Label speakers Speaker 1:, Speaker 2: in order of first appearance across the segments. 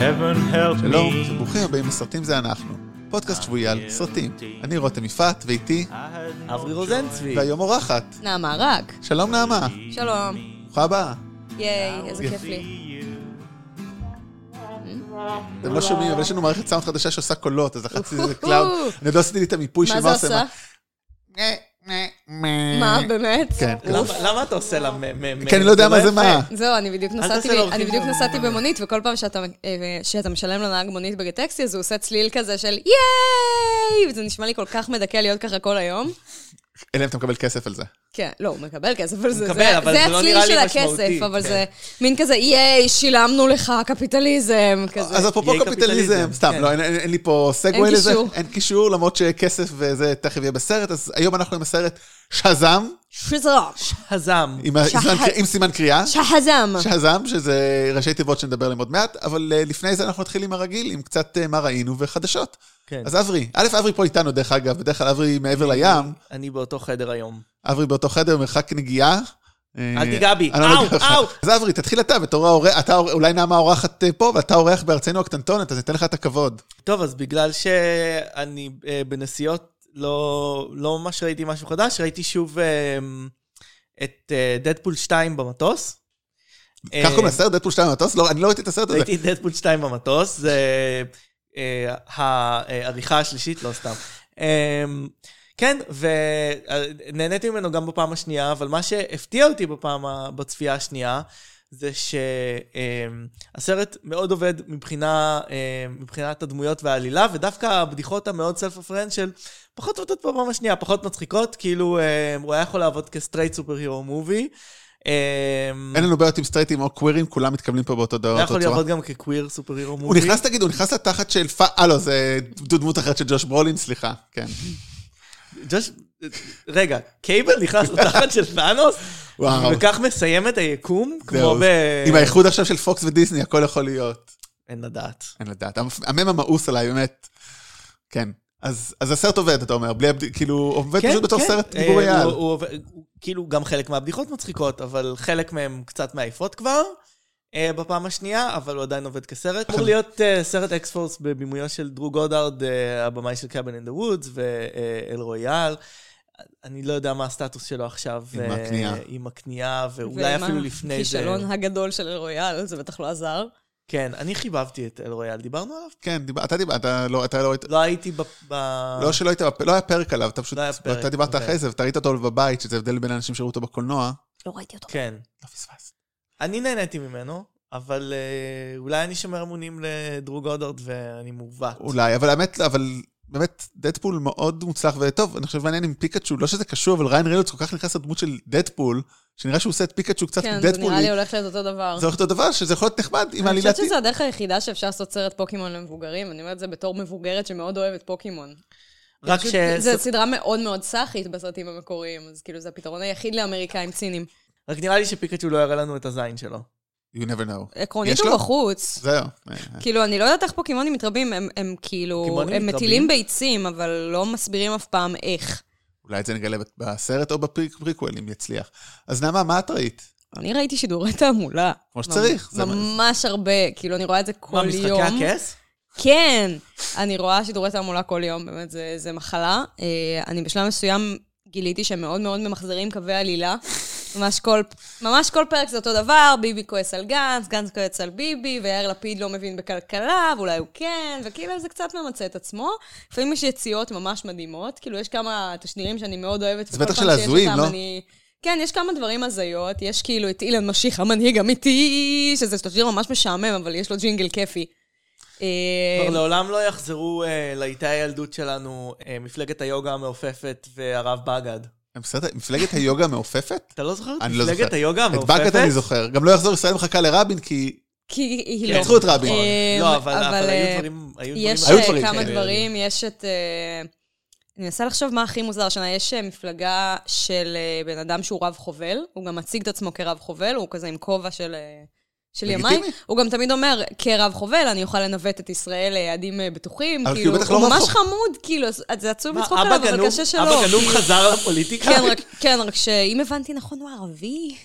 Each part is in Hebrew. Speaker 1: heaven help me.
Speaker 2: שלום, וברוכים הבאים לסרטים זה אנחנו. פודקאסט שבועי על סרטים. אני רותם יפעת, ואיתי,
Speaker 3: אברי רוזנצבי.
Speaker 2: והיום אורחת.
Speaker 4: נעמה, רק.
Speaker 2: שלום נעמה,
Speaker 4: שלום.
Speaker 2: ברוכה הבאה.
Speaker 4: ייי, איזה כיף לי.
Speaker 2: אתם לא שומעים, אבל יש לנו מערכת סאונד חדשה שעושה קולות, אז לחצתי איזה קלאב. אני עוד לא עשיתי לי את המיפוי של
Speaker 4: מה זה
Speaker 2: מה עושה.
Speaker 4: עושה? מה,
Speaker 3: אה,
Speaker 4: באמת?
Speaker 2: כן, כן.
Speaker 3: למה- למה אתה עושה לה מ... מ-
Speaker 2: כי אני לא יודע מה זה מה.
Speaker 4: זהו, אני בדיוק נסעתי,
Speaker 3: תעשה לו
Speaker 4: אני בדיוק
Speaker 3: אורגינל.
Speaker 4: נסעתי במונית, וכל פעם שאתה, אה, שאתה משלם לנהג מונית בגטקסי, אז הוא עושה צליל כזה של ייי! וזה נשמע לי כל כך מדכא להיות ככה כל היום.
Speaker 2: אלא אם אתה מקבל כסף על זה.
Speaker 4: כן, לא, הוא מקבל כסף על זה.
Speaker 3: מקבל,
Speaker 4: זה-
Speaker 3: אבל
Speaker 4: זה
Speaker 3: זה לא
Speaker 4: הצליל
Speaker 3: נראה לי
Speaker 4: של
Speaker 3: משמעותי,
Speaker 4: הכסף, אבל
Speaker 3: כן.
Speaker 4: זה מין כזה ייי, שילמנו לך,
Speaker 3: אה.
Speaker 4: קפיטליזם, כזה.
Speaker 2: אז אפרופו
Speaker 3: יהיה
Speaker 2: קפיטליזם,
Speaker 3: קפיטליזם,
Speaker 2: סתם,
Speaker 3: כן.
Speaker 2: לא, אין- אין אין לי פה סגווי
Speaker 4: אין
Speaker 2: לזה.
Speaker 4: קישור.
Speaker 2: אין קישור, למרות שכסף וזה תכף יהיה בסרט, אז היום אנחנו עם הסרט שזאם,
Speaker 4: שזרום.
Speaker 3: הזעם.
Speaker 2: עם ה-
Speaker 4: שח-
Speaker 2: סימן קריאה- עם סימן קריאה.
Speaker 4: שחזם.
Speaker 2: שז"ם, שזה ראשי תיבות שנדבר עליהם עוד מעט, אבל אה, לפני זה אנחנו נתחיל עם הרגיל, עם קצת אה, מה ראינו וחדשות.
Speaker 3: כן.
Speaker 2: אז אברי, א', אברי פה איתנו דרך אגב, בדרך כלל אברי מעבר לים,
Speaker 3: אני באותו חדר היום.
Speaker 2: אברי באותו חדר, מרחק נגיעה. אה,
Speaker 3: אל תיגע בי.
Speaker 2: אני לא
Speaker 3: אאו,
Speaker 2: נוגע בך.
Speaker 3: אאו.
Speaker 2: אז אברי, תתחיל אתה בתור האורח, אתה אור- אולי נעמה אורחת אה, פה, ואתה אורח בארצנו הקטנטונת, אז ניתן לך את הכבוד.
Speaker 3: טוב, אז בגלל שאני אה, בנסיעות לא לא ממש ראיתי משהו חדש, ראיתי שוב אה, את אה, דדפול 2 במטוס.
Speaker 2: כך קוראים לסרט דדפול 2 במטוס? לא, אני לא ראיתי את הסרט הזה.
Speaker 3: אה. ראיתי את דדפול 2 במטוס, זה אה, העריכה השלישית, לא סתם. אה, כן, ונהניתי ממנו גם בפעם השנייה, אבל מה שהפתיע אותי בפעם, ה- בצפייה השנייה, זה שהסרט מאוד עובד מבחינה, אה, מבחינת הדמויות והעלילה, ודווקא הבדיחות המאוד סלף רפרנט של פחות עובדות בפעם השנייה, פחות מצחיקות, כאילו אה, הוא היה יכול לעבוד כסטרייט סופר הירו מובי.
Speaker 2: אין לנו בעיות עם סטרייטים או קווירים, כולם מתקבלים פה באותו דבר.
Speaker 3: אתה לא יכול
Speaker 2: באותה צורה.
Speaker 3: לעבוד גם כקוויר סופר הירו מובי.
Speaker 2: הוא נכנס, תגיד, הוא נכנס לתחת של פ... אה, לא, זה דמות אחרת של ג'וש ברולין, סליחה, כן.
Speaker 3: ג'וש... רגע, קייבל נכנס לתחת של תאנוס?
Speaker 2: וואו.
Speaker 3: וכך מסיים את היקום? כמו
Speaker 2: זהו,
Speaker 3: ב...
Speaker 2: עם האיחוד עכשיו של פוקס ודיסני, הכל יכול להיות.
Speaker 3: אין לדעת.
Speaker 2: אין לדעת. המ- המם המאוס עליי, באמת. כן. אז אז הסרט עובד, אתה אומר, בלי... הבד- כאילו, עובד פשוט בתור סרט
Speaker 3: אה,
Speaker 2: דיבורי
Speaker 3: הוא-
Speaker 2: על.
Speaker 3: הוא עובד- הוא- כאילו, גם חלק מהבדיחות מצחיקות, אבל חלק מהן קצת מעייפות כבר. אה, בפעם השנייה, אבל הוא עדיין עובד כסרט. אמור להיות אה, סרט אקספורס בבימויו של דרו גודארד, אה, הבמאי של קאבן אין דה וודס ואל רויאל. אה, אני לא יודע מה הסטטוס שלו עכשיו.
Speaker 2: עם
Speaker 3: אה,
Speaker 2: הקנייה.
Speaker 3: עם הקנייה, ואולי
Speaker 4: ועם
Speaker 3: אפילו לפני זה.
Speaker 4: הכישלון הגדול של רויאל, זה בטח לא עזר.
Speaker 3: כן, אני חיבבתי את אל רויאל, דיברנו עליו?
Speaker 2: כן, דיבר- אתה דיברת, אתה לא אתה לא היית...
Speaker 3: לא הייתי ב... ב-
Speaker 2: לא שלא היית, בפ- לא היה פרק עליו, אתה פשוט,
Speaker 3: אה. לא היה פרק,
Speaker 2: אתה דיברת
Speaker 3: אוקיי.
Speaker 2: אחרי זה, ואתה ראית אותו בבית, שזה הבדל בין אנשים שראו אותו בקולנוע.
Speaker 4: לא ראיתי אותו.
Speaker 3: כן.
Speaker 2: לא פספסת.
Speaker 3: אני נהניתי ממנו, אבל אה, אולי אני שומר אמונים לדרו גודרד ואני מעוות.
Speaker 2: אולי, אבל האמת, אבל באמת, דדפול מאוד מוצלח וטוב, אני חושב מעניין עם פיקאצ'ו, לא שזה קשור, אבל ריין ריילדס כל כך נכנס לדמות של דדפול, שנראה שהוא עושה את פיקאצ'ו קצת
Speaker 4: כן, זה נראה
Speaker 2: דדפולי.
Speaker 4: לי הולך להיות אותו דבר.
Speaker 2: זה הולך להיות דבר שזה יכול להיות נחמד עם
Speaker 4: אוקיי. אני
Speaker 2: העלילה.
Speaker 4: חושבת שזו הדרך היחידה שאפשר לעשות סרט פוקימון למבוגרים, אני אומרת את זה בתור מבוגרת שמאוד אוהבת פוקימון.
Speaker 3: רק
Speaker 4: פשוט
Speaker 3: ש...
Speaker 4: זו סדרה מאוד מאוד סאחית בסרטים המקוריים, אז כאילו זה הפתרון היחיד לאמריקאים צינים.
Speaker 3: רק נראה לי שפיקצ'ו לא יראה לנו את הזין שלו.
Speaker 2: You never know.
Speaker 4: עקרונית
Speaker 2: יש
Speaker 4: הוא
Speaker 2: לו?
Speaker 4: בחוץ.
Speaker 2: זהו.
Speaker 4: כאילו, אני לא יודעת איך פוקימונים מתרבים, הם- הם כאילו,
Speaker 3: פוקימונים
Speaker 4: הם
Speaker 3: מתרבים?
Speaker 4: מטילים ביצים, אבל לא מסבירים אף פעם איך.
Speaker 2: אולי את זה נגלה בסרט או בפריקוול, אם יצליח. אז נעמה, מה את ראית?
Speaker 4: אני ראיתי שידורי תעמולה.
Speaker 2: כמו שצריך, זה-
Speaker 4: ממש הרבה, כאילו, אני רואה את זה
Speaker 3: מה,
Speaker 4: כל
Speaker 3: משחקי
Speaker 4: יום.
Speaker 3: הכס?
Speaker 4: כן, אני רואה שידורי תעמולה כל יום, באמת, זה, זה מחלה. אה, אני בשלב מסוים גיליתי שהם מאוד מאוד ממחזרים קווי עלילה. ממש כל, ממש כל פרק זה אותו דבר, ביבי כועס על גנץ, גנץ כועס על ביבי, ויאיר לפיד לא מבין בכלכלה, ואולי הוא כן, וכאילו זה קצת ממצה את עצמו. לפעמים יש יציאות ממש מדהימות, כאילו יש כמה תשדירים שאני מאוד אוהבת.
Speaker 2: זה
Speaker 4: וכל
Speaker 2: בטח
Speaker 4: פעם
Speaker 2: של
Speaker 4: שיש
Speaker 2: ההזויים,
Speaker 4: אותם
Speaker 2: לא?
Speaker 4: אני... כן, יש כמה דברים הזיות, יש כאילו את אילן משיח, המנהיג אמיתי, שזה תשדיר ממש משעמם, אבל יש לו ג'ינגל כיפי. אה,
Speaker 3: כבר לעולם לא יחזרו אה, לאיתי הילדות שלנו, אה, מפלגת היוגה המעופפת והרב בגד.
Speaker 2: הם בסדר? מפלגת היוגה המעופפת?
Speaker 4: אה,
Speaker 3: אתה לא זוכר? את
Speaker 2: אני לא זוכר.
Speaker 3: מפלגת היוגה
Speaker 2: את
Speaker 3: המעופפת?
Speaker 2: באגד אני זוכר. גם לא יחזור ישראל מחכה לרבין, כי
Speaker 4: כי היא לא.
Speaker 2: ניצחו את רבין.
Speaker 4: אה,
Speaker 3: לא, אבל אבל
Speaker 4: אה,
Speaker 3: היו דברים... היו דברים-
Speaker 4: יש
Speaker 2: היו
Speaker 4: אה,
Speaker 2: דברים
Speaker 4: כמה
Speaker 2: כאלה.
Speaker 4: דברים, יש את... אה, אני מנסה לחשוב מה הכי מוזר שנה. יש אה, מפלגה של אה, בן אדם שהוא רב חובל, הוא גם מציג את עצמו כרב חובל, הוא כזה עם כובע של... אה, של
Speaker 2: לגיטימי.
Speaker 4: ימיי. הוא גם תמיד אומר, כרב חובל, אני אוכל לנווט את ישראל ליעדים אה, בטוחים.
Speaker 2: אבל כי הוא
Speaker 4: כאילו,
Speaker 2: בטח לא
Speaker 4: הוא
Speaker 2: רב
Speaker 4: ממש
Speaker 2: חובל.
Speaker 4: חמוד, כאילו, אז- אז זה עצוב
Speaker 3: מה,
Speaker 4: לצחוק
Speaker 3: אבא
Speaker 4: עליו, אבל
Speaker 3: גנוב-
Speaker 4: קשה שלא.
Speaker 3: אבא גנוב
Speaker 4: כי-
Speaker 3: חזר לפוליטיקה?
Speaker 4: כן, רק- כן, רק שאם הבנתי נכון, הוא ערבי.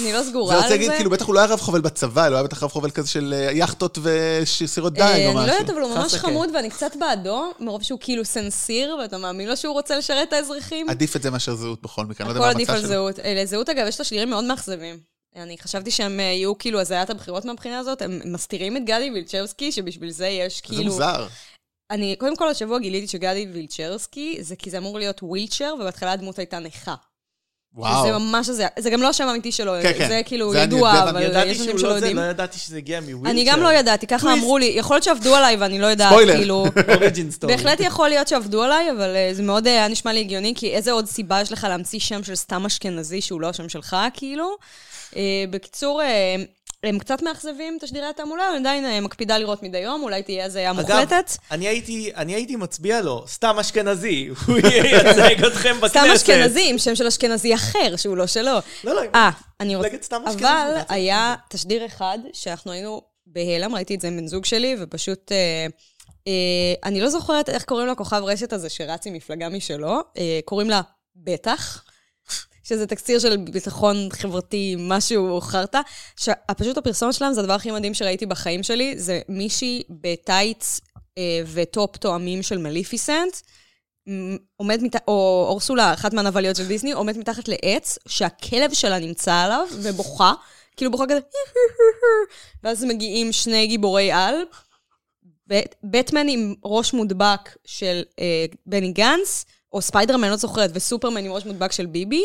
Speaker 4: אני לא סגורה
Speaker 2: זה
Speaker 4: על
Speaker 2: רוצה
Speaker 4: זה.
Speaker 2: להגיד, כאילו, בטח הוא לא היה רב חובל בצבא, אלא הוא היה בטח רב חובל כזה של אה, יכטות וסירות
Speaker 4: אה,
Speaker 2: דיג או משהו.
Speaker 4: אני לא יודעת, אבל הוא ממש
Speaker 3: חסקה.
Speaker 4: חמוד, ואני קצת בעדו, מרוב שהוא כאילו סנסיר, ואתה מאמין לו שהוא רוצה לשרת את האזרחים.
Speaker 2: עדיף את זה מאשר זהות בכל מקרה, אני לא
Speaker 4: הכל
Speaker 2: יודע מה
Speaker 4: עדיף
Speaker 2: המצע
Speaker 4: על
Speaker 2: שלו.
Speaker 4: זהות. אה, לזהות, אגב, יש לה שרירים מאוד מאכזבים. אני חשבתי שהם אה, יהיו כאילו הזיית הבחירות מהבחינה הזאת, הם מסתירים את גדי וילצ'רסקי, שבשביל זה יש כאילו...
Speaker 2: זה מוזר.
Speaker 4: אני, קודם כל, השבוע גיליתי שגדי וילצ'רסקי, זה כי זה אמור להיות ווילצ'ר, ובהתחלה הדמות הייתה נכה.
Speaker 2: וואו.
Speaker 4: זה ממש זה, זה גם לא השם האמיתי שלו,
Speaker 2: כן, כן.
Speaker 4: זה כאילו
Speaker 2: זה אני יודע,
Speaker 4: ידוע, אבל
Speaker 3: ידעתי
Speaker 4: יש אנשים
Speaker 3: שהוא
Speaker 4: שלא
Speaker 3: לא זה,
Speaker 4: יודעים.
Speaker 3: לא ידעתי שזה הגיע מווילצ'ר.
Speaker 4: אני גם לא ידעתי, ככה
Speaker 3: טוויסט.
Speaker 4: אמרו לי, יכול להיות שעבדו עליי ואני לא יודעת,
Speaker 2: ספוילר.
Speaker 4: כאילו...
Speaker 3: אוריג'ין סטורי.
Speaker 4: בהחלט יכול להיות שעבדו עליי, אבל אה, זה מאוד אה, היה נשמע לי הגיוני, כי איזה עוד סיבה יש לך להמציא שם של סתם אשכנזי שהוא לא השם שלך, כאילו? אה, בקיצור, אה, הם קצת מאכזבים תשדירי התעמולה, אבל עדיין אה, מקפידה לראות מדי יום, אולי תהיה הזיה מוחלטת.
Speaker 3: אני הייתי, אני הייתי מצביע לו, סתם אשכנזי, הוא ייצג אתכם בכנסת.
Speaker 4: סתם אשכנזי עם שם של אשכנזי אחר, שהוא לא שלו.
Speaker 3: לא, לא,
Speaker 4: אה, אני רוצה...
Speaker 3: מפלגת סתם אשכנזי,
Speaker 4: אבל
Speaker 3: בעצם.
Speaker 4: היה תשדיר אחד שאנחנו היינו בהלם, ראיתי את זה עם בן זוג שלי, ופשוט... אה, אה, אני לא זוכרת איך קוראים לכוכב רשת הזה שרץ עם מפלגה משלו, אה, קוראים לה בטח. שזה תקציר של ביטחון חברתי, משהו חרטא. ש- פשוט הפרסומת שלהם זה הדבר הכי מדהים שראיתי בחיים שלי, זה מישהי בטייץ אה, וטופ תואמים של מליפיסנט, מ- עומד מתחת, או אורסולה, אחת מהנבליות של דיסני, עומדת מתחת לעץ, שהכלב שלה נמצא עליו ובוכה, כאילו בוכה כזה, ואז מגיעים שני גיבורי על, בט- בטמן עם ראש מודבק של אה, בני גנץ, או ספיידרמן, לא זוכרת, וסופרמן עם ראש מודבק של ביבי,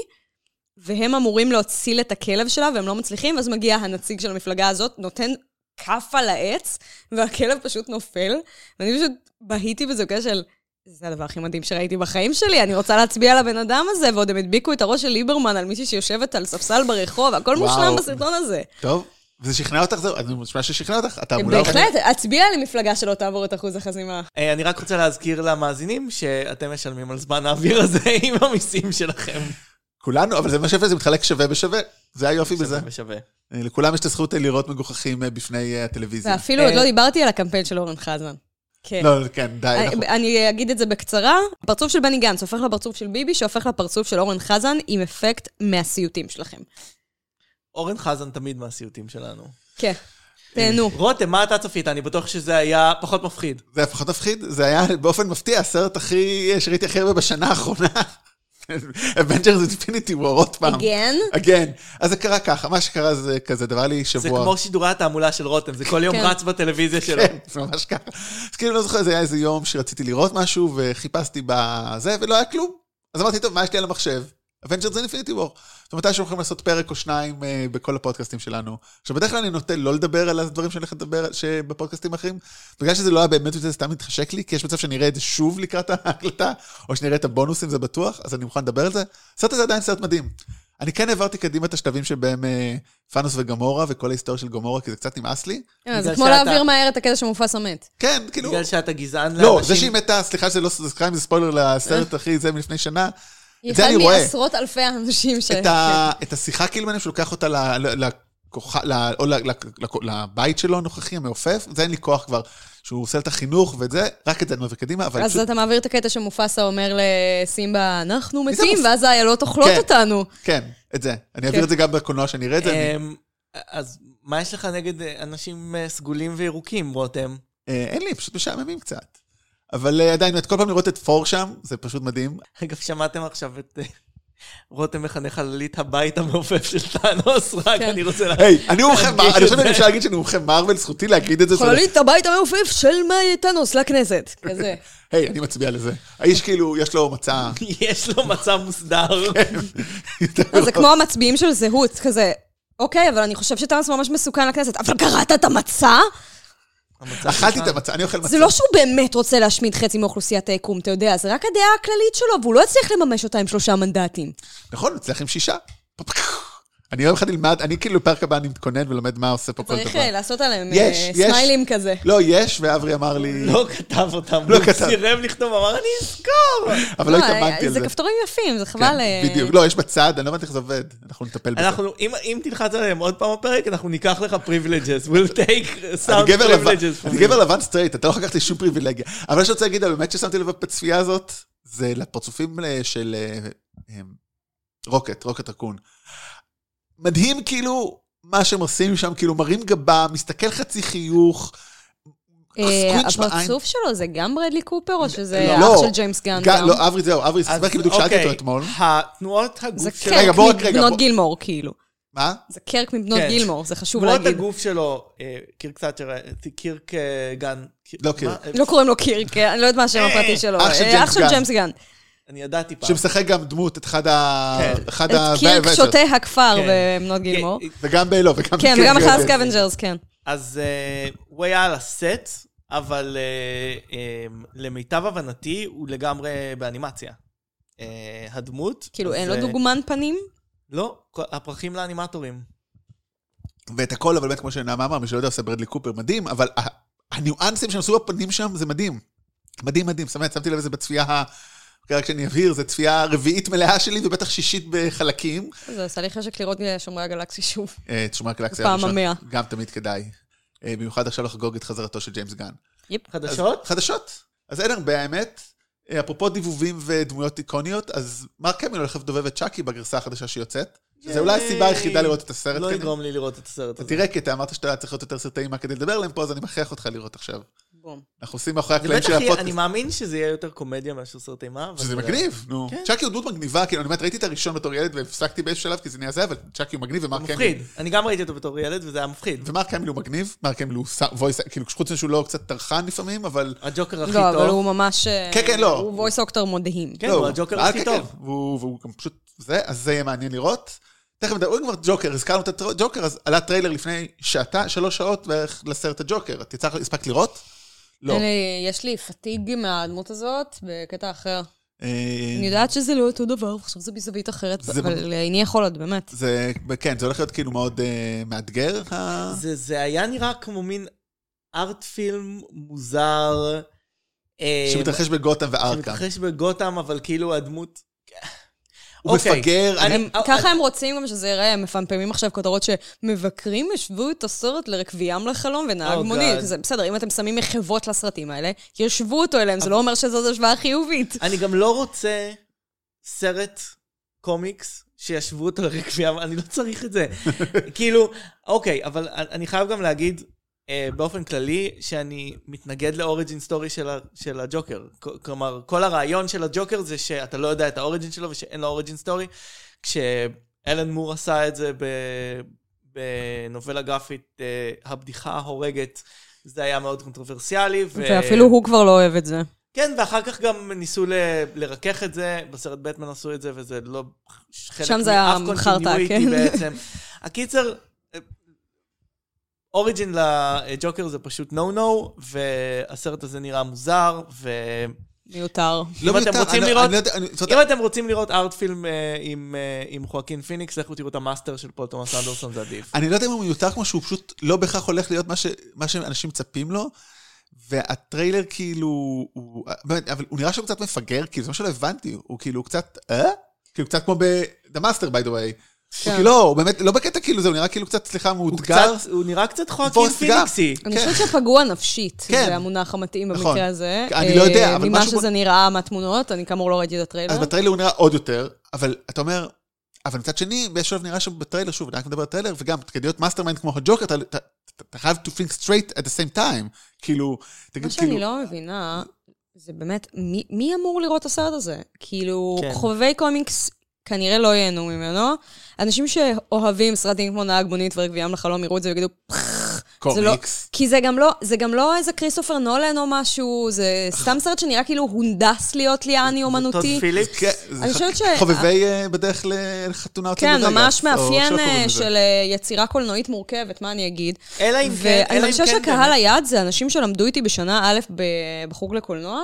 Speaker 4: והם אמורים להציל את הכלב שלה, והם לא מצליחים, ואז מגיע הנציג של המפלגה הזאת, נותן כף על העץ, והכלב פשוט נופל, ואני פשוט בהיתי בזה בקשר של... זה הדבר הכי מדהים שראיתי בחיים שלי, אני רוצה להצביע לבן אדם הזה, ועוד הם הדביקו את הראש של ליברמן על מישהי שיושבת על ספסל ברחוב, הכל
Speaker 2: וואו.
Speaker 4: מושלם בסרטון הזה.
Speaker 2: טוב. וזה שכנע אותך, זהו, אני נשמע ששכנע אותך. אתה אמונה
Speaker 4: בהחלט, הצביע למפלגה שלא תעבור את אחוז החסימה.
Speaker 3: אה, אני רק רוצה להזכיר למאזינים שאתם משלמים על זמן האוויר הזה עם המיסים שלכם.
Speaker 2: כולנו, אבל זה מה שיפה, זה מתחלק שווה בשווה. זה היופי בזה.
Speaker 3: שווה שווה.
Speaker 2: אה, לכולם יש את הזכות אה, לראות מגוחכים אה, בפני אה, הטלוויזיה.
Speaker 4: ואפילו עוד לא דיברתי על הקמפיין של אורן חזן. כן.
Speaker 2: לא, כן, די,
Speaker 4: אני-
Speaker 2: נכון.
Speaker 4: אני אגיד את זה בקצרה. הפרצוף של בני גנץ הופך לפרצוף של ביבי, שהופך לפרצוף של אורן חזן עם אפקט מהסיוטים שלכם.
Speaker 3: אורן חזן תמיד מהסיוטים שלנו.
Speaker 4: כן. תהנו.
Speaker 3: רותם, מה אתה צפית? אני בטוח שזה היה פחות מפחיד.
Speaker 2: זה היה פחות מפחיד, זה היה באופן מפתיע הסרט הכי אה, שראיתי הכי הרבה בשנה האחרונה. Avengers Infinity War עוד פעם.
Speaker 4: Again?
Speaker 2: אגן. אז זה קרה ככה, מה שקרה זה כזה, דבר לי שבוע.
Speaker 3: זה כמו שידורי התעמולה של רותם, זה כל יום
Speaker 4: כן.
Speaker 3: רץ בטלוויזיה שלו.
Speaker 2: כן, זה ממש ככה. אז כאילו, לא זוכר, זה היה איזה יום שרציתי לראות משהו, וחיפשתי בזה, ולא היה כלום. אז אמרתי, טוב, מה יש לי על המחשב? Avengers זה Infinity War. ומתי שאנחנו הולכים לעשות פרק או שניים אה, בכל הפודקאסטים שלנו. עכשיו, בדרך כלל אני נוטה לא לדבר על הדברים שאני הולך לדבר שבפודקאסטים האחרים. בגלל שזה לא היה באמת וזה סתם מתחשק לי, כי יש מצב שאני אראה את זה שוב לקראת ההקלטה, או שנראה את הבונוסים, זה בטוח, אז אני מוכן לדבר על זה. הסרט הזה עדיין סרט מדהים. אני כן העברתי קדימה את השלבים שבהם אה, פאנוס וגמורה וכל ההיסטוריה של גמורה, כי זה קצת נמאס לי.
Speaker 4: אה, זה
Speaker 3: בגלל
Speaker 4: כמו
Speaker 3: שאתה-
Speaker 4: להעביר מהר את הקטע שמופסה מת.
Speaker 2: כן, כאילו...
Speaker 3: בגלל שאתה גזען
Speaker 2: לא,
Speaker 3: לאנשים.
Speaker 2: זה שהיא מתה, סליחה שזה לא, סליחה אם זה ספוילר לסרט הכי זה מלפני שנה,
Speaker 4: היא
Speaker 2: את זה
Speaker 4: אחד
Speaker 2: אני רואה.
Speaker 4: מעשרות אלפי האנשים ש...
Speaker 2: את, ה, את השיחה כאילו ביניהם שלוקח אותה ל, ל, לכוח, ל, או ל, ל, ל, לבית שלו הנוכחי, המעופף, זה אין לי כוח כבר, שהוא עושה את החינוך ואת זה, רק את זה אני מעביר קדימה, אבל
Speaker 4: כן. אז
Speaker 2: פשוט...
Speaker 4: אתה מעביר את הקטע שמופסה אומר לסימבה, אנחנו
Speaker 2: זה
Speaker 4: מתים,
Speaker 2: מופ-
Speaker 4: ואז האיילות אוכלות
Speaker 2: כן.
Speaker 4: אותנו.
Speaker 2: כן, את זה. אני אעביר
Speaker 4: כן.
Speaker 2: את זה גם בקולנוע שאני אראה את זה. אני-
Speaker 3: אמ, אז מה יש לך נגד אה, אנשים אה, סגולים וירוקים, רותם?
Speaker 2: אה, אין לי, פשוט משעממים קצת. אבל אה, עדיין, את כל פעם לראות את פור שם, זה פשוט מדהים.
Speaker 3: אגב, שמעתם עכשיו את אה, רותם מחנך עלילית הבית המעופף של טאנוס, רק
Speaker 4: כן.
Speaker 3: אני רוצה לה...
Speaker 2: היי, אני מומחה
Speaker 3: תרגיש
Speaker 2: מרוויל, אני חושב
Speaker 3: את זה.
Speaker 2: שאני אפשר להגיד שאני מומחה מרוויל, זכותי להגיד את זה. לא- זה-
Speaker 4: חוללית הבית המעופף של טאנוס לכנסת. כזה.
Speaker 2: היי, אני מצביע לזה. האיש כאילו, יש לו מצע
Speaker 3: יש לו מצב מוסדר.
Speaker 2: כן.
Speaker 4: לא, זה כמו המצביעים של זהות, כזה, אוקיי, אבל אני חושב שטאנס ממש מסוכן לכנסת, אבל קראת את המצע?
Speaker 3: המצב
Speaker 2: אכלתי את
Speaker 3: שלך.
Speaker 2: המצע, אני אוכל מצע.
Speaker 4: זה לא שהוא באמת רוצה להשמיד חצי מאוכלוסיית היקום, אתה יודע, זה רק הדעה הכללית שלו, והוא לא הצליח לממש אותה עם שלושה מנדטים.
Speaker 2: נכון, הוא הצליח עם שישה. אני יום אחד אלמד, אני כאילו בפרק הבא אני מתכונן ולומד מה עושה פה כל
Speaker 4: צריך
Speaker 2: דבר.
Speaker 4: אה, לעשות עליהם
Speaker 2: יש,
Speaker 4: אה,
Speaker 2: יש.
Speaker 4: סמיילים כזה.
Speaker 2: לא, יש, ואברי אמר לי,
Speaker 3: לא כתב אותם,
Speaker 2: לא
Speaker 3: הוא
Speaker 2: כתב.
Speaker 3: סירב לכתוב, אמר, אני אזכור.
Speaker 2: אבל לא
Speaker 4: אה,
Speaker 2: התאמנתי על זה.
Speaker 4: זה כפתורים יפים, זה
Speaker 2: כן,
Speaker 4: חבל... אה,
Speaker 2: בדיוק. לא, יש בצד, אני לא הבנתי איך זה עובד. אנחנו נטפל בזה.
Speaker 3: אנחנו, אם, אם תלחץ עליהם עוד פעם בפרק, אנחנו ניקח לך privileges. We'll take
Speaker 2: אני
Speaker 3: some
Speaker 2: גבר לבן-
Speaker 3: privileges from
Speaker 2: אני גבר
Speaker 3: you.
Speaker 2: לבן סטרייט, אתה לא לקחת לי שום פריבילגיה. אבל מה שאני רוצה להגיד, באמת ששמתי לב בצפייה הזאת, זה לפרצופים אה, של אה, אה, רוקט, רוקט רקון. מדהים כאילו מה שהם עושים שם, כאילו מרים גבה, מסתכל חצי חיוך.
Speaker 4: אה,
Speaker 2: סקווינץ' בעין.
Speaker 4: הפרצוף שלו זה גם ברדלי קופר, או שזה
Speaker 2: לא.
Speaker 4: אח של גיימס גן?
Speaker 2: ג-
Speaker 4: גם?
Speaker 2: לא, אברי זהו, אברי,
Speaker 3: אז
Speaker 2: סיפר כי בדיוק שאלתי
Speaker 3: אוקיי,
Speaker 2: אותו אתמול.
Speaker 3: התנועות
Speaker 4: זה
Speaker 3: הגוף שלו,
Speaker 2: רגע,
Speaker 4: קרק
Speaker 2: בוא רק- רגע, בוא-
Speaker 4: מבנות גילמור, כאילו.
Speaker 2: מה?
Speaker 4: זה קרק מבנות
Speaker 3: כן.
Speaker 4: גילמור, זה חשוב
Speaker 3: תנועות
Speaker 4: להגיד.
Speaker 3: הגוף שלו, אה, קירק תאצ'ר, אה, קירק אה, גן. קיר-
Speaker 2: לא
Speaker 3: מה?
Speaker 2: קירק.
Speaker 3: אה,
Speaker 4: לא קוראים לו קירק, אה, אני לא יודעת מה השם
Speaker 3: אה,
Speaker 4: הפרטי שלו.
Speaker 2: אח של
Speaker 4: אה,
Speaker 2: ג'יימס
Speaker 4: אח של
Speaker 2: גן.
Speaker 4: ג'יימס גן.
Speaker 3: אני ידעתי פעם.
Speaker 2: שמשחק גם דמות, את אחד ה...
Speaker 3: כן.
Speaker 2: אחד ה-
Speaker 4: את קירק
Speaker 2: ו- ו-
Speaker 4: שותה הכפר
Speaker 3: כן.
Speaker 4: במבנות גילמור.
Speaker 3: אה,
Speaker 2: וגם בלא, וגם...
Speaker 4: כן, וגם אחרי
Speaker 2: כן.
Speaker 4: הסקוונג'רס, כן.
Speaker 3: אז אה, הוא היה על הסט, אבל אה, אה, למיטב הבנתי, הוא לגמרי באנימציה. אה, הדמות.
Speaker 4: כאילו,
Speaker 3: אז,
Speaker 4: אין לו
Speaker 3: אה,
Speaker 4: דוגמן פנים?
Speaker 3: לא, כל- הפרחים לאנימטורים.
Speaker 2: ואת הכל, אבל באמת, כמו שנעמה אמר, מי שלא יודע עושה ברדלי קופר מדהים, אבל ה- הניואנסים שהם עשו בפנים שם זה מדהים. מדהים, מדהים. שמתי, שמתי לב לזה בצפייה ה... אוקיי, רק שאני אבהיר, זו צפייה רביעית מלאה שלי ובטח שישית בחלקים.
Speaker 4: זה עשה לי חשק לראות שומרי הגלקסי שוב.
Speaker 2: אה, תשמע קלקסיה
Speaker 4: פעם המאה.
Speaker 2: גם תמיד כדאי. אה, במיוחד עכשיו לחגוג את חזרתו של ג'יימס גן. אז-
Speaker 3: חדשות?
Speaker 2: חדשות. אז אין הרבה, האמת. אה, אפרופו דיבובים ודמויות איקוניות, אז מרק קמין הולך לדובב את צ'אקי בגרסה החדשה שיוצאת. זה אולי הסיבה
Speaker 3: ייי.
Speaker 2: היחידה לראות את הסרט.
Speaker 3: לא
Speaker 2: כנראה.
Speaker 3: יגרום לי לראות את הסרט
Speaker 2: אתה
Speaker 3: הזה.
Speaker 2: תראה, כי אתה אמרת שאתה צריך להיות יותר סרטאים מה כדי לדבר עליהם פה, אז אני מכריח אותך לראות עכשיו.
Speaker 4: בום.
Speaker 2: אנחנו עושים מאחורי
Speaker 3: זה
Speaker 2: הקלעים
Speaker 3: בטח
Speaker 2: של
Speaker 3: יהיה, אני
Speaker 2: הפודקאסט.
Speaker 3: מאמין שזה יהיה יותר קומדיה מאשר סרט אימה. אבל
Speaker 2: שזה
Speaker 3: אתה יודע.
Speaker 2: מגניב, נו.
Speaker 3: כן.
Speaker 2: צ'אקי הוא דמות מגניבה, כאילו, אני באמת ראיתי את הראשון בתור ילד והפסקתי באיזשהו שלב, כי זה נהיה זה, אבל צ'אקי הוא מגניב,
Speaker 3: הוא
Speaker 2: ומרק
Speaker 3: מפחיד.
Speaker 2: קמיל.
Speaker 3: אני גם ראיתי אותו בתור ילד, וזה היה מפחיד.
Speaker 2: ומרק קמיל הוא מגניב, מרק קמיל הוא ס- voice, כאילו, חוץ מזה שהוא לא קצת טרחן לפעמים, אבל...
Speaker 3: הג'וקר הכי
Speaker 4: לא, אבל
Speaker 3: טוב.
Speaker 4: הוא ממש... אה,
Speaker 2: כן, כן, לא.
Speaker 4: הוא וויס אוקטר מדהים.
Speaker 3: כן,
Speaker 2: לא,
Speaker 3: הוא הג'וקר
Speaker 2: אה,
Speaker 3: הכי
Speaker 2: כן,
Speaker 3: טוב.
Speaker 2: כן. והוא והוא גם פשוט זה, אז זה יהיה מעניין לראות. תכף מדברים כבר ג'וקר, הזכרנו את הג'וקר, אז עלה טריילר לפני שעתה, שלוש שעות בערך לסרט הג'וקר. את יצא- הספקת לראות? לא.
Speaker 4: אין לי- יש לי פתיג מהדמות הזאת בקטע אחר.
Speaker 2: אה,
Speaker 4: אני יודעת שזה לא אותו דבר, עכשיו זה מזווית אחרת,
Speaker 2: זה
Speaker 4: אבל איני יכול עוד, באמת.
Speaker 2: זה, כן, זה הולך להיות כאילו מאוד אה, מאתגר. ה-
Speaker 3: זה- זה היה נראה כמו מין ארט פילם מוזר. אה,
Speaker 2: שמתרחש בגותם וארכה.
Speaker 3: שמתרחש בגותם, אבל כאילו הדמות...
Speaker 2: הוא
Speaker 3: אוקיי.
Speaker 2: מפגר,
Speaker 3: אני-
Speaker 4: הם-
Speaker 2: אה,
Speaker 4: ככה הם רוצים גם שזה ייראה, הם מפמפמים עכשיו כותרות שמבקרים השוו את הסרט לרקביים לחלום ונהג
Speaker 3: Oh,
Speaker 4: מונית.
Speaker 3: God.
Speaker 4: זה בסדר, אם אתם שמים מחוות לסרטים האלה, ישבו אותו אליהם,
Speaker 2: אה.
Speaker 4: זה לא אומר שזאת השוואה חיובית.
Speaker 3: אני גם לא רוצה סרט קומיקס שישבו אותו לרקבייה, אבל אני לא צריך את זה. כאילו, אוקיי, אבל אני חייב גם להגיד אה, באופן כללי, שאני מתנגד לאוריג'ין סטורי של, ה- של הג'וקר. כ- כלומר, כל הרעיון של הג'וקר זה שאתה לא יודע את האוריג'ין שלו ושאין לו אוריג'ין סטורי. כשאלן מור עשה את זה ב... בנובלה גרפית, אה, הבדיחה ההורגת, זה היה מאוד קונטרוברסיאלי. ו-
Speaker 4: ואפילו הוא כבר לא אוהב את זה.
Speaker 3: כן, ואחר כך גם ניסו ל- לרכך את זה, בסרט בטמן עשו את זה, וזה לא חלק
Speaker 4: שם זה היה
Speaker 3: מאף
Speaker 4: חרטא,
Speaker 3: continuity
Speaker 4: כן.
Speaker 3: בעצם. הקיצר, אוריג'ין לג'וקר זה פשוט נו-נו, והסרט הזה נראה מוזר, ו...
Speaker 4: מיותר.
Speaker 2: לא
Speaker 3: אם
Speaker 2: מיותר,
Speaker 3: אתם רוצים
Speaker 2: אני-
Speaker 3: לראות-
Speaker 2: אני לא יודע, אני- זאת
Speaker 3: אם
Speaker 2: אומרת,
Speaker 3: אתם רוצים לראות ארט פילם אה, עם, אה, עם חואקין פיניקס, לכו תראו את המאסטר של פול תומאס אנדרסון, זה עדיף.
Speaker 2: אני לא יודע אם הוא מיותר כמו שהוא פשוט לא בהכרח הולך להיות מה ש- מה שאנשים מצפים לו. והטריילר כאילו, הוא, באמת, אבל הוא נראה שהוא קצת מפגר, כאילו, זה מה שלא הבנתי, הוא כאילו קצת, אה? כאילו, קצת כמו ב-The Master, by the way. הוא כאילו, לא, הוא באמת, לא בקטע כאילו זה, הוא נראה כאילו קצת, סליחה,
Speaker 3: כן. הוא,
Speaker 2: מאותגר.
Speaker 3: קצת, הוא נראה קצת חואקין
Speaker 2: פורסט גאמפ.
Speaker 3: פיניקסי.
Speaker 4: אני
Speaker 2: כן.
Speaker 4: חושבת שפגוע נפשית,
Speaker 2: כן.
Speaker 4: זה המונח המתאים
Speaker 2: נכון.
Speaker 4: במקרה הזה.
Speaker 2: אני לא יודע,
Speaker 4: אה,
Speaker 2: אבל
Speaker 4: ממה
Speaker 2: משהו בו-
Speaker 4: שזה נראה מהתמונות, אני כאמור לא ראיתי את הטריילר.
Speaker 2: אז בטריילר הוא נראה עוד יותר, אבל אתה אומר, אבל מצד שני, באיזשהו שלב נראה שבטריילר, שוב, אני רק מדבר על טריילר, וגם כדי להיות מאסטר מיינד כמו הג'וקר, אתה, אתה, אתה, אתה חייב to think straight at the same time. כאילו,
Speaker 4: מה
Speaker 2: תגיד,
Speaker 4: שאני
Speaker 2: כאילו,
Speaker 4: לא מבינה, זה באמת, מי- מי אמור לראות את הסרט הזה? כאילו,
Speaker 3: כן.
Speaker 4: חובבי קומיקס כנראה לא ייהנו ממנו. אנשים שאוהבים סרטים כמו נהג מונית ורקביים לחלום יראו את זה ויגידו, "פח", זה לא-
Speaker 2: קומיקס.
Speaker 4: כי זה גם לא, זה גם לא איזה כריסטופר נולן או משהו, זה סתם סרט שנראה כאילו הונדס להיות ליאני אומנותי.
Speaker 3: טוד פיליפס.
Speaker 2: כן, זה
Speaker 4: אני
Speaker 2: ח-
Speaker 4: חושבת ש-
Speaker 2: חובבי אה, בדרך לחתונה אותי
Speaker 4: כן,
Speaker 2: בווגאס,
Speaker 4: ממש
Speaker 2: או איך
Speaker 4: מאפיין
Speaker 2: שלא קוראים
Speaker 4: אה,
Speaker 2: לזה.
Speaker 4: של אה, יצירה קולנועית מורכבת, מה אני אגיד?
Speaker 3: אלא אם כן, אלא
Speaker 4: ואני
Speaker 3: אם
Speaker 4: מרגישה
Speaker 3: כן,
Speaker 4: שהקהל
Speaker 3: באמת.
Speaker 4: היעד זה אנשים שלמדו איתי בשנה א' ב- בחוג לקולנוע,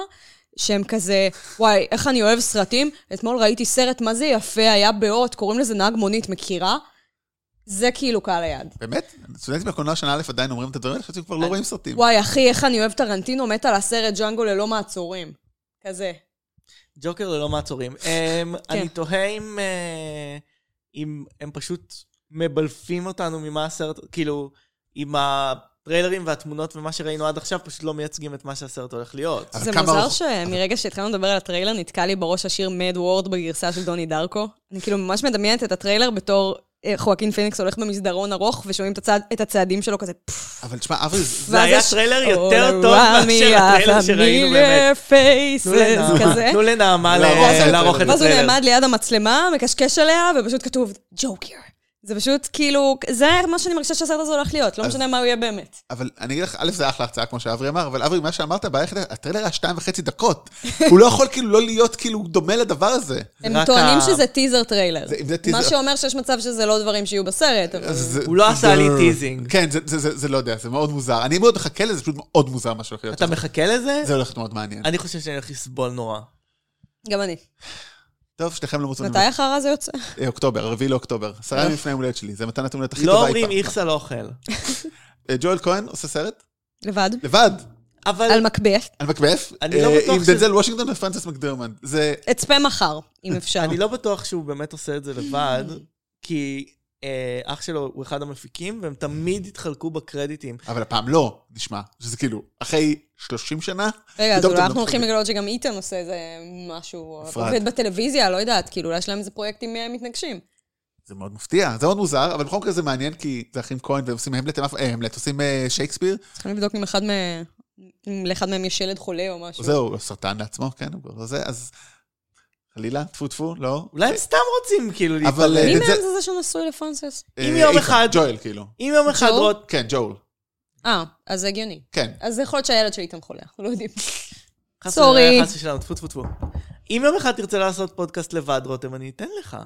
Speaker 4: שהם כזה, וואי, איך אני אוהב סרטים. אתמול ראיתי סרט, מה זה יפה, היה באות, קוראים לזה נהג מונית, מכירה? זה כאילו קהל היעד.
Speaker 2: באמת? סטודנטים בקולנוע שנה א' עדיין אומרים את הדברים האלה, חשבתי
Speaker 4: אה,
Speaker 2: כבר לא רואים סרטים.
Speaker 4: וואי, אחי, איך אני אוהב טרנטינו, מת על הסרט ג'אנגו ללא מעצורים. כזה.
Speaker 3: ג'וקר ללא מעצורים. אמ,
Speaker 4: כן.
Speaker 3: אני תוהה אם, אה, אם הם פשוט מבלפים אותנו ממה הסרט, כאילו, אם הטריילרים והתמונות ומה שראינו עד עכשיו פשוט לא מייצגים את מה שהסרט הולך להיות.
Speaker 2: אבל
Speaker 4: זה
Speaker 2: כמה
Speaker 4: מוזר
Speaker 2: ארוך-
Speaker 4: שמרגע שהתחלנו לדבר על הטריילר, נתקע לי בראש השיר מד וורד בגרסה של דוני דרקו. אני כאילו ממש מדמיינת את הטריילר בתור אה, חואקין פיניקס הולך במסדרון ארוך, ושומעים את הצעד- את הצעדים שלו כזה פפפ.
Speaker 2: אבל תשמע, אברי, זה-
Speaker 3: זה היה טריילר יותר טוב מאשר הטריילר שראינו באמת. תנו
Speaker 4: פייסס, כזה.
Speaker 3: לנעמה- תנו לנעמה
Speaker 2: לערוך את
Speaker 3: ל-
Speaker 2: הטריילר.
Speaker 3: לערוך את
Speaker 4: ואז הוא
Speaker 3: הטריילר.
Speaker 4: נעמד ליד המצלמה, מקשקש עליה, ופשוט כתוב, ג'וקר. זה פשוט כאילו, זה מה שאני מרגישה שהסרט הזה הולך להיות, לא
Speaker 2: אז-
Speaker 4: משנה מה הוא יהיה באמת.
Speaker 2: אבל אני אגיד לך, א', זה אחלה הצעה, כמו שאברי אמר, אבל אברי, מה שאמרת, הבעיה היחידה, הטריילר היה שתיים וחצי דקות. הוא לא יכול כאילו לא להיות כאילו דומה לדבר הזה.
Speaker 4: הם
Speaker 3: רק
Speaker 4: טוענים
Speaker 3: ה-
Speaker 4: שזה טיזר טריילר.
Speaker 2: זה- אם זה
Speaker 4: מה
Speaker 2: טיזר-
Speaker 4: שאומר שיש מצב שזה לא דברים שיהיו בסרט, אבל...
Speaker 2: אז זה-
Speaker 3: הוא לא עשה לי
Speaker 2: זה-
Speaker 3: טיזינג.
Speaker 2: כן, זה- זה- זה זה לא יודע, זה מאוד מוזר. אני מאוד מחכה לזה, זה פשוט מאוד מוזר מה שהולך להיות.
Speaker 3: אתה מחכה לזה?
Speaker 2: זה הולך להיות מאוד מעניין.
Speaker 3: אני חושב שאני הולך לסבול נורא.
Speaker 4: גם אני.
Speaker 2: טוב, שניכם לא מוצאים...
Speaker 4: מתי החרא הזה יוצא?
Speaker 2: אה, אוקטובר, 4 לאוקטובר. עשרה ימים לפני יום הולדת שלי, זה מתן התמונות הכי
Speaker 3: אה. לא
Speaker 2: טובה אי
Speaker 3: אומרים
Speaker 2: פעם.
Speaker 3: איכסה לא אוכל.
Speaker 2: אה, ג'ואל כהן עושה סרט?
Speaker 4: לבד?
Speaker 2: לבד,
Speaker 3: אבל
Speaker 4: על מקבך.
Speaker 2: על מקבף.
Speaker 3: אני לא
Speaker 2: אה,
Speaker 3: בטוח
Speaker 2: עם
Speaker 3: שזה-
Speaker 2: דנזל וושינגטון ופרנסס מקדרמן. זה...
Speaker 4: אצפה מחר, אם אפשר.
Speaker 3: אני לא בטוח שהוא באמת עושה את זה לבד, כי אה, אח שלו הוא אחד המפיקים, והם תמיד התחלקו בקרדיטים.
Speaker 2: אבל הפעם לא, נשמע. שזה כאילו, אחרי 30 שנה,
Speaker 4: רגע, אז
Speaker 2: פתאום
Speaker 4: אולי
Speaker 2: אתם
Speaker 4: אנחנו הולכים
Speaker 2: מתחלקים.
Speaker 4: לגלות שגם איתן עושה איזה משהו,
Speaker 2: לא- אפרת.
Speaker 4: עובד בטלוויזיה, לא יודעת, כאילו, אולי יש להם איזה פרויקטים אה, מתנגשים.
Speaker 2: זה מאוד מפתיע, זה מאוד מוזר, אבל בכל מקרה זה מעניין, כי זה אחים כהן, והם עושים המלט, הם אף- אה, המלט, עושים אה, שייקספיר,
Speaker 4: צריכים לבדוק אם אחד מ- אם לאחד מהם יש ילד חולה או משהו.
Speaker 2: זהו, סרטן לעצמו, כן, הוא כבר זה, אז חלילה, טפו טפו, לא.
Speaker 3: אולי הם סתם רוצים כאילו
Speaker 2: אבל,
Speaker 3: להיפרד.
Speaker 4: מי
Speaker 2: אה,
Speaker 4: מהם
Speaker 2: זה-
Speaker 4: זה זה שנשוי לפרנסס?
Speaker 2: אה,
Speaker 3: אם יום
Speaker 2: איתן,
Speaker 3: אחד-
Speaker 2: ג'ואל, כאילו.
Speaker 3: אם יום אחד
Speaker 4: ג'ו?
Speaker 3: רוט...
Speaker 2: כן, ג'ואל,
Speaker 4: אה, אז זה הגיוני.
Speaker 2: כן.
Speaker 4: אז יכול להיות שהילד של איתן חולה, אנחנו לא יודעים.
Speaker 3: חס
Speaker 4: סורי.
Speaker 3: וחלילה, חס ושלום, טפו טפו טפו. אם יום אחד תרצה לעשות פודקאסט לבד, רותם, אני אתן לך.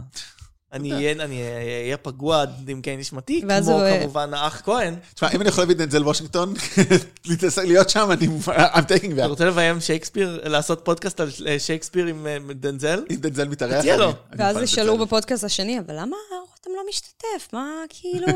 Speaker 3: אני אהיה- אני אהיה פגוע עד עמקי נשמתי,
Speaker 4: ואז
Speaker 3: כמו
Speaker 4: הוא-
Speaker 3: כמובן האח כהן.
Speaker 2: תשמע, אם אני יכול להביא את דנזל וושינגטון, להתעסק- להיות שם, אני... I'm taking
Speaker 3: אתה
Speaker 2: that.
Speaker 3: רוצה לביים שייקספיר, לעשות פודקאסט על אה, שייקספיר עם אה, דנזל?
Speaker 2: אם דנזל מתארח,
Speaker 3: תציע
Speaker 2: אני-
Speaker 3: לו.
Speaker 2: אני מוכן
Speaker 4: ואז
Speaker 2: לדנזל.
Speaker 4: ישאלו בפודקאסט השני, אבל למה רותם לא משתתף? מה, כאילו...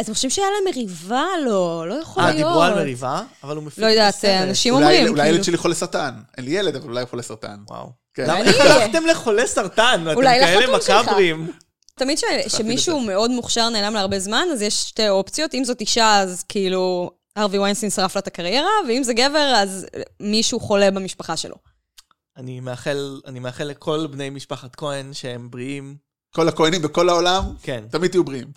Speaker 4: אתם חושבים שהיה להם מריבה? לא, לא יכול
Speaker 3: אה,
Speaker 4: להיות.
Speaker 3: דיברו על מריבה, אבל הוא מפיק
Speaker 4: לא יודעת,
Speaker 3: את הסרט.
Speaker 4: אנשים
Speaker 2: אולי-
Speaker 4: אומרים,
Speaker 2: אולי הילד
Speaker 4: כאילו.
Speaker 2: שלי חולה סרטן. אין לי ילד, אבל אולי הוא חולה סרטן.
Speaker 3: וואו.
Speaker 2: כן.
Speaker 3: למה
Speaker 4: אני
Speaker 3: איך
Speaker 4: אהיה.
Speaker 3: הלכתם לחולה סרטן? אתם
Speaker 4: אולי
Speaker 3: כאלה
Speaker 4: לחתום שלך.
Speaker 3: מקאברים.
Speaker 4: תמיד ש- שמישהו מאוד מוכשר נעלם להרבה זמן, אז יש שתי אופציות. אם זאת אישה, אז כאילו, הרווי ויינסטין שרף לה את הקריירה, ואם זה גבר, אז מישהו חולה במשפחה שלו.
Speaker 3: אני מאחל, אני מאחל לכל בני משפחת כהן שהם בריאים.
Speaker 2: כל הכהנים בכל העולם,
Speaker 3: כן.
Speaker 2: תמיד תהיו בריאים.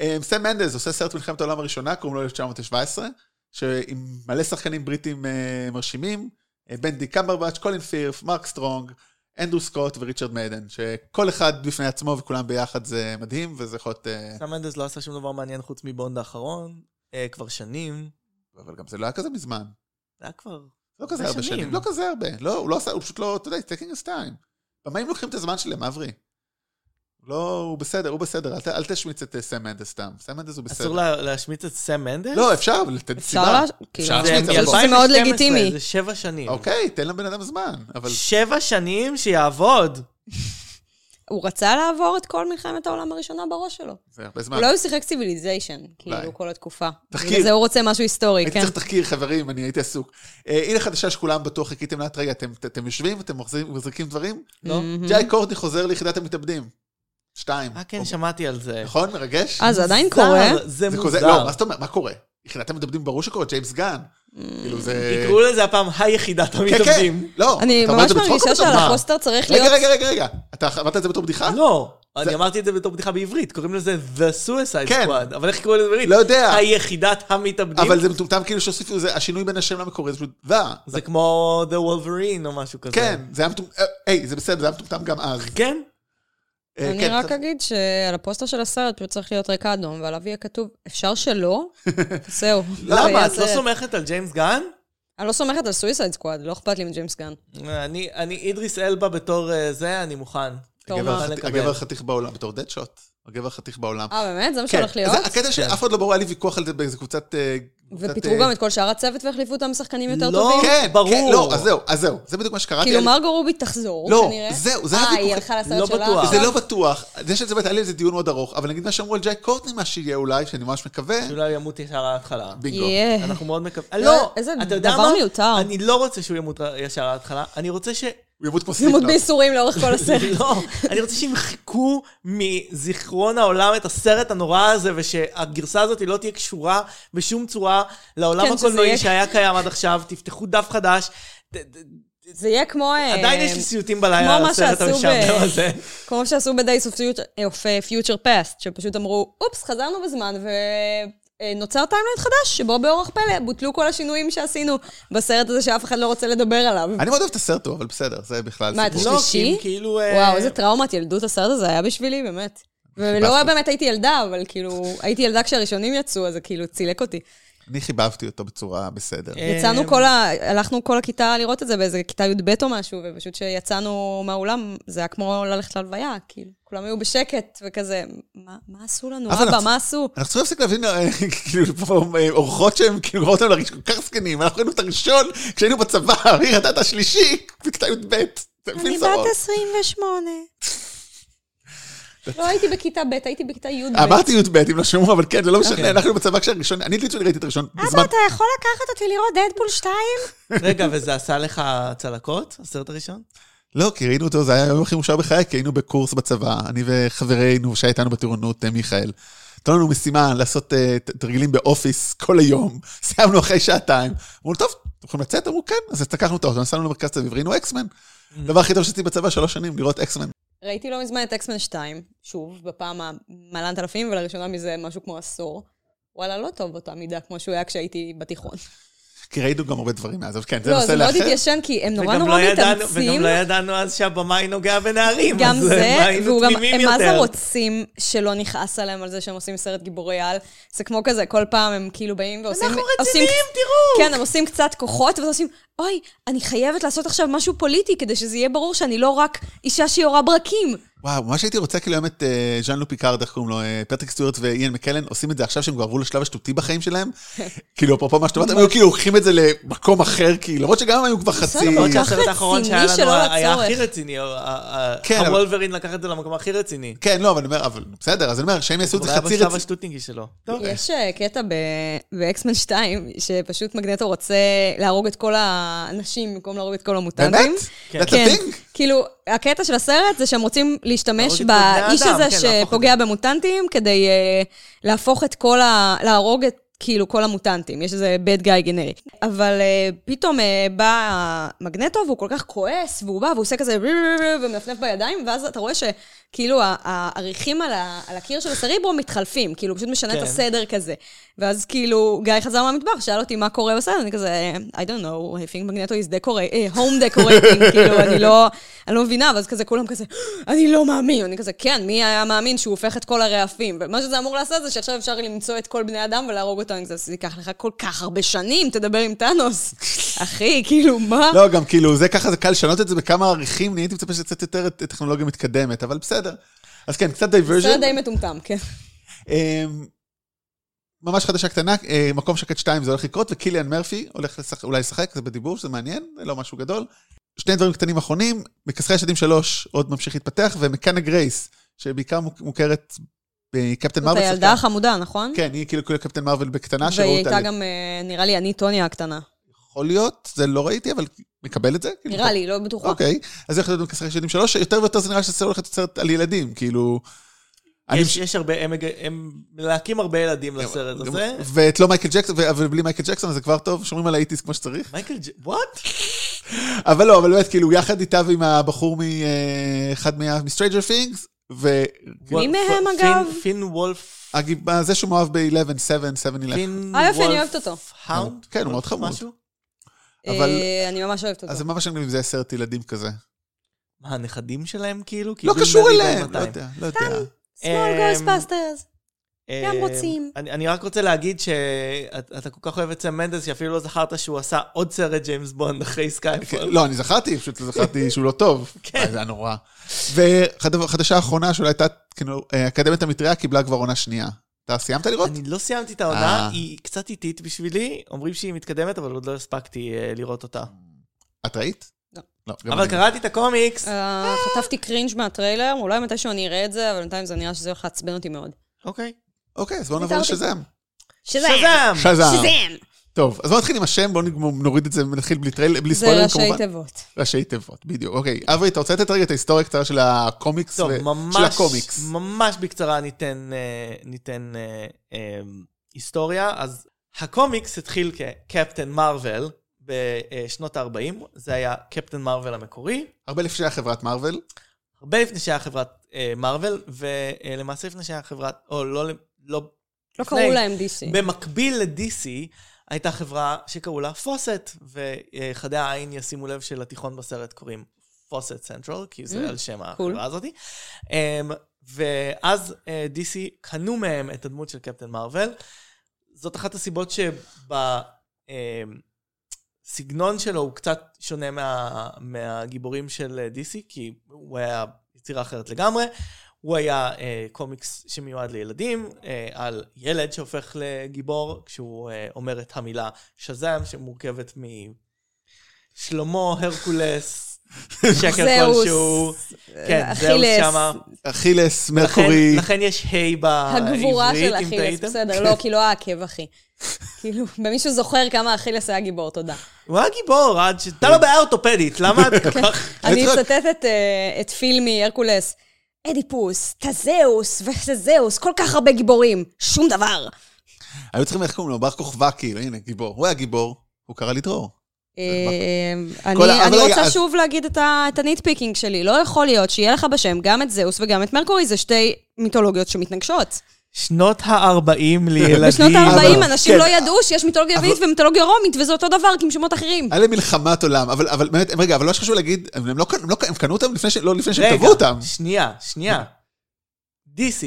Speaker 2: אה, סם מנדלס עושה סרט מלחמת העולם הראשונה, קוראים לו 1917, שעם מלא שחקנים בריטים אה, מרשימים, אה, בנדי קמברבץ', קולין פירף, מרק סטרונג, אנדרו סקוט וריצ'רד מיידן, שכל אחד בפני עצמו וכולם ביחד זה מדהים, וזה יכול להיות... אה,
Speaker 3: סם מנדס לא עשה שום דבר מעניין חוץ מבונד האחרון, אה, כבר שנים.
Speaker 2: אבל גם זה לא היה כזה מזמן.
Speaker 3: זה היה כבר...
Speaker 2: לא כזה
Speaker 3: זה
Speaker 2: הרבה
Speaker 3: שנים.
Speaker 2: שנים. לא כזה הרבה. לא, הוא לא עשה, הוא פשוט לא, אתה יודע, it's taking his time. במה אם לוקחים את הזמן שלהם, אברי? לא, הוא בסדר, הוא בסדר, אל, ת- אל תשמיץ את אה, סם מנדס סתם. סם מנדס הוא בסדר.
Speaker 3: אסור לה- להשמיץ את סם מנדס?
Speaker 2: לא, אפשר, אבל תן
Speaker 4: אפשר
Speaker 2: סיבה.
Speaker 4: לה- כאילו,
Speaker 2: אפשר
Speaker 4: זה כאילו.
Speaker 2: להשמיץ, אבל
Speaker 4: מ-
Speaker 2: בוא.
Speaker 4: זה מאוד לגיטימי.
Speaker 3: זה שבע שנים.
Speaker 2: אוקיי, תן לבן אדם זמן, אבל...
Speaker 3: שבע שנים שיעבוד. אה,
Speaker 4: הוא רצה לעבור את כל מלחמת העולם הראשונה בראש שלו.
Speaker 2: זה הרבה זמן.
Speaker 4: אולי הוא לא שיחק סיביליזיישן,
Speaker 2: אולי.
Speaker 4: כאילו, כל התקופה.
Speaker 2: תחקיר.
Speaker 4: בגלל זה הוא רוצה משהו היסטורי,
Speaker 2: הייתי
Speaker 4: כן.
Speaker 2: צריך תחקיר, חברים, אני הייתי עסוק. אה, הנה חדשה שכולם בטוח חיכיתם לה, רגע, אתם- אתם- אתם יושבים, אתם מחזירים- מחזיקים דברים?
Speaker 3: לא?
Speaker 4: מהמם.
Speaker 2: ג'י קורטי חוזר ליחידת המתאבדים. שתיים.
Speaker 3: אה, כן,
Speaker 2: או-
Speaker 3: שמעתי על זה.
Speaker 2: אוקיי. נכון? מרגש?
Speaker 4: אה, זה עדיין
Speaker 3: מוזר,
Speaker 4: קורה?
Speaker 3: זה
Speaker 2: זה כוזה-
Speaker 3: מוזר.
Speaker 2: לא, מה זאת אומרת? מה קורה? יחידת המתאבדים ברור שקורה, ג'יימס גאן.
Speaker 4: Mm.
Speaker 2: כאילו זה...
Speaker 3: יקראו לזה הפעם היחידת המתאבדים.
Speaker 2: לא,
Speaker 4: אני
Speaker 2: אתה אומר את
Speaker 4: ממש
Speaker 2: זה בצחוק או
Speaker 4: מרגישה
Speaker 2: בתור- מה?
Speaker 4: שעל הפוסטר צריך
Speaker 2: רגע,
Speaker 4: להיות...
Speaker 2: רגע, רגע, רגע. אתה אמרת את זה בתור בדיחה?
Speaker 3: לא, אני אמרתי את זה בתור בדיחה בעברית, קוראים לזה The Suicide
Speaker 2: כן.
Speaker 3: Squad, אבל איך קראו לזה בעברית?
Speaker 2: לא יודע.
Speaker 3: היחידת המתאבדים.
Speaker 2: אבל זה מטומטם כאילו שהוסיפו, זה- השינוי בין השם למקורי, זה פשוט "דה".
Speaker 3: זה כמו The Wolverine או משהו כזה.
Speaker 2: כן, זה היה מטומטם, היי, זה בסדר, זה היה מטומטם גם אז.
Speaker 3: כן?
Speaker 2: אה,
Speaker 4: אני
Speaker 2: כן,
Speaker 4: רק
Speaker 2: קצת-
Speaker 4: אגיד שעל הפוסטר של הסרט פשוט צריך להיות רקע אדום, ועליו יהיה כתוב, אפשר שלא? זהו. זה
Speaker 3: למה?
Speaker 4: יהיה
Speaker 3: את לא
Speaker 4: הסרט.
Speaker 3: סומכת על ג'יימס גן?
Speaker 4: אני לא סומכת על סויסייד סקוואד, לא אכפת לי מג'יימס גן.
Speaker 3: אני אני אידריס אלבה בתור אה, זה, אני מוכן.
Speaker 4: טוב,
Speaker 2: הגבר
Speaker 4: מה?
Speaker 2: החת-
Speaker 3: לקבל.
Speaker 2: הגבר החתיך בעולם בתור דד שוט. הגבר החתיך בעולם.
Speaker 4: אה, באמת? זה מה שהולך להיות?
Speaker 2: כן, זה הקטע שאף אחד לא ברור, היה לי ויכוח על זה באיזה קבוצת... אה, קבוצת,
Speaker 4: ופיטרו
Speaker 2: אה,
Speaker 4: גם את כל שאר הצוות והחליפו אותם שחקנים יותר
Speaker 3: לא.
Speaker 4: טובים?
Speaker 2: כן,
Speaker 3: ברור.
Speaker 2: כן, לא, אז זהו, אז זהו, זה בדיוק מה שקראתי.
Speaker 4: כאילו
Speaker 2: היה לי-
Speaker 4: מרגו רובי תחזור,
Speaker 2: לא,
Speaker 4: כנראה.
Speaker 2: זהו, זה
Speaker 4: אה,
Speaker 2: הוויכוח.
Speaker 4: היא הלכה לסרט
Speaker 3: לא
Speaker 4: שלה?
Speaker 3: בטוח.
Speaker 2: זה לא בטוח, זה שזה באמת, היה לי איזה דיון מאוד ארוך, אבל נגיד מה שאמרו על ג'י קורטני, מה שיהיה אולי, שאני ממש מקווה,
Speaker 3: שאולי ימות ישר ההתחלה.
Speaker 2: בינגו.
Speaker 4: יהיה.
Speaker 3: אנחנו מאוד מקווים.
Speaker 4: לא,
Speaker 3: לא,
Speaker 4: אה. איזה
Speaker 3: אתה יודע
Speaker 4: דבר
Speaker 3: מה?
Speaker 4: מיותר.
Speaker 3: אני לא רוצה שהוא ימות ישר ההתחלה, אני רוצה ש...
Speaker 2: הוא ימות כמו
Speaker 4: לימוד
Speaker 2: סליפנוט.
Speaker 4: בייסורים לאורך כל הסרט.
Speaker 3: לא, אני רוצה שימחקו מזיכרון העולם את הסרט הנורא הזה, ושהגרסה הזאת לא תהיה קשורה בשום צורה לעולם
Speaker 4: כן, שזה יהיה-
Speaker 3: הקולנועי שהיה קיים עד עכשיו, תפתחו דף חדש. ת- ת-
Speaker 4: זה יהיה כמו... אה,
Speaker 3: עדיין יש לי סיוטים בלילה על
Speaker 4: כמו מה
Speaker 3: הסרט
Speaker 4: שעשו
Speaker 3: המשעמם
Speaker 4: ב-
Speaker 3: הזה.
Speaker 4: כמו שעשו ב-Days of Future- אה, of Future Past, שפשוט אמרו, אופס, חזרנו בזמן, ונוצר טיימליין חדש, שבו באורח פלא בוטלו כל השינויים שעשינו בסרט הזה שאף אחד לא רוצה לדבר עליו.
Speaker 2: אני מאוד אוהב את הסרט טוב, אבל בסדר, זה בכלל
Speaker 4: מה,
Speaker 2: סיפור.
Speaker 4: אתה-
Speaker 3: לא,
Speaker 4: שלישי?
Speaker 3: כי הם כאילו... אה,
Speaker 4: וואו, איזה טראומת ילדות הסרט הזה היה בשבילי, באמת. ולא
Speaker 2: חיבבתי.
Speaker 4: באמת הייתי ילדה, אבל כאילו, הייתי ילדה כשהראשונים יצאו, אז זה כאילו צילק אותי.
Speaker 2: אני חיבבתי אותו בצורה בסדר.
Speaker 3: אה,
Speaker 4: יצאנו כל ה... הלכנו כל הכיתה לראות את זה באיזה כיתה י"ב או משהו, ופשוט כשיצאנו מהאולם, זה היה כמו ללכת להלוויה, כאילו. כולם היו בשקט, וכזה, מה, מה עשו לנו?
Speaker 2: אבל
Speaker 4: אבא,
Speaker 2: את-
Speaker 4: מה עשו?
Speaker 2: אנחנו צריכים להפסיק להבין, אה, כאילו, פה, אה, אורחות שהן כאילו גורמות להם להרגיש כל כך זקנים, אנחנו היינו את הראשון כשהיינו בצבא, היא ראתה את השלישי בכיתה י"ב. זה מבין
Speaker 4: אני
Speaker 2: זרות.
Speaker 4: בת 28. לא הייתי בכיתה ב', הייתי בכיתה י"ב.
Speaker 2: אמרתי י"ב, אם לא שמעו, אבל כן, זה לא משנה,
Speaker 3: אוקיי.
Speaker 2: אנחנו בצבא כשהראשון, אני ליטרלי ראיתי את הראשון בזמן.
Speaker 4: יכול לקחת אותי לראות דדפול 2?
Speaker 3: רגע, וזה עשה לך צלקות, הסרט הראשון?
Speaker 2: לא, כי ראינו אותו, זה היה היום הכי מאושר בחיי, כי היינו בקורס בצבא, אני וחברינו שהיה איתנו בטירונות, אה, מיכאל. נתנו לנו משימה לעשות אה, ת- תרגילים באופיס כל היום, סיימנו אחרי שעתיים. אמרו, טוב, אתם יכולים לצאת? אמרו, כן. אז לקחנו את האוטו, נסענו למרכז תל אביב, ראינו אקסמן. הדבר הכי טוב שעשיתי בצבא שלוש שנים, לראות אקסמן.
Speaker 4: ראיתי לא מזמן את אקסמן 2, שוב, בפעם המלנת אלפים, ולראשונה מזה משהו כמו עשור. וואלה, לא טוב באותה מידה כמו שהוא היה כשהייתי בתיכון.
Speaker 2: כי ראינו גם הרבה דברים מאז, אבל כן, זה
Speaker 4: לא,
Speaker 2: נושא
Speaker 4: זה מאוד
Speaker 2: לאחר.
Speaker 4: התיישן, כי הם נורא
Speaker 3: וגם
Speaker 4: נורא
Speaker 3: לא ידענו-
Speaker 4: מתאמצים.
Speaker 3: וגם לא ידענו אז שהבמאי נוגע בנערים.
Speaker 4: גם
Speaker 3: אז, אה,
Speaker 4: זה,
Speaker 3: היינו
Speaker 4: והוא גם,
Speaker 3: תמימים
Speaker 4: הם מה זה
Speaker 3: יותר.
Speaker 4: רוצים שלא נכעס עליהם על זה שהם עושים סרט גיבורי על? זה כמו כזה, כל פעם הם כאילו באים ועושים...
Speaker 3: אנחנו
Speaker 4: עושים-
Speaker 3: רציניים, תראו!
Speaker 4: כן, הם עושים קצת כוחות, ואז עושים, אוי, אני חייבת לעשות עכשיו משהו פוליטי, כדי שזה יהיה ברור שאני לא רק אישה שיורה ברקים.
Speaker 2: וואו, ממש הייתי רוצה כאילו היום את אה, ז'אן לו פיקארד, איך קוראים לו, אה, פטריק סטיוארט ואיין מקלן, עושים את זה עכשיו שהם כבר עברו לשלב השטותי בחיים שלהם. כאילו, אפרופו מה שאתה אומרת, הם היו כאילו לוקחים את זה למקום אחר, כאילו, למרות שגם הם היו כבר חצי...
Speaker 4: בסדר,
Speaker 3: למרות
Speaker 4: כל כך
Speaker 3: שהסרט האחרון
Speaker 4: רציני
Speaker 3: שהיה לנו
Speaker 4: שלא
Speaker 3: היה
Speaker 4: לצורך.
Speaker 3: הכי רציני, ה- ה- ה-
Speaker 2: כן, אבל-
Speaker 3: הוולברין לקח את זה למקום הכי רציני.
Speaker 2: כן, לא, אבל אני אומר, אבל בסדר, אז אני אומר, שהם יעשו את
Speaker 3: הוא
Speaker 2: זה
Speaker 3: היה
Speaker 2: חצי
Speaker 3: בשלב
Speaker 2: רציני.
Speaker 3: השטוטינגי שלו. טוב.
Speaker 4: יש אה, קטע ב- באקסמן 2, שפשוט מגנטו רוצה להרוג את כל האנשים במקום להרוג את כל המוטנטים.
Speaker 2: באמת?
Speaker 3: כן.
Speaker 2: That's a thing?
Speaker 4: כאילו, הקטע של הסרט זה שהם רוצים
Speaker 3: להרוג
Speaker 4: להשתמש
Speaker 3: את כל בני
Speaker 4: באיש
Speaker 3: האדם,
Speaker 4: הזה
Speaker 3: כן, להפוך את
Speaker 4: שפוגע במוטנטים, כדי אה, להפוך את כל ה... להרוג את... כאילו כל המוטנטים, יש איזה bad guy גנרי. אבל uh, פתאום uh, בא מגנטו והוא כל כך כועס, והוא בא והוא עושה כזה ומנפנף בידיים, ואז אתה רואה שכאילו ה- העריכים על, ה- על הקיר של הסריברו מתחלפים, כאילו הוא פשוט משנה את
Speaker 3: כן.
Speaker 4: הסדר כזה. ואז כאילו גיא חזר מהמטבח, שאל אותי מה קורה בסרט, אני כזה, I don't know, I think Magneto is decorating, home decorating, כאילו, אני לא, אני לא מבינה, ואז כזה, כולם כזה, אני לא מאמין, אני כזה, כן, מי היה מאמין שהוא הופך את כל הרעפים? ומה שזה אמור לעשות זה שעכשיו אפשר למצוא את כל בני אדם ולהרוג אותם, אני כזה, זה ייקח לך כל כך הרבה שנים, תדבר עם טאנוס. אחי, כאילו, מה?
Speaker 2: לא, גם כאילו, זה ככה, זה קל לשנות את זה בכמה עריכים, אני הייתי מצפה שזה קצת יותר אה, טכנולוגיה מתקדמת, אבל בסדר. אז כן, קצת
Speaker 4: סרט
Speaker 2: דייברז'ן.
Speaker 4: די מטומטם, כן.
Speaker 2: אמ, ממש חדשה קטנה, אה, מקום שקט 2 זה הולך לקרות, וקיליאן מרפי הולך לשח... אולי לשחק, זה בדיבור, שזה מעניין, זה לא משהו גדול. שני דברים קטנים אחרונים, מכסחי השדים 3 עוד ממשיך להתפתח, ומקאנה גרייס, שבעיקר מוכ- מוכרת בקפטן
Speaker 4: זאת
Speaker 2: מרוויל.
Speaker 4: הילדה החמודה, נכון?
Speaker 2: כן, היא כאילו כאילו קפטן מרוויל בקטנה,
Speaker 4: והיא
Speaker 2: שראו אותה,
Speaker 4: הייתה
Speaker 2: לי.
Speaker 4: גם, אה, נראה לי, אני טוניה הקטנה.
Speaker 2: יכול להיות, זה לא ראיתי, אבל מקבל את זה. כאילו,
Speaker 4: נראה לי, לא בטוחה.
Speaker 2: אוקיי, אז זה הולך להיות מכסחי השדים 3, יותר ויותר זה נראה שזה הולך להיות סרט על ילדים, כאילו... אני
Speaker 3: יש- יש הרבה, הם מג- הם מלהקים הרבה ילדים לסרט הזה.
Speaker 2: ואת לא מייקל ג'קסון, ו- אבל בלי מייקל ג'קסון זה כבר טוב, שומרים על האיטיס כמו שצריך.
Speaker 3: מייקל ג'... וואט?
Speaker 2: אבל לא, אבל באמת, כאילו, יחד איתה ועם הבחור מ... אה, אחד מה... מסטרייג'ר פינגס,
Speaker 4: מי מהם, אגב?
Speaker 3: פין וולף...
Speaker 2: אה, וזה שהוא מאוהב ב-11-7-7-11.
Speaker 3: פין
Speaker 4: אה, יופי, אני
Speaker 3: וולף
Speaker 4: אוהבת אותו.
Speaker 3: האונד?
Speaker 2: כן, הוא מאוד חמוד.
Speaker 3: משהו?
Speaker 2: אבל-
Speaker 4: אה, אני ממש אוהבת אותו.
Speaker 2: אז זה ממש מגניב, זה היה סרט ילדים כזה.
Speaker 3: מה, הנכדים שלהם כאילו? כי
Speaker 2: לא
Speaker 3: ביל
Speaker 2: קשור
Speaker 3: מרי
Speaker 2: אליהם, לא
Speaker 3: ב-200.
Speaker 2: יודע, לא יודע.
Speaker 4: Small
Speaker 3: אמ,
Speaker 4: Ghostbusters. גם
Speaker 3: אה,
Speaker 4: רוצים.
Speaker 3: אני, אני רק רוצה להגיד שאתה כל כך אוהב את סם מנדס, שאפילו לא זכרת שהוא עשה עוד סרט ג'יימס בונד אחרי
Speaker 2: כן,
Speaker 3: סקייפול.
Speaker 2: לא, אני זכרתי, פשוט זכרתי שהוא לא טוב.
Speaker 3: כן.
Speaker 2: וואי, זה היה נורא. וחדשה אחרונה שאולי הייתה, כאילו, אה, אקדמית המטריה קיבלה כבר עונה שנייה. אתה סיימת לראות?
Speaker 3: אני לא סיימתי את העונה,
Speaker 2: אה.
Speaker 3: היא קצת איטית בשבילי, אומרים שהיא מתקדמת, אבל עוד לא הספקתי אה, לראות אותה.
Speaker 2: את ראית?
Speaker 4: לא.
Speaker 2: לא. גם
Speaker 3: אבל
Speaker 2: אני לא.
Speaker 3: קראתי את הקומיקס.
Speaker 4: אה, חטפתי קרינג' מהטריילר, אולי מתישהו אני אראה את זה, אבל בינתיים זה נראה שזה הולך לעצבן אותי מאוד.
Speaker 3: אוקיי.
Speaker 2: אוקיי, אז בואו נעבור
Speaker 4: ויתרתי.
Speaker 2: לשזם.
Speaker 4: שזם!
Speaker 3: שזם!
Speaker 2: שזם.
Speaker 4: שזם!
Speaker 2: טוב, אז בואו נתחיל עם השם, בואו נגמור- נוריד את זה ונתחיל בלי טרייל, בלי
Speaker 4: זה
Speaker 2: ספוילרים כמובן.
Speaker 4: ראשי תיבות.
Speaker 2: ראשי תיבות, בדיוק. אוקיי, אברי, אתה רוצה לתת רגע את ההיסטוריה הקצרה של הקומיקס?
Speaker 3: טוב,
Speaker 2: ו-
Speaker 3: ממש,
Speaker 2: של הקומיקס.
Speaker 3: ממש בקצרה ניתן, אה, ניתן אה, אה, היסטוריה. אז הקומיקס התחיל כקפטן מרוויל בשנות ה-40, זה היה קפטן מרוויל המקורי,
Speaker 2: הרבה לפני שהיה חברת מארוול.
Speaker 3: הרבה לפני שהיה חברת אה, מרוויל, ולמעשה לפני שהיה חברת, או לא, לא,
Speaker 4: לא
Speaker 3: לפני.
Speaker 4: קראו להם DC.
Speaker 3: במקביל ל-DC, הייתה חברה שקראו לה פוסט, וחדי העין ישימו לב שלתיכון בסרט קוראים פוסט סנטרל, כי זה
Speaker 4: Mm,
Speaker 3: על שם
Speaker 4: cool.
Speaker 3: החברה הזאת. Um, ואז uh, DC קנו מהם את הדמות של קפטן מרוויל. זאת אחת הסיבות שבסגנון אמ, שלו הוא קצת שונה מה, מהגיבורים של אה, DC, כי הוא היה יצירה אחרת לגמרי. הוא היה אה, קומיקס שמיועד לילדים, אה, על ילד שהופך לגיבור, כשהוא אה, אומר את המילה שזם, שמורכבת משלמה, הרקולס, שקר
Speaker 4: זהוס. אה,
Speaker 3: כלשהו. כן, זהוס
Speaker 4: אכילס.
Speaker 3: שמה.
Speaker 2: אכילס,
Speaker 3: לכן-
Speaker 2: מרקורי.
Speaker 3: לכן יש ה' בעברית,
Speaker 4: הגבורה של
Speaker 3: אם
Speaker 4: אכילס,
Speaker 3: תהיתם.
Speaker 4: בסדר, לא, כי לא העקב, אחי. כאילו, ומישהו זוכר כמה אכילס היה גיבור, תודה.
Speaker 3: הוא היה גיבור, עד ש... אתה לא בעיה אורתופדית, למה את כל כך...
Speaker 4: אני
Speaker 2: צריך-
Speaker 4: מצטטת אה, את פיל מהרקולס. אדיפוס, תזהוס, ותזהוס, כל כך הרבה גיבורים, שום דבר.
Speaker 2: היו צריכים, איך קוראים לו? בר כוכבא, כאילו, הנה, גיבור. הוא היה גיבור, הוא קרא לי דרור.
Speaker 4: אה,
Speaker 2: כל
Speaker 4: אני
Speaker 2: ה-
Speaker 4: אני
Speaker 2: אבל רגע,
Speaker 4: רוצה
Speaker 2: אז-
Speaker 4: שוב להגיד את ה- את הניטפיקינג שלי. לא יכול להיות שיהיה לך בשם גם את זהוס וגם את מרקורי, זה שתי מיתולוגיות שמתנגשות.
Speaker 3: שנות ה-40 לילדים.
Speaker 4: בשנות
Speaker 2: אבל-
Speaker 4: ה-40 אנשים
Speaker 2: כן,
Speaker 4: לא ידעו שיש מיתולוגיה יוונית ומיתולוגיה רומית, וזה אותו דבר, כי עם שמות אחרים.
Speaker 2: היה להם מלחמת עולם, אבל, אבל באמת, רגע, אבל מה שחשוב להגיד, הם לא, קנו- הם לא, קנו- הם קנו אותם לפני, ש- לא לפני שהם
Speaker 3: רגע,
Speaker 2: קבעו אותם.
Speaker 3: שנייה, שנייה. DC,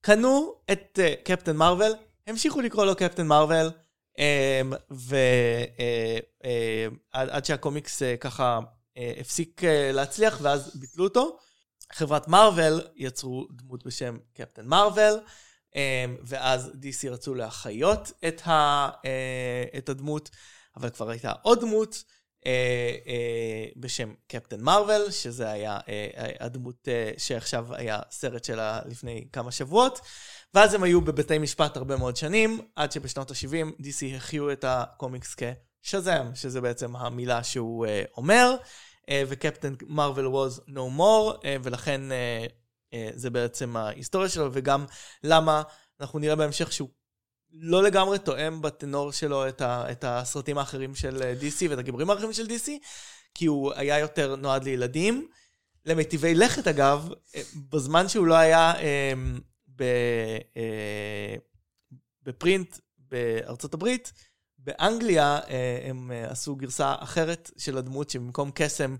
Speaker 3: קנו את אה, קפטן מרוויל, המשיכו לקרוא לו קפטן מרוויל, אמ, ו... אה, אה, עד עד שהקומיקס אה, ככה אה, הפסיק אה, להצליח, ואז ביטלו אותו. חברת מרוויל יצרו דמות בשם קפטן מרוויל, אמ, ואז DC רצו להחיות את, ה, אה, את הדמות, אבל כבר הייתה עוד דמות אה, אה, בשם קפטן מרוויל, שזה היה אה, אה, הדמות אה, שעכשיו היה סרט שלה לפני כמה שבועות, ואז הם היו בבתי משפט הרבה מאוד שנים, עד שבשנות ה-70 DC החיו את הקומיקס כשזם, שזה בעצם המילה שהוא אה, אומר, אה, וקפטן מרוויל was no more, אה, ולכן אה, אה, זה בעצם ההיסטוריה שלו, וגם למה אנחנו נראה בהמשך שהוא... לא לגמרי תואם בטנור שלו את, ה, את הסרטים האחרים של אה, DC ואת הגיבורים האחרים של DC, כי הוא היה יותר נועד לילדים. למיטיבי לכת, אגב, אה, בזמן שהוא לא היה אה, ב, אה, בפרינט בארצות הברית, באנגליה אה, הם אה, עשו גרסה אחרת של הדמות, שבמקום קסם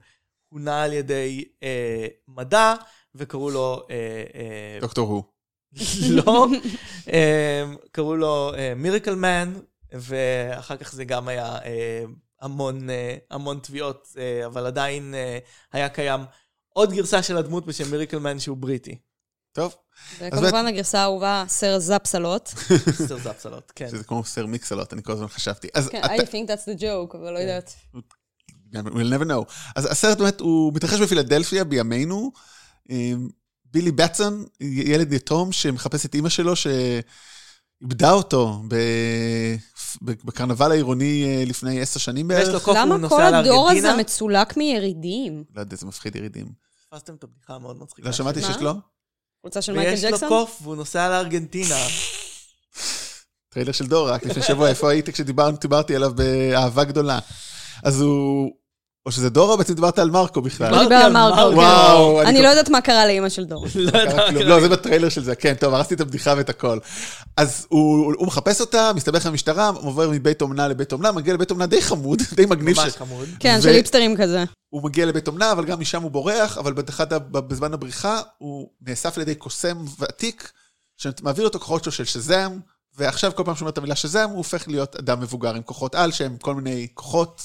Speaker 3: הונה על ידי אה, מדע, וקראו לו... אה, אה,
Speaker 2: דוקטור הוא.
Speaker 3: לא, אה, קראו לו מיריקל מן, ואחר כך זה גם היה אה, המון, אה, המון תביעות, אה, אבל עדיין אה, היה קיים עוד גרסה של הדמות בשם מיריקל מן שהוא בריטי.
Speaker 2: טוב,
Speaker 4: וכמובן הגרסה האהובה, סר זפסלות.
Speaker 3: סר זפסלות, כן.
Speaker 2: שזה כמו סר מיקסלות, אני כל הזמן חשבתי. אז
Speaker 4: כן,
Speaker 2: אתה-
Speaker 4: I think that's the joke, אבל לא יודעת.
Speaker 2: We'll never know. אז הסרט באמת, הוא מתרחש בפילדלפיה בימינו. אמ, בילי בטסון, י- ילד יתום שמחפש את אימא שלו, שאיבדה אותו ב... ב- בקרנבל העירוני אה, לפני עשר שנים
Speaker 3: ויש
Speaker 2: בערך.
Speaker 3: לו קוף, הוא
Speaker 4: למה
Speaker 3: נוסע
Speaker 4: כל הדור הזה
Speaker 3: לארגנטינה.
Speaker 4: מצולק מירידים?
Speaker 2: לא יודע, זה מפחיד ירידים.
Speaker 3: תפסתם את הבדיחה המאוד מצחיקה.
Speaker 2: לא שמעתי
Speaker 4: מה?
Speaker 2: שיש לו?
Speaker 4: חולצה של מייקל
Speaker 3: ויש לו
Speaker 4: ג'קסון?
Speaker 3: קוף והוא נוסע לארגנטינה.
Speaker 2: טריילר של דור, רק לפני שבוע, איפה היית כשדיברתי עליו באהבה גדולה? אז הוא... או שזה דור, או בעצם דיברת על מרקו בכלל.
Speaker 4: הוא דיבר על מרקו, כן.
Speaker 2: וואו, אני
Speaker 4: אני
Speaker 2: כל-
Speaker 4: לא יודעת מה קרה לאימא של דור.
Speaker 3: לא
Speaker 2: קרה כלום.
Speaker 3: יודע.
Speaker 2: לא, זה בטריילר של זה, כן, טוב, הרסתי את הבדיחה ואת הכל. אז הוא הוא מחפש אותה, מסתבך במשטרה, עובר מבית אומנה לבית אומנה, מגיע לבית אומנה די חמוד, די מגניב.
Speaker 3: ממש
Speaker 2: ש-
Speaker 3: חמוד.
Speaker 4: כן,
Speaker 2: ו-
Speaker 4: של היפסטרים כזה.
Speaker 2: הוא מגיע לבית אומנה, אבל גם משם הוא בורח, אבל באחד ה- בזמן הבריחה הוא נאסף על ידי קוסם ותיק, שמעביר לו את הכוחות שלו של שזם, ועכשיו כל פעם שהוא אומר את המילה שזם, הוא הופך להיות אדם מבוגר עם כוחות על, שהם כל מיני כוחות.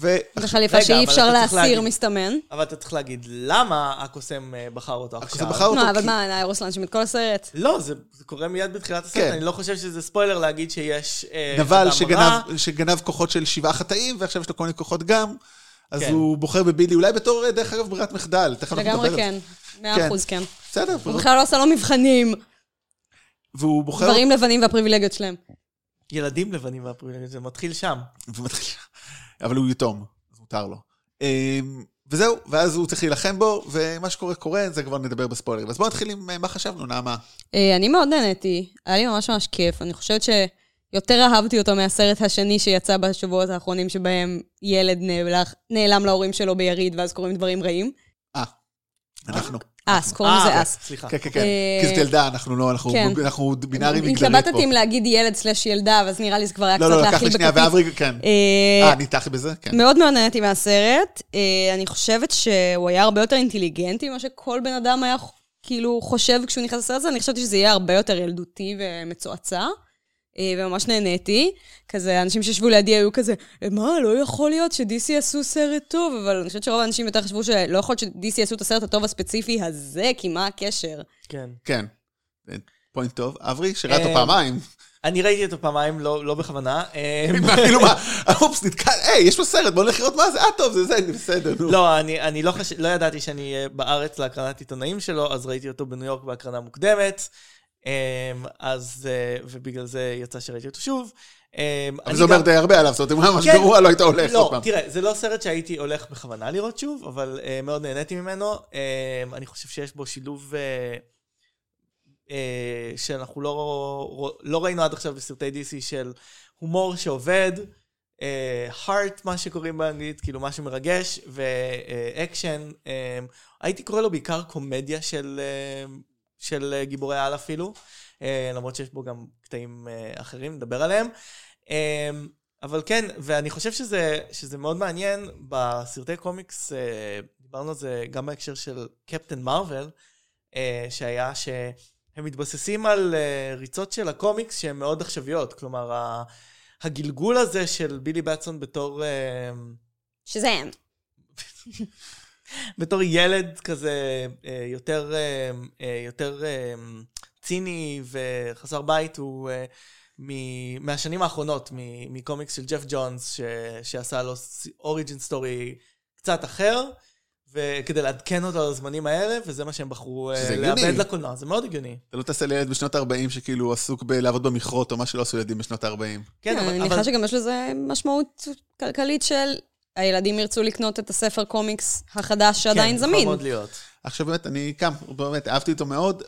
Speaker 2: ו...
Speaker 4: בחליפה
Speaker 3: רגע,
Speaker 4: שאי
Speaker 3: אבל
Speaker 4: אפשר
Speaker 3: אתה צריך
Speaker 4: להסיר,
Speaker 3: להגיד.
Speaker 4: מסתמן.
Speaker 3: אבל אתה צריך להגיד למה הקוסם אה, בחר אותו
Speaker 2: הקוסם
Speaker 3: עכשיו.
Speaker 2: בחר- אותו
Speaker 4: מה, אבל
Speaker 2: כי-
Speaker 4: מה, נאירוס לאנשים את כל הסרט?
Speaker 3: לא, זה, זה קורה מיד בתחילת הסרט,
Speaker 2: כן.
Speaker 3: אני לא חושב שזה ספוילר להגיד שיש אה,
Speaker 2: נבל
Speaker 3: אדם רע.
Speaker 2: שגנב, שגנב כוחות של שבעה חטאים, ועכשיו יש לו כל מיני כוחות גם, אז
Speaker 3: כן.
Speaker 2: הוא בוחר בבילי, אולי בתור, אה, דרך אגב, ברירת מחדל. תכף אנחנו
Speaker 4: לגמרי
Speaker 2: נדבר על
Speaker 4: כן.
Speaker 2: זה.
Speaker 4: מאה אחוז כן.
Speaker 2: בסדר,
Speaker 4: הוא בכלל לא עשה לו מבחנים,
Speaker 2: והוא בוחר...
Speaker 4: גברים לבנים והפריבילגיות שלהם.
Speaker 3: ילדים לבנים והפריבילגים, זה מתחיל שם.
Speaker 2: ומתחיל... אבל הוא יתום, אז מותר לו. אמ, וזהו, ואז הוא צריך להילחם בו, ומה שקורה קורה, זה כבר נדבר בספוילרים. אז בואו נתחיל עם אה, מה חשבנו, נעמה.
Speaker 4: אה, אני מאוד נהניתי, היה לי ממש ממש כיף. אני חושבת שיותר אהבתי אותו מהסרט השני שיצא בשבועות האחרונים, שבהם ילד נאלח- נעלם להורים שלו ביריד, ואז קורים דברים רעים.
Speaker 2: אה, אנחנו.
Speaker 4: אס, קוראים לזה
Speaker 3: אה,
Speaker 4: אס.
Speaker 3: סליחה.
Speaker 2: כן, כן, כן.
Speaker 4: אה,
Speaker 2: כי זאת ילדה, אנחנו לא, אנחנו
Speaker 4: כן.
Speaker 2: אנחנו בינארי מגדרית
Speaker 4: התלבטתי
Speaker 2: פה.
Speaker 4: אם להגיד ילד סלש ילדה, אז נראה לי זה כבר היה
Speaker 2: לא,
Speaker 4: קצת
Speaker 2: לא, לקח
Speaker 4: להכיל
Speaker 2: לי שנייה,
Speaker 4: בכפית.
Speaker 2: ואברי, כן.
Speaker 4: אה,
Speaker 2: אה, אני איתך בזה? כן.
Speaker 4: מאוד מאוד נהניתי מהסרט. אה, אני חושבת שהוא היה הרבה יותר אינטליגנטי ממה שכל בן אדם היה כאילו חושב כשהוא נכנס לסרט הזה. אני חשבתי שזה יהיה הרבה יותר ילדותי ומצועצע. אה, וממש נהניתי. כזה, אנשים שישבו לידי היו כזה, "אה, מה, לא יכול להיות ש-DC עשו סרט טוב, אבל אני חושבת שרוב האנשים יותר חשבו שלא יכול להיות ש-DC עשו את הסרט הטוב הספציפי הזה, כי מה הקשר?
Speaker 3: כן.
Speaker 2: כן. אה, פוינט טוב. אברי, שראה אותו
Speaker 3: אה,
Speaker 2: פעמיים.
Speaker 3: אני ראיתי אותו פעמיים, לא, לא בכוונה. אה,
Speaker 2: כאילו מה, אופס, נתקע, היי, יש פה סרט, בוא נלך לראות מה זה, אה, טוב, זה זה, בסדר, נו.
Speaker 3: לא, אני, אני לא, חש... לא ידעתי שאני אהיה בארץ להקרנת עיתונאים שלו, אז ראיתי אותו בניו יורק בהקרנה מוקדמת, אה, אז, אה, ובגלל זה יצא שראיתי אותו שוב. אה,
Speaker 2: אבל
Speaker 3: אני
Speaker 2: זה אומר
Speaker 3: גם-
Speaker 2: די הרבה עליו, זאת אומרת, אם הוא היה ממש
Speaker 3: כן.
Speaker 2: גרוע, לא היית הולך עוד
Speaker 3: לא,
Speaker 2: פעם.
Speaker 3: תראה, זה לא סרט שהייתי הולך בכוונה לראות שוב, אבל אה, מאוד נהניתי ממנו. אה, אני חושב שיש בו שילוב אה, אה, שאנחנו לא, לא ראינו עד עכשיו בסרטי DC של הומור שעובד, אה, heart, מה שקוראים באנגלית, כאילו משהו מרגש, ואקשן. אה, הייתי קורא לו בעיקר קומדיה של, אה, של אה, גיבורי על אפילו, אה, למרות שיש בו גם קטעים אה, אחרים, נדבר עליהם. אה, אבל כן, ואני חושב שזה, שזה מאוד מעניין, בסרטי קומיקס, אה, דיברנו על זה גם בהקשר של קפטן מרוויל, אה, שהיה שהם מתבססים על אה, ריצות של הקומיקס שהן מאוד עכשוויות. כלומר, ה- הגלגול הזה של בילי בטסון בתור... אה,
Speaker 4: שזה הם.
Speaker 3: בתור ילד כזה אה, יותר, אה, אה, יותר אה, ציני וחסר בית הוא אה, מ- מהשנים האחרונות, מ- מקומיקס של ג'ף ג'ונס, ש- שעשה לו אוריג'ין סטורי קצת אחר, וכדי לעדכן אותו על הזמנים האלה, וזה מה שהם בחרו אה,
Speaker 2: שזה הגיוני.
Speaker 3: לאבד לקולנוע, זה מאוד הגיוני.
Speaker 2: אתה לא תעשה לילד בשנות ה-40 שכאילו עסוק בלעבוד במכרות, או מה שלא עשו ילדים בשנות ה-40.
Speaker 3: כן,
Speaker 4: אני
Speaker 3: אבל,
Speaker 4: מניחה
Speaker 3: אבל
Speaker 4: שגם יש לזה משמעות כלכלית של הילדים ירצו לקנות את הספר קומיקס החדש
Speaker 3: כן,
Speaker 4: שעדיין
Speaker 3: יכול
Speaker 4: זמין.
Speaker 3: מאוד להיות.
Speaker 2: עכשיו באמת, אני קם, באמת, אהבתי אותו מאוד,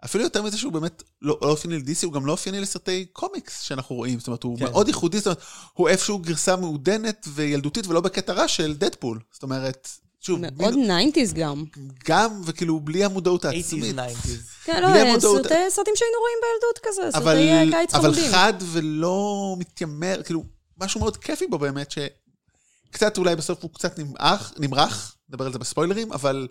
Speaker 2: ואפילו יותר מזה שהוא באמת לא לא אופייני ל-DC, הוא גם לא אופייני לסרטי קומיקס שאנחנו רואים. זאת אומרת, הוא
Speaker 3: כן.
Speaker 2: מאוד ייחודי, זאת אומרת, הוא איפשהו גרסה מעודנת וילדותית, ולא בקטע רע של דדפול. זאת אומרת, שוב,
Speaker 4: מאוד
Speaker 2: מין-
Speaker 4: ניינטיז גם.
Speaker 2: גם, וכאילו בלי המודעות
Speaker 3: 80's,
Speaker 2: העצמית.
Speaker 3: 90's.
Speaker 4: כן,
Speaker 2: בלי
Speaker 4: לא,
Speaker 2: המודעות-
Speaker 4: סרטי- סרטים שהיינו רואים בילדות כזה,
Speaker 2: אבל,
Speaker 4: סרטי אה, קיץ
Speaker 2: אבל
Speaker 4: חמודים.
Speaker 2: חד ולא מתיימר, כאילו, משהו מאוד כיפי בו באמת, שקצת אולי בסוף הוא קצת נמרח, נמרח, נדבר על זה בספוילרים, אבל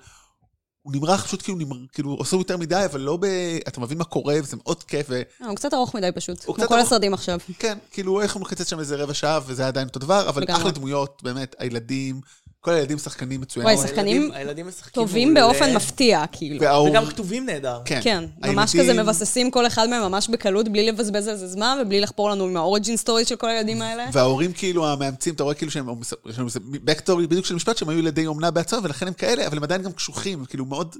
Speaker 2: הוא נמרח פשוט כאילו, נמר, כאילו עושה יותר מדי, אבל לא ב... אתה מבין מה קורה, וזה מאוד כיף,
Speaker 4: אה, הוא קצת ארוך מדי פשוט,
Speaker 2: הוא
Speaker 4: כמו
Speaker 2: קצת
Speaker 4: כל
Speaker 2: ארוך.
Speaker 4: הסרטים עכשיו.
Speaker 2: וכן, כאילו, איך הוא מקצץ שם איזה רבע שעה, וזה היה עדיין אותו דבר, אבל
Speaker 4: לגמרי.
Speaker 2: אחלה דמויות, באמת, הילדים, כל הילדים שחקנים מצוינים.
Speaker 4: וואי, שחקנים
Speaker 3: הילדים- הילדים משחקים
Speaker 4: טובים
Speaker 3: מעולה,
Speaker 4: באופן מפתיע, כאילו.
Speaker 2: וההור-
Speaker 3: וגם כתובים נהדר.
Speaker 2: כן,
Speaker 4: כן, ממש
Speaker 2: הילדים-
Speaker 4: כזה מבססים כל אחד מהם ממש בקלות, בלי לבזבז על זה זמן ובלי לחפור לנו עם האוריג'ין סטורי של כל הילדים האלה.
Speaker 2: וההורים כאילו המאמצים, אתה רואה כאילו שהם, יש לנו איזה backstory בדיוק של משפט, שהם היו ילדי אומנה בעצמם, ולכן הם כאלה, אבל הם עדיין גם קשוחים, כאילו מאוד...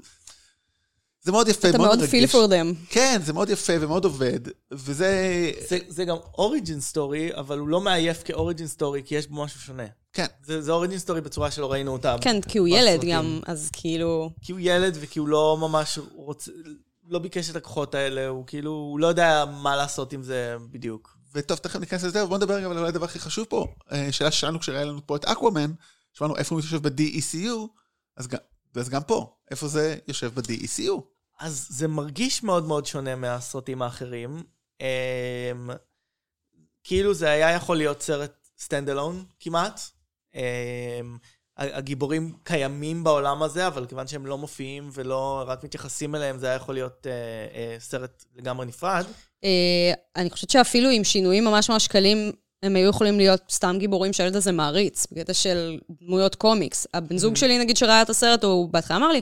Speaker 2: זה מאוד יפה,
Speaker 4: אתה
Speaker 2: מאוד
Speaker 4: מאוד
Speaker 2: מרגש.
Speaker 4: פיל פור דם.
Speaker 2: כן, זה מאוד יפה ומאוד עובד, וזה...
Speaker 3: זה, זה גם אוריג'ין סטורי, אבל הוא לא מעייף כאוריג'ין סטורי, כי יש בו משהו שונה.
Speaker 2: כן,
Speaker 3: זה, זה אוריג'ין סטורי בצורה שלא ראינו אותה.
Speaker 4: כן, כי הוא ילד
Speaker 3: בסרטים.
Speaker 4: גם, אז כאילו...
Speaker 3: כי הוא ילד וכי הוא לא ממש רוצה, לא ביקש את הכוחות האלה, הוא כאילו, הוא לא יודע מה לעשות עם זה בדיוק.
Speaker 2: וטוב, תכף ניכנס לזה, אבל בוא נדבר גם על אולי הדבר הכי חשוב פה, אה, שאלה ששאלנו כשראינו לנו פה את אקוואמן, שאלנו איפה הוא יושב ב-DECU, אז גם, אז גם פה, איפה זה יושב E ב-DECU?
Speaker 3: אז זה מרגיש מאוד מאוד שונה מהסרטים האחרים. אמ, כאילו זה היה יכול להיות סרט סטנד אלון כמעט. אמ, הגיבורים קיימים בעולם הזה, אבל כיוון שהם לא מופיעים ולא רק מתייחסים אליהם, זה היה יכול להיות אה, אה, סרט לגמרי נפרד.
Speaker 4: אה, אני חושבת שאפילו עם שינויים ממש ממש קלים, הם היו יכולים להיות סתם גיבורים שהילד הזה מעריץ, בקטע של דמויות קומיקס. הבן
Speaker 2: Mm-hmm.
Speaker 4: זוג שלי, נגיד, שראה את הסרט, הוא בהתחלה אמר לי,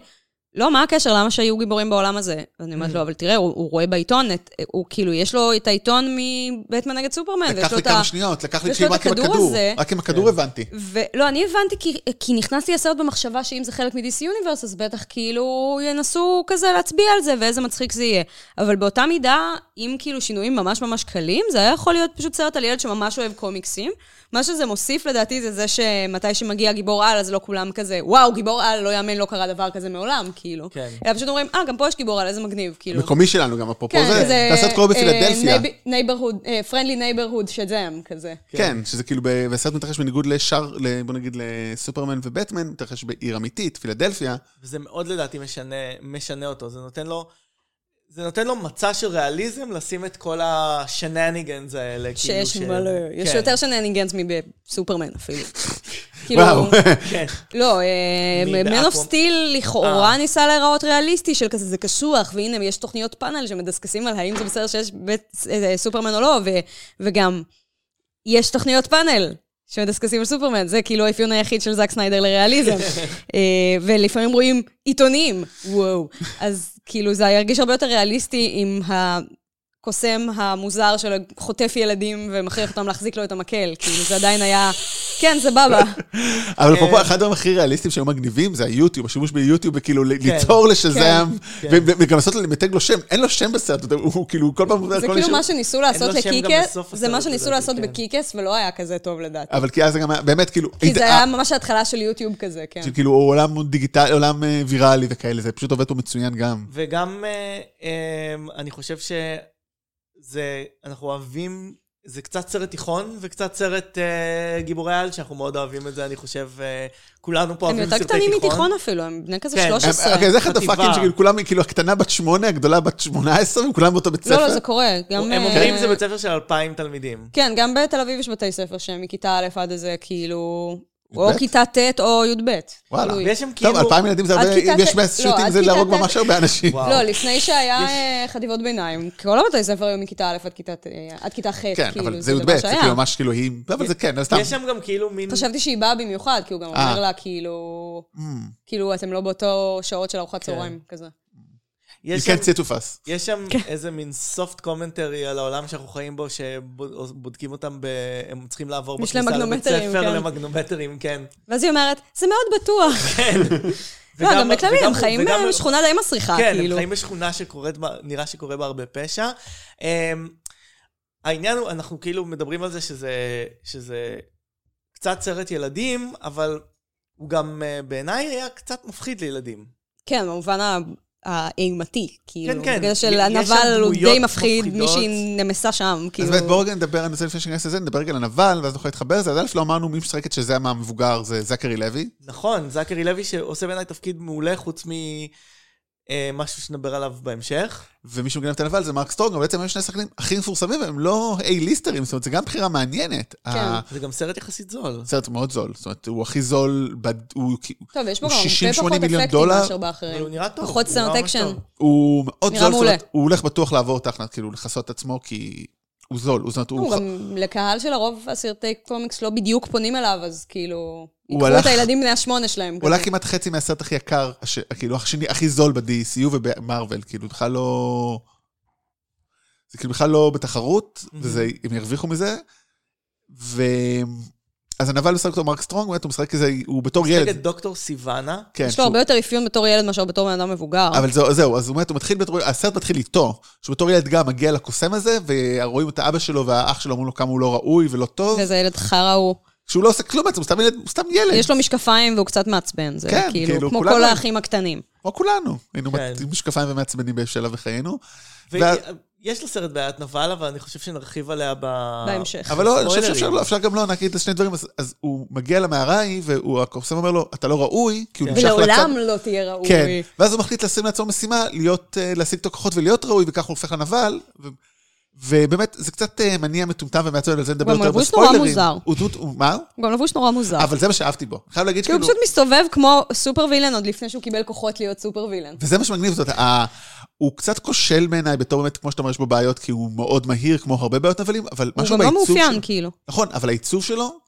Speaker 4: לא, מה הקשר? למה שהיו גיבורים בעולם הזה? ואני
Speaker 2: Mm-hmm.
Speaker 4: אומרת לו, אבל תראה, הוא, הוא רואה בעיתון, את, הוא כאילו, יש לו את העיתון מבטמן נגד סופרמן,
Speaker 2: לקח
Speaker 4: ויש כן, לו
Speaker 2: לי
Speaker 4: את ה...
Speaker 2: כמה שניות, לקח לי
Speaker 4: יש לו
Speaker 2: כאילו רק עם
Speaker 4: את הכדור
Speaker 2: הכדור.
Speaker 4: הזה. כן.
Speaker 2: רק עם הכדור הבנתי.
Speaker 4: ולא, אני הבנתי, כי, כי נכנס לי הסרט במחשבה שאם זה חלק מ-DC Universe, אז בטח כאילו ינסו כזה להצביע על זה, ואיזה מצחיק זה יהיה. אבל באותה מידה, עם כאילו שינויים ממש ממש קלים, זה היה יכול להיות פשוט סרט על ילד שממש אוהב קומיקסים. מה שזה מוסיף לדעתי זה זה שמתי שמגיע גיבור על, אז לא כולם כזה, וואו, גיבור על, לא יאמן, לא קרה דבר כזה מעולם, כאילו.
Speaker 3: כן.
Speaker 4: אלא פשוט אומרים, אה, גם פה יש גיבור על, איזה מגניב, כאילו.
Speaker 2: מקומי שלנו גם, אפרופו
Speaker 4: כן,
Speaker 2: זה.
Speaker 4: כזה,
Speaker 2: לעשות קרוב בפילדלפיה.
Speaker 4: נייברהוד, פרנדלי נייברהוד שג'ם, כזה.
Speaker 2: כן, שזה כאילו, ב- והסרט מתרחש בניגוד לשאר, ל- בוא נגיד לסופרמן ובטמן, מתרחש בעיר אמיתית, פילדלפיה.
Speaker 3: וזה מאוד לדעתי משנה, משנה אותו. זה נותן לו... זה נותן לו מצע של ריאליזם לשים את כל השנניגנס האלה. כאילו,
Speaker 4: שיש
Speaker 3: ש-
Speaker 4: מלא, יש
Speaker 3: כן,
Speaker 4: יותר שנניגנס מבסופרמן אפילו. כאילו,
Speaker 2: וואו.
Speaker 3: כן.
Speaker 4: לא,
Speaker 3: מבאקו"ם.
Speaker 4: מן אוף סטיל לכאורה
Speaker 3: אה.
Speaker 4: ניסה להיראות ריאליסטי של כזה, זה קשוח, והנה, יש תוכניות פאנל שמדסקסים על האם זה בסדר שיש בית אה, סופרמן או לא, ו- וגם יש תוכניות פאנל. שמדסקסים על סופרמן, זה כאילו האפיון היחיד של זאק סניידר לריאליזם. אה, ולפעמים רואים עיתונים, וואו. אז כאילו זה ירגיש הרבה יותר ריאליסטי עם הקוסם המוזר של חוטף ילדים ומכריח אותם להחזיק לו את המקל. כאילו זה עדיין היה, כן, סבבה.
Speaker 2: אבל
Speaker 4: כן.
Speaker 2: אפרופו, אחד הדברים הכי ריאליסטיים שהיו מגניבים זה היוטיוב, השימוש ביוטיוב, וכאילו
Speaker 4: כן.
Speaker 2: ל- ליצור לשזם,
Speaker 3: כן.
Speaker 2: ו- ו- וגם לעשות, למתג לו שם, אין לו שם בסרט, הוא- הוא כאילו כל פעם...
Speaker 4: זה
Speaker 2: כל
Speaker 4: כאילו
Speaker 2: שם.
Speaker 4: מה שניסו לעשות
Speaker 3: לו שם גם
Speaker 4: לקיקס,
Speaker 3: בסוף
Speaker 4: זה מה
Speaker 3: הסרט,
Speaker 4: שניסו
Speaker 3: לדעתי,
Speaker 4: לעשות
Speaker 3: כן. אה,
Speaker 4: בקיקס ולא היה כזה טוב לדעתי.
Speaker 2: אבל כי אז זה גם היה, באמת, כאילו...
Speaker 4: כי זה
Speaker 2: אה,
Speaker 4: היה ממש ההתחלה של יוטיוב כזה, כן.
Speaker 2: שכאילו הוא כאילו, עולם דיגיטלי, עולם אה, ויראלי וכאלה, זה פשוט עובד פה מצוין גם.
Speaker 3: וגם אה, אה, אני חושב שזה, אנחנו אוהבים, זה קצת סרט תיכון וקצת סרט אה, גיבורי על, שאנחנו מאוד אוהבים את זה, אני חושב, אה, כולנו פה
Speaker 4: הם
Speaker 3: אוהבים
Speaker 4: יותר
Speaker 3: סרטי תיכון.
Speaker 4: קטנים מתיכון אפילו, הם בני כזה
Speaker 3: כן.
Speaker 4: 13.
Speaker 2: אוקיי, אז איך
Speaker 3: חטיבה.
Speaker 2: הדפקים שכאילו כולם, כאילו הקטנה בת שמונה, הגדולה בת שמונה עשרה, וכולם באותו בית ספר?
Speaker 4: לא, לא, זה קורה. גם,
Speaker 3: הם
Speaker 4: אה,
Speaker 3: אומרים זה בית ספר של 2,000 תלמידים.
Speaker 4: כן, גם בתל אביב יש בתי ספר שהם מכיתה א' עד איזה, כאילו... או
Speaker 2: י"ב?
Speaker 4: כיתה ט' או י"ב.
Speaker 2: וואלה.
Speaker 4: תלוי.
Speaker 3: ויש שם
Speaker 2: טוב,
Speaker 3: כאילו...
Speaker 2: אלפיים ילדים זה
Speaker 4: עד
Speaker 2: הרבה,
Speaker 4: כיתה
Speaker 2: אם יש
Speaker 4: ט-
Speaker 2: מס
Speaker 4: לא,
Speaker 2: שוטינג
Speaker 4: עד
Speaker 2: זה
Speaker 4: כיתה
Speaker 2: להרוג
Speaker 4: ט-
Speaker 2: ממש הרבה אנשים.
Speaker 3: וואו.
Speaker 4: לא, לפני שהיה
Speaker 3: יש-
Speaker 4: אה, חטיבות ביניים. כל הבתי ספר היו מכיתה א' עד כיתה ט- עד כיתה ח',
Speaker 2: כן,
Speaker 4: כאילו,
Speaker 2: אבל זה
Speaker 4: דבר
Speaker 2: י"ב, זה
Speaker 4: שהיה.
Speaker 2: כאילו ממש כאילו היא... אבל זה כן, אז סתם.
Speaker 3: יש שם גם כאילו מין...
Speaker 4: Mm. חשבתי שהיא באה במיוחד, כי הוא גם
Speaker 2: אה.
Speaker 4: אומר לה, כאילו... כאילו, אתם לא באותו שעות של ארוחת צהריים, כזה.
Speaker 2: You
Speaker 3: יש שם-
Speaker 2: can't sit with us.
Speaker 3: יש שם
Speaker 4: כן.
Speaker 3: איזה מין סופט קומנטרי על העולם שאנחנו חיים בו, שבודקים אותם ב... הם צריכים לעבור
Speaker 4: יש להם
Speaker 3: בכניסה לבית
Speaker 4: מגנומטרים,
Speaker 3: ספר
Speaker 4: כן.
Speaker 3: למגנומטרים, כן.
Speaker 4: ואז היא אומרת, זה מאוד בטוח. לא,
Speaker 3: וגם-
Speaker 4: גם בכללי,
Speaker 3: וגם-
Speaker 4: הם חיים
Speaker 3: וגם- לא.
Speaker 4: בשכונה די מסריחה,
Speaker 3: כן,
Speaker 4: כאילו.
Speaker 3: הם חיים בשכונה שקורית, בה- נראה שקורה בה הרבה פשע. אמ, העניין הוא, אנחנו כאילו מדברים על זה שזה, שזה קצת סרט ילדים, אבל הוא גם אה, בעיניי היה קצת מפחיד לילדים.
Speaker 4: כן, במובן ה- האימתי, כאילו.
Speaker 3: כן, כן.
Speaker 4: בגלל של
Speaker 3: יש- יש שם
Speaker 4: הנבל הוא
Speaker 3: דמויות
Speaker 4: די מפחיד,
Speaker 3: מפחידות.
Speaker 4: מישהי נמסה שם,
Speaker 2: אז
Speaker 4: כאילו.
Speaker 2: באמת, בואו רגע נדבר, אני רוצה לפני שניכנס לזה, נדבר רגע על הנבל, ואז נוכל להתחבר לזה. אז א', לא אמרנו מי משחקת שזה מהמבוגר, זה זכרי לוי.
Speaker 3: נכון, זכרי לוי שעושה בעיניי תפקיד מעולה, חוץ ממשהו שנדבר עליו בהמשך.
Speaker 2: ומי שמגנב את הנבל זה מרק סטרונג, אבל בעצם הם שני שחקנים הכי מפורסמים, והם לא A-ליסטרים, זאת אומרת, זו גם בחירה מעניינת.
Speaker 4: כן.
Speaker 2: ה-
Speaker 3: זה גם סרט יחסית זול.
Speaker 2: סרט מאוד זול, זאת אומרת, הוא הכי זול, בד- הוא כ-
Speaker 4: טוב, יש פה
Speaker 2: הוא
Speaker 4: גם
Speaker 2: 60-80
Speaker 4: הרבה פחות
Speaker 2: מיליון
Speaker 4: אפקטים
Speaker 2: דולר,
Speaker 4: מאשר
Speaker 3: אבל הוא
Speaker 4: באחרים.
Speaker 3: נראה טוב.
Speaker 4: פחות
Speaker 3: הוא נראה
Speaker 4: סאונד
Speaker 3: ממש
Speaker 4: אקשן.
Speaker 3: טוב.
Speaker 2: הוא מאוד
Speaker 4: נראה
Speaker 2: זול, זאת אומרת,
Speaker 4: מעולה.
Speaker 2: הוא הולך בטוח לעבור תחנת, כאילו, לכסות את עצמו, כי הוא זול, הוא זאת אומרת,
Speaker 4: הוא
Speaker 2: הוא...
Speaker 4: גם לקהל שלרוב הסרטי קומיקס לא בדיוק פונים אליו, אז כאילו...
Speaker 2: הוא
Speaker 4: יקחו
Speaker 2: הלך-
Speaker 4: את הילדים בני השמונה שלהם.
Speaker 2: הוא עולה
Speaker 4: כזה.
Speaker 2: כמעט חצי מהסרט הכי יקר, הש- כאילו השני הכי זול ב-DCU ובמרוויל, כאילו בכלל לא... זה כאילו בכלל לא בתחרות, וזה, הם ירוויחו מזה. ו... אז הנבל משחק אותו מרק סטרונג, באמת הוא משחק כזה, הוא בתור
Speaker 3: נגד
Speaker 2: ילד.
Speaker 3: דוקטור סיוונה.
Speaker 2: כן,
Speaker 4: יש לו
Speaker 2: שהוא-
Speaker 4: הרבה יותר אפיון בתור ילד מאשר בתור בן אדם מבוגר.
Speaker 2: אבל זהו, זהו, אז הוא באמת, הוא מתחיל בתור, הסרט מתחיל איתו, שהוא בתור ילד גם מגיע לקוסם הזה, ורואים את האבא שלו והאח שלו אומרים לו כמה הוא לא ראוי ולא טוב,
Speaker 4: ואיזה ילד חרא הוא.
Speaker 2: שהוא לא עושה כלום בעצם, הוא סתם ילד, הוא סתם ילד,
Speaker 4: יש לו משקפיים והוא קצת מעצבן, זה
Speaker 2: כן, כאילו,
Speaker 4: כאילו, כמו
Speaker 2: כולנו-
Speaker 4: כל האחים הקטנים.
Speaker 2: כמו כולנו, היינו
Speaker 3: כן.
Speaker 2: עם משקפיים ומעצבנים בשלב בחיינו. ואז-
Speaker 3: ויש לסרט בעיית נבל, אבל אני חושב שנרחיב עליה ב...
Speaker 4: בהמשך.
Speaker 2: אבל לא, אני חושב
Speaker 3: ספוילרים.
Speaker 2: שאפשר לא, אפשר גם לא, נגיד לשני דברים, אז- אז הוא מגיע למערה ההיא, והקוסם אומר לו, אתה לא ראוי, כי הוא
Speaker 3: כן.
Speaker 2: נמשך לצד...
Speaker 4: ולעולם לא תהיה ראוי.
Speaker 2: כן, ואז הוא מחליט לשים לעצמו משימה, להיות, אה, להשיג את הכוחות ולהיות ראוי, וכך הוא הופך לנבל. ו- ובאמת, זה קצת אה, מניע מטומטם ומעצבן, על זה נדבר
Speaker 4: גם
Speaker 2: יותר
Speaker 4: לבוש נורא
Speaker 2: בספוילרים.
Speaker 4: מוזר.
Speaker 2: הוא דמות, הוא מה?
Speaker 4: הוא גם לבוש נורא מוזר.
Speaker 2: אבל כאילו- זה מה שאהבתי בו. חייב להגיד
Speaker 4: כי הוא
Speaker 2: שכאילו...
Speaker 4: פשוט מסתובב כמו סופר וילן עוד לפני שהוא קיבל כוחות להיות סופר וילן.
Speaker 2: וזה מה שמגניב, זאת אומרת, ה- הוא קצת כושל בעיניי בתור באמת, כמו שאתה אומר, יש בו בעיות, כי הוא מאוד מהיר, כמו הרבה בעיות נבלים, אבל
Speaker 4: הוא
Speaker 2: משהו
Speaker 4: גם
Speaker 2: בעיצוב
Speaker 4: לא
Speaker 2: שלו...
Speaker 4: מאופיין, כאילו.
Speaker 2: נכון, אבל העיצוב שלו,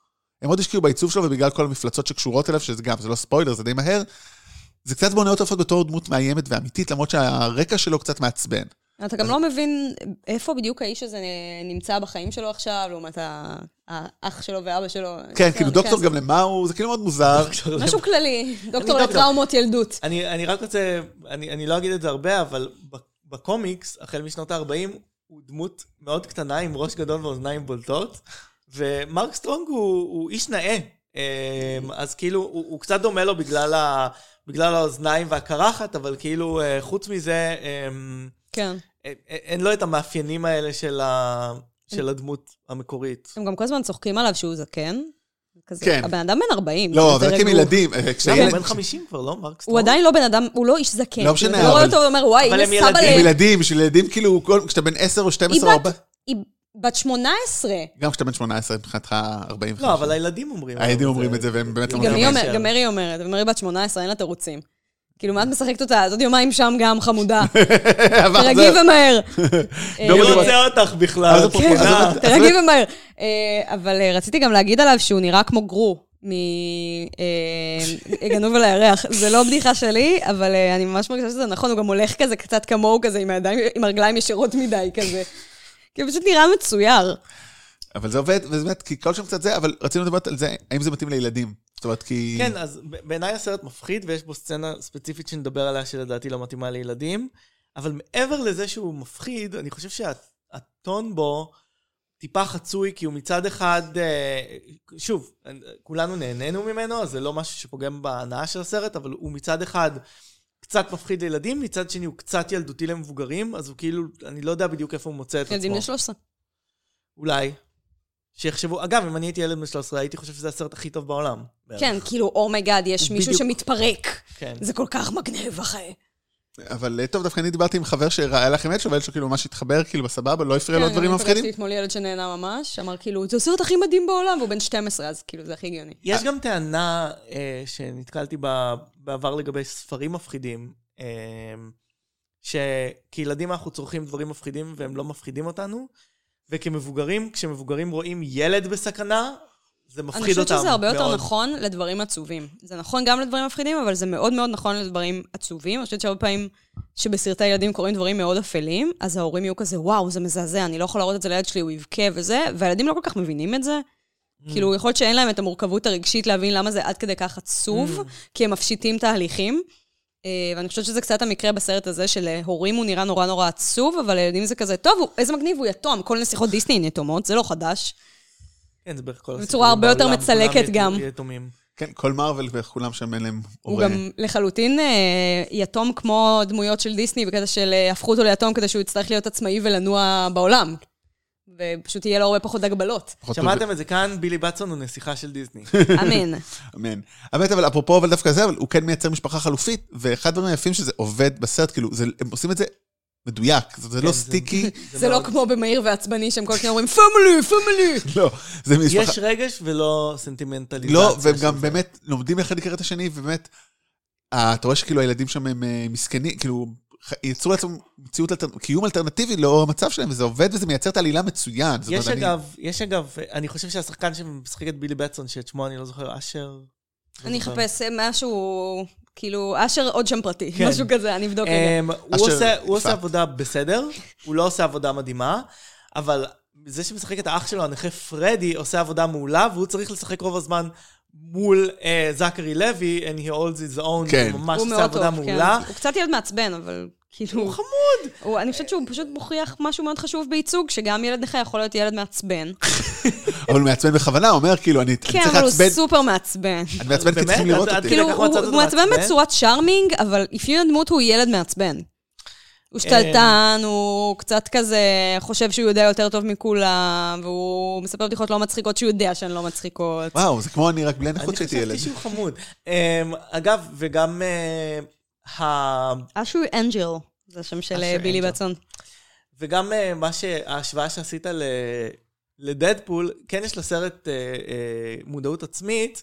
Speaker 2: הם עוד השקיעו בעיצוב שלו, ובגלל כל המפלצות שקשורות אליו, שזה גם, זה לא ספוילר, זה די מהר, זה קצת בונה אותו לפחות בתור דמות מאיימת ואמיתית, למרות שהרקע שלו קצת מעצבן.
Speaker 4: אתה גם לא מבין איפה בדיוק האיש הזה נמצא בחיים שלו עכשיו, לעומת ה- האח שלו ואבא שלו.
Speaker 2: כן, כאילו דוקטור
Speaker 4: כן.
Speaker 2: גם למה הוא, זה כאילו מאוד מוזר.
Speaker 4: משהו כללי, דוקטור
Speaker 3: דוקטור.
Speaker 4: לטראומות ילדות.
Speaker 3: אני, אני רק רוצה, אני, אני לא אגיד את זה הרבה, אבל ב- בקומיקס, החל משנות ה-40, הוא דמות מאוד קטנה עם ראש גדול ואוזניים בולטות, ומרק סטרונג הוא, הוא איש נאה. אמ, אז כאילו, הוא, הוא קצת דומה לו בגלל, ה, בגלל האוזניים והקרחת, אבל כאילו, אה, חוץ מזה, אמ,
Speaker 4: כן.
Speaker 3: אה, אה, אין לו את המאפיינים האלה של, ה, של הדמות המקורית.
Speaker 4: הם גם כל הזמן צוחקים עליו שהוא זקן. כזה,
Speaker 2: כן.
Speaker 4: הבן אדם בן 40.
Speaker 2: לא, אבל
Speaker 4: זה
Speaker 2: רק עם
Speaker 4: דרג הוא-
Speaker 2: ילדים, אה,
Speaker 3: למה, הוא
Speaker 2: כשילד...
Speaker 3: בן 50 כבר, לא? מרק
Speaker 4: הוא
Speaker 3: סטרונג?
Speaker 4: עדיין לא בן אדם, הוא לא איש זקן.
Speaker 2: לא משנה,
Speaker 4: אתה לא רואה
Speaker 2: אבל-
Speaker 4: אותו ואומר, וואי,
Speaker 3: אבל
Speaker 4: הנה
Speaker 3: הם
Speaker 4: סבא
Speaker 3: ילדים,
Speaker 2: עם
Speaker 4: ל...
Speaker 2: ילדים, בשביל ילדים כאילו, כל- כשאתה בן 10 או 12 או
Speaker 4: היא בת-
Speaker 2: 4,
Speaker 4: היא בת 18.
Speaker 2: גם כשאתה בן 18 מבחינתך 40
Speaker 3: לא, אבל הילדים אומרים.
Speaker 2: הילדים אומרים את זה, והם באמת לא
Speaker 4: גם היא
Speaker 2: גם
Speaker 4: אומרת, גם מרי אומרת, מרי בת 18, אין לה תירוצים. כאילו, מה את משחקת אותה? אז עוד יומיים שם גם, חמודה. תרגי ומהר.
Speaker 2: לא
Speaker 3: מי
Speaker 4: אה,
Speaker 2: מדובר.
Speaker 3: רוצה אותך בכלל?
Speaker 2: אז
Speaker 3: כן,
Speaker 2: אוקיי.
Speaker 3: את
Speaker 4: אוקיי,
Speaker 2: אפרופו-
Speaker 3: מבינה?
Speaker 2: אז-
Speaker 4: תרגי ומהר. אה, אבל אה, רציתי גם להגיד עליו שהוא נראה כמו גרו מגנוב על הירח. זה לא בדיחה שלי, אבל אה, אני ממש מרגישה שזה נכון, הוא גם הולך כזה קצת כמוהו כזה, עם הידיים, עם הרגליים ישרות מדי כזה. כי הוא פשוט נראה מצויר.
Speaker 2: אבל זה עובד, וזה באמת, כי כל שם קצת זה, אבל רצינו לדבר על זה, האם זה מתאים לילדים. זאת אומרת, כי...
Speaker 3: כן, אז ב- בעיניי הסרט מפחיד, ויש בו סצנה ספציפית שנדבר עליה שלדעתי לא מתאימה לילדים, אבל מעבר לזה שהוא מפחיד, אני חושב שהטון בו טיפה חצוי, כי הוא מצד אחד, אה, שוב, אה, כולנו נהנינו ממנו, אז זה לא משהו שפוגם בהנאה של הסרט, אבל הוא מצד אחד קצת מפחיד לילדים, מצד שני הוא קצת ילדותי למבוגרים, אז הוא כאילו, אני לא יודע בדיוק איפה הוא מוצא את עצמו.
Speaker 4: ילדים בני 13.
Speaker 3: אולי. שיחשבו, אגב, אם אני הייתי ילד בן 13, הייתי חושב שזה הסרט הכי טוב בעולם.
Speaker 4: כן, כאילו, אומייגאד, יש מישהו
Speaker 3: בדיוק.
Speaker 4: שמתפרק.
Speaker 3: כן.
Speaker 4: זה כל כך מגניב, אחי.
Speaker 2: אבל אה, טוב, דווקא אני דיברתי עם חבר שהיה לכם את שווה, שהוא כאילו ממש התחבר, כאילו בסבבה, לא הפריע לו
Speaker 4: כן,
Speaker 2: דברים
Speaker 4: אני
Speaker 2: מפחידים.
Speaker 4: פגשתי אתמול ילד שנהנה ממש, אמר כאילו, זה הסרט הכי מדהים בעולם, והוא בן 12, אז כאילו, זה הכי הגיוני.
Speaker 3: יש גם טענה אה, שנתקלתי בה בעבר לגבי ספרים מפחידים, אה, שכילדים אנחנו צורכים דברים מפחידים והם לא מפחידים אותנו, וכמבוגרים, כשמבוגרים רואים ילד בסכנה, זה מפחיד אותם
Speaker 4: אני חושבת שזה הרבה יותר
Speaker 3: מאוד.
Speaker 4: נכון לדברים עצובים. זה נכון גם לדברים מפחידים, אבל זה מאוד מאוד נכון לדברים עצובים. אני חושבת שהרבה פעמים שבסרטי ילדים קורים דברים מאוד אפלים, אז ההורים יהיו כזה, וואו, זה מזעזע, אני לא יכול להראות את זה לילד שלי, הוא יבכה וזה, והילדים לא כל כך מבינים את זה.
Speaker 3: Mm.
Speaker 4: כאילו, יכול להיות שאין להם את המורכבות הרגשית להבין למה זה עד כדי כך עצוב,
Speaker 3: Mm.
Speaker 4: כי הם מפשיטים תהליכים. אה, ואני חושבת שזה קצת המקרה בסרט הזה של אה, הורים הוא נראה נורא נורא עצוב, אבל לילדים זה כזה, טוב, הוא- איזה מגניב, הוא יתום, כל נסיכות דיסני הן יתומות, זה לא חדש.
Speaker 3: כן, זה בערך כל
Speaker 4: בצורה
Speaker 3: הסיפורים
Speaker 4: הרבה יותר
Speaker 3: בעולם,
Speaker 4: מצלקת
Speaker 3: כולם ית-
Speaker 4: גם.
Speaker 3: יתומים.
Speaker 2: כן, כל מארוול ואיך כולם שם אין להם
Speaker 4: הוא
Speaker 2: הורה.
Speaker 4: גם לחלוטין אה, יתום כמו דמויות של דיסני, בקטע של אה, הפכו אותו ליתום כדי שהוא יצטרך להיות עצמאי ולנוע בעולם. ופשוט יהיה לו הרבה פחות הגבלות.
Speaker 2: פחות טוב.
Speaker 3: שמעתם את זה כאן, בילי בטסון הוא נסיכה של דיסני.
Speaker 4: אמן.
Speaker 2: אמן. האמת, אבל אפרופו, אבל דווקא זה, אבל הוא כן מייצר משפחה חלופית, ואחד הדברים היפים שזה עובד בסרט, כאילו, זה- הם עושים את זה מדויק, זה- זה לא
Speaker 3: זה-
Speaker 2: סטיקי,
Speaker 4: זה לא
Speaker 3: מאוד-
Speaker 4: כמו במהיר ועצבני, שהם כל הזמן אומרים, פמילי, פמילי.
Speaker 2: לא, זה משפחה...
Speaker 3: יש רגש ולא סנטימנטליזציה.
Speaker 2: לא, והם
Speaker 3: של
Speaker 2: גם
Speaker 3: זה.
Speaker 2: באמת לומדים אחד לקראת השני, ובאמת, אה, אתה רואה שכאילו הילדים שם הם אה, מסכנים, כאילו, ח- יצרו לעצמם מציאות, אלטר- קיום אלטרנטיבי לאור המצב שלהם, וזה עובד וזה מייצר את העלילה מצוין. זאת
Speaker 3: יש
Speaker 2: אומרת, אני-
Speaker 3: אגב, יש אגב, אני חושב שהשחקן שמשחק את בילי בטסון, שאת שמו אני לא זוכר, אשר? לא
Speaker 4: אני
Speaker 3: זוכר.
Speaker 4: אחפש אה, משהו, כאילו, אשר עוד שם פרטי,
Speaker 3: כן.
Speaker 4: משהו כזה, אני אבדוק רגע.
Speaker 3: אמ, הוא
Speaker 2: אשר,
Speaker 3: עושה- הוא
Speaker 2: יפעת.
Speaker 3: עושה עבודה בסדר, הוא לא עושה עבודה מדהימה, אבל זה שמשחק את האח שלו, הנכה פרדי, עושה עבודה מעולה, והוא צריך לשחק רוב הזמן מול אה, זכרי לוי, and he holds his own,
Speaker 2: כן.
Speaker 3: הוא ממש
Speaker 4: הוא
Speaker 3: עושה
Speaker 4: מאוד
Speaker 3: עבודה
Speaker 4: טוב, כן.
Speaker 3: מעולה.
Speaker 4: הוא קצת ילד מעצבן, אבל כאילו...
Speaker 3: הוא
Speaker 4: הוא- אני חושבת שהוא פשוט מוכיח משהו מאוד חשוב בייצוג, שגם ילד נכה יכול להיות ילד מעצבן.
Speaker 2: אבל הוא מעצבן בכוונה, הוא אומר, כאילו, אני אני
Speaker 4: כן,
Speaker 2: צריך
Speaker 4: אבל הוא
Speaker 2: לעצבן,
Speaker 4: סופר מעצבן.
Speaker 2: אני מעצבן כי
Speaker 3: באמת?
Speaker 2: צריכים לראות
Speaker 3: אז-
Speaker 2: אותי.
Speaker 3: אז-
Speaker 4: כאילו,
Speaker 3: ככה
Speaker 4: הוא
Speaker 3: מצאת אותו
Speaker 4: הוא מעצבן
Speaker 3: מעצבן?
Speaker 4: בצורה צ'ארמינג, אבל אפיון הדמות הוא ילד מעצבן.
Speaker 3: אה,
Speaker 4: הוא שתלטן, הוא קצת כזה חושב שהוא יודע יותר טוב מכולם, והוא מספר בדיחות לא מצחיקות שהוא יודע שהן לא מצחיקות.
Speaker 2: וואו, זה כמו אני רק בלי הנכות שהייתי
Speaker 3: אני
Speaker 2: ילד.
Speaker 3: חשבתי שהוא חמוד. אמ, אגב, וגם אה, ה...
Speaker 4: אשו אנג'ל, זה השם של
Speaker 3: אשר
Speaker 4: אה, בילי
Speaker 3: אנג'ל.
Speaker 4: בצון.
Speaker 3: וגם אה, מה שההשוואה שעשית ל... לדדפול, כן יש לסרט אה, אה, מודעות עצמית,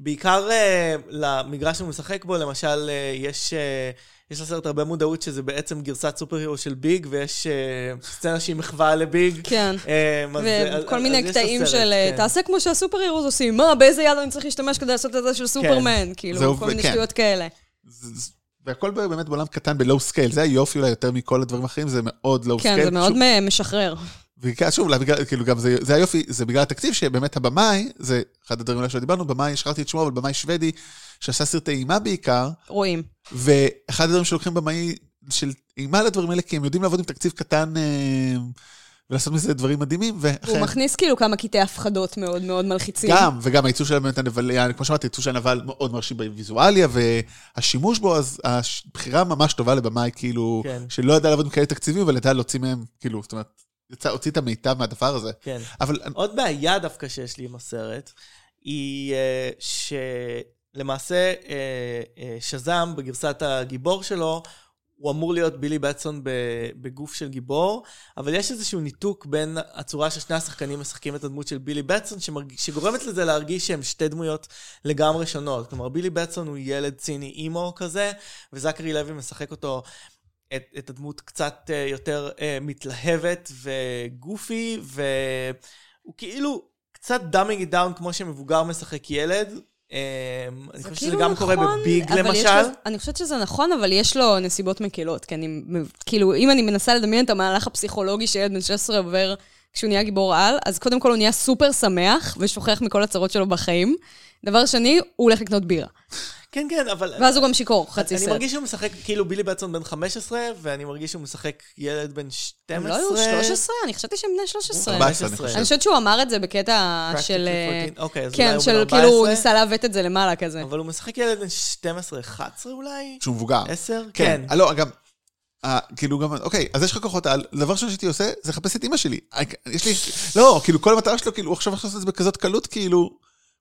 Speaker 3: בעיקר אה, למגרש שהוא משחק בו, למשל, אה, יש, אה, יש לסרט הרבה מודעות שזה בעצם גרסת סופר-הירו של ביג, ויש אה, סצנה שהיא מחווה לביג.
Speaker 4: כן.
Speaker 3: אה, אז- אז-
Speaker 4: וכל
Speaker 3: אז יש
Speaker 4: מיני
Speaker 3: לו
Speaker 4: קטעים
Speaker 3: סרט,
Speaker 4: של אה,
Speaker 3: כן.
Speaker 4: תעשה כמו שהסופר הירוס עושים, מה, באיזה יד אני צריך להשתמש כדי לעשות את
Speaker 3: כן.
Speaker 4: זה של סופרמן?
Speaker 2: זהו,
Speaker 4: כאילו, כל מיני
Speaker 2: כן.
Speaker 4: שטויות כאלה.
Speaker 2: זה- זה- והכל באמת בעולם קטן, בלואו סקייל. זה היופי אולי יותר מכל הדברים האחרים, זה מאוד לואו סקייל.
Speaker 4: כן, זה מאוד מ- משחרר.
Speaker 2: וכן, שוב, אולי בגלל- כאילו גם זה, זה היופי, זה בגלל התקציב, שבאמת הבמאי, זה אחד הדברים האלה שדיברנו, במאי, שכחתי את שמו, אבל במאי שוודי, שעשה סרטי אימה בעיקר,
Speaker 4: רואים.
Speaker 2: ואחד הדברים שלוקחים במאי של אימה לדברים האלה, כי הם יודעים לעבוד עם תקציב קטן אה, ולעשות מזה דברים מדהימים,
Speaker 4: הוא
Speaker 2: ואכן,
Speaker 4: מכניס כאילו כמה קטעי הפחדות מאוד מאוד מלחיצים.
Speaker 2: גם, וגם הייצוא של באמת הנבל, יעני, כמו שאמרתי, הייצוא של הנבל מאוד מרשים בוויזואליה, והשימוש בו, אז הבחירה ממש טובה לבמאי, כאילו,
Speaker 3: כן.
Speaker 2: שלא ידע לעבוד עם כאלה תקציבים, אבל ידע להוציא מהם, כאילו, זאת אומרת, יצא, הוציא את המיטב מהדבר הזה.
Speaker 3: כן.
Speaker 2: אבל
Speaker 3: עוד בעיה דווקא שיש לי עם הסרט, היא אה, שלמעשה אה, אה, שזאם בגרסת הגיבור שלו, הוא אמור להיות בילי בטסון ב- בגוף של גיבור, אבל יש איזשהו ניתוק בין הצורה ששני השחקנים משחקים את הדמות של בילי בטסון, שמרג... שגורמת לזה להרגיש שהם שתי דמויות לגמרי שונות. כלומר, בילי בטסון הוא ילד ציני אימו כזה, וזכרי לוי משחק אותו את, את הדמות קצת אה, יותר אה, מתלהבת וגופי, והוא כאילו קצת דאמינג איט דאון כמו שמבוגר משחק ילד. אה, אני חושב שזה
Speaker 4: כאילו
Speaker 3: גם קורה
Speaker 4: נכון,
Speaker 3: בביג
Speaker 4: אבל יש
Speaker 3: למשל.
Speaker 4: לו- אני חושבת שזה נכון, אבל יש לו נסיבות מקלות. כי אני, מ- כאילו, אם אני מנסה לדמיין את המהלך הפסיכולוגי שילד בן 16 עובר כשהוא נהיה גיבור על, אז קודם כל הוא נהיה סופר שמח ושוכח מכל הצרות שלו בחיים. דבר שני, הוא הולך לקנות בירה.
Speaker 3: כן, כן, אבל...
Speaker 4: ואז הוא גם שיכור, חצי
Speaker 3: אני
Speaker 4: סרט.
Speaker 3: מרגיש שהוא משחק, כאילו בילי בטסון בן 15, ואני מרגיש שהוא משחק ילד בן 12.
Speaker 4: הם לא היו 13? אני חשבתי שהם בני 13.
Speaker 2: 14, אני חושב.
Speaker 4: אני חושבת שהוא אמר את זה בקטע של... אה,
Speaker 3: אוקיי, אז אולי
Speaker 4: כן,
Speaker 3: הוא
Speaker 4: של
Speaker 3: בן
Speaker 4: כאילו הוא
Speaker 3: 14,
Speaker 4: ניסה לעוות את זה למעלה כזה.
Speaker 3: אבל הוא משחק ילד בן 12-11 אולי?
Speaker 2: שהוא מבוגר.
Speaker 3: 10?
Speaker 2: כן.
Speaker 3: כן.
Speaker 2: אה, לא, גם... אה, כאילו גם, אוקיי, אז יש לך כוחות על, דבר ראשון שהייתי עושה, זה לחפש את אימא שלי. אה, יש לי, לא, כאילו, כל המטרה שלו, כאילו, הוא עכשיו עושה את זה בכזאת קלות, כאילו,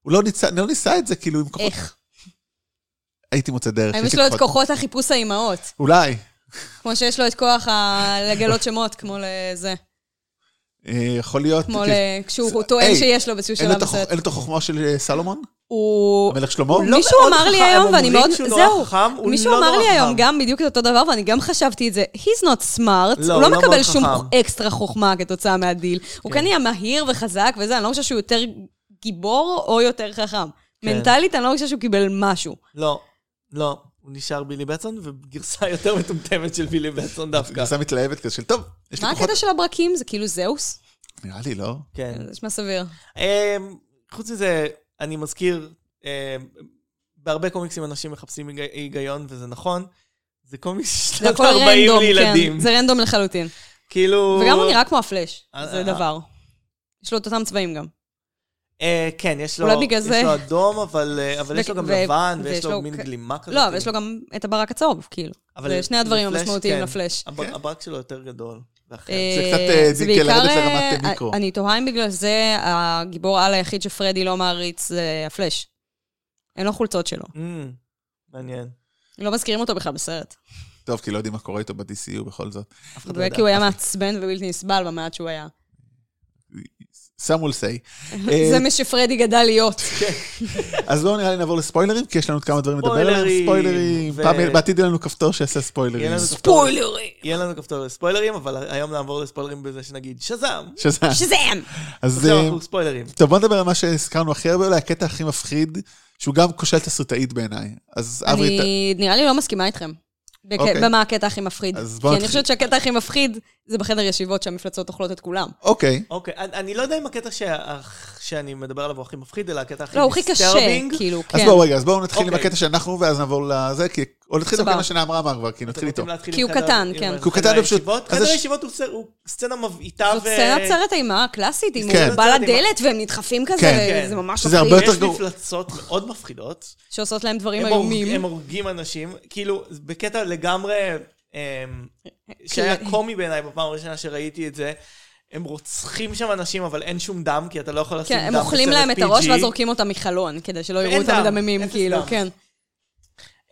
Speaker 2: הוא לא ניסה, לא ניסה את זה, כאילו, עם כוחות.
Speaker 4: איך?
Speaker 2: הייתי מוצא דרך,
Speaker 4: האם
Speaker 2: יש
Speaker 4: יש
Speaker 2: לי
Speaker 4: לו את כוחות החיפוש האימהות?
Speaker 2: אולי.
Speaker 4: כמו שיש לו את כוח ה- לגלות שמות, כמו לזה.
Speaker 2: אה, יכול להיות.
Speaker 4: כמו
Speaker 2: כי-
Speaker 4: ל- כשהוא טוען
Speaker 2: היי,
Speaker 4: שיש לו באיזשהו
Speaker 2: אין לו
Speaker 4: שלב
Speaker 2: את החוכ-
Speaker 4: בסרט.
Speaker 2: אין לו את החוכמה של אה, סלומון?
Speaker 4: הוא...
Speaker 2: המלך שלמה?
Speaker 4: הוא לא מישהו
Speaker 3: מאוד
Speaker 4: אמר לי
Speaker 3: חכם,
Speaker 4: היום,
Speaker 3: הם
Speaker 4: ואני
Speaker 3: אומרים
Speaker 4: מאוד...
Speaker 3: שהוא נורא
Speaker 4: זהו,
Speaker 3: חכם, הוא
Speaker 4: מישהו
Speaker 3: לא
Speaker 4: אמר
Speaker 3: נורא
Speaker 4: לי היום
Speaker 3: חכם.
Speaker 4: גם בדיוק את אותו דבר, ואני גם חשבתי את זה. He's not smart,
Speaker 3: לא,
Speaker 4: הוא לא
Speaker 3: הוא לא
Speaker 4: מקבל
Speaker 3: מאוד
Speaker 4: שום
Speaker 3: חכם.
Speaker 4: אקסטרה חוכמה כתוצאה מהדיל. הוא כן נהיה מהיר וחזק וזה, אני לא חושבת שהוא יותר גיבור או יותר חכם.
Speaker 3: כן.
Speaker 4: מנטלית, אני לא חושבת שהוא קיבל משהו.
Speaker 3: לא, לא. הוא נשאר בילי בטסון, וגרסה יותר מטומטמת של בילי בטסון דווקא.
Speaker 2: גרסה מתלהבת כזה של, טוב, יש לי
Speaker 4: מה
Speaker 2: כוחות.
Speaker 4: הקטע של הברקים? זה כאילו זהוס?
Speaker 2: נראה לי, לא?
Speaker 3: כן.
Speaker 4: זה נשמע סביר.
Speaker 3: אמ, חוץ מזה, אני מזכיר, אמ, בהרבה קומיקסים אנשים מחפשים היג- היגיון, וזה נכון. זה קומיקס
Speaker 4: זה
Speaker 3: שנת
Speaker 4: הכל
Speaker 3: 40
Speaker 4: רנדום,
Speaker 3: לילדים.
Speaker 4: כן. זה רנדום לחלוטין.
Speaker 3: כאילו...
Speaker 4: וגם הוא נראה כמו הפלאש,
Speaker 3: אה,
Speaker 4: זה
Speaker 3: אה.
Speaker 4: דבר. יש לו את אותם צבעים גם.
Speaker 3: אה, כן, יש לו,
Speaker 4: אולי בגלל
Speaker 3: יש
Speaker 4: זה.
Speaker 3: לו אדום, אבל, אה, אבל יש לו גם
Speaker 4: ו-
Speaker 3: לבן, ויש
Speaker 4: ויש
Speaker 3: לו
Speaker 4: לו
Speaker 3: מין
Speaker 4: כ-
Speaker 3: גלימה כזאת.
Speaker 4: לא, אבל יש לו גם את הברק הצהוב, כאילו.
Speaker 3: אבל
Speaker 4: זה שני הדברים
Speaker 3: לפלאש,
Speaker 4: המשמעותיים
Speaker 3: כן.
Speaker 4: לפלאש.
Speaker 3: הב- הברק שלו יותר גדול. ואחר.
Speaker 2: זה קצת, אה,
Speaker 4: זה
Speaker 2: דיקל לרדת
Speaker 4: בעיקר,
Speaker 2: לרמת
Speaker 4: אה,
Speaker 2: מיקרו.
Speaker 4: אני תוהה אם בגלל זה הגיבור על היחיד שפרדי לא מעריץ זה הפלאש. אין לו חולצות שלו.
Speaker 3: אמ, מעניין.
Speaker 4: לא מזכירים אותו בכלל בסרט.
Speaker 2: טוב, כי לא יודעים מה קורה איתו ב-DCU בכל זאת.
Speaker 3: אף אחד לא יודע.
Speaker 4: כי הוא היה מעצבן ובלתי נסבל במעט שהוא היה.
Speaker 2: Some will say. אה,
Speaker 4: זה מה שפרדי גדל להיות.
Speaker 2: כן, אז לא נראה לי נעבור לספוילרים, כי יש לנו עוד כמה דברים לדבר עליהם.
Speaker 3: ספוילרים,
Speaker 2: ספוילרים.
Speaker 3: ו-
Speaker 2: פעם יהיה- בעתיד יהיה לנו כפתור שיעשה ספוילרים.
Speaker 3: יהיה לנו כפתור-
Speaker 4: ספוילרים!
Speaker 3: יהיה לנו כפתור לספוילרים, אבל היום נעבור לספוילרים בזה שנגיד שזאם.
Speaker 2: שזה...
Speaker 4: שזם!
Speaker 2: אז
Speaker 3: עכשיו
Speaker 2: אה,
Speaker 3: אנחנו ספוילרים.
Speaker 2: טוב, בוא נדבר על מה שהזכרנו הכי הרבה, אולי הקטע הכי מפחיד, שהוא גם כושל תסריטאית בעיניי. אז אברי, ת-
Speaker 4: אני נראה לי לא מסכימה איתכם. בכ-
Speaker 2: אוקיי.
Speaker 4: במה הקטע הכי מפחיד.
Speaker 2: אז בוא
Speaker 4: כי אני
Speaker 2: נתחיל.
Speaker 4: חושבת שהקטע הכי מפחיד זה בחדר ישיבות שהמפלצות אוכלות את כולם.
Speaker 2: אוקיי,
Speaker 3: אוקיי, אני- אני לא יודע אם הקטע שה- שאני מדבר עליו הוא הכי מפחיד, אלא הקטע הכי
Speaker 4: לא, הוא הכי קשה,
Speaker 3: disturbing.
Speaker 4: כאילו, כן.
Speaker 2: אז בואו רגע, אז בואו נתחיל עם
Speaker 3: אוקיי.
Speaker 2: הקטע שאנחנו, ואז נעבור לזה, כי... או נתחיל דווקא
Speaker 4: סבבה.
Speaker 2: עם מה שנעמרה אמר כבר, כי
Speaker 3: אתם
Speaker 2: נתחיל איתו.
Speaker 3: רוצים להתחיל
Speaker 4: כי
Speaker 3: עם
Speaker 4: הוא
Speaker 3: חדר-
Speaker 4: קטן,
Speaker 3: עם
Speaker 4: כן.
Speaker 3: חדר
Speaker 2: כי הוא קטן ופשוט-
Speaker 3: הישיבות?
Speaker 2: אז
Speaker 3: חדר
Speaker 2: יש-
Speaker 3: הישיבות הוא סר- הוא סצנה מבעיטה ו...
Speaker 4: זאת סצנת סרט האימה הקלאסית, אם הוא
Speaker 2: אה, כן.
Speaker 4: בא לדלת והם נדחפים
Speaker 2: כן.
Speaker 4: כזה, זה ממש
Speaker 2: שזה הרבה
Speaker 4: מפחיד.
Speaker 2: לא יותר
Speaker 3: יש
Speaker 2: גרוע.
Speaker 3: מפלצות מאוד מפחידות.
Speaker 4: שעושות להם דברים
Speaker 3: הם, הורג,
Speaker 4: איומים.
Speaker 3: הם הורגים אנשים, כאילו, בקטע לגמרי, אמ,
Speaker 4: כן.
Speaker 3: שהיה קומי בעיניי בפעם הראשונה שראיתי את זה, הם רוצחים שם אנשים, אבל אין שום דם, כי אתה לא יכול לשים
Speaker 4: כן,
Speaker 3: דם
Speaker 4: הם אוכלים להם את
Speaker 3: בסרט
Speaker 4: הראש
Speaker 3: PG.
Speaker 4: ואז זורקים אותם מחלון, כדי שלא
Speaker 3: אין
Speaker 4: יראו אותם כאילו, כן.
Speaker 3: דם,
Speaker 4: מדממים,
Speaker 3: אפס
Speaker 4: כאילו,
Speaker 3: דם.
Speaker 4: כן.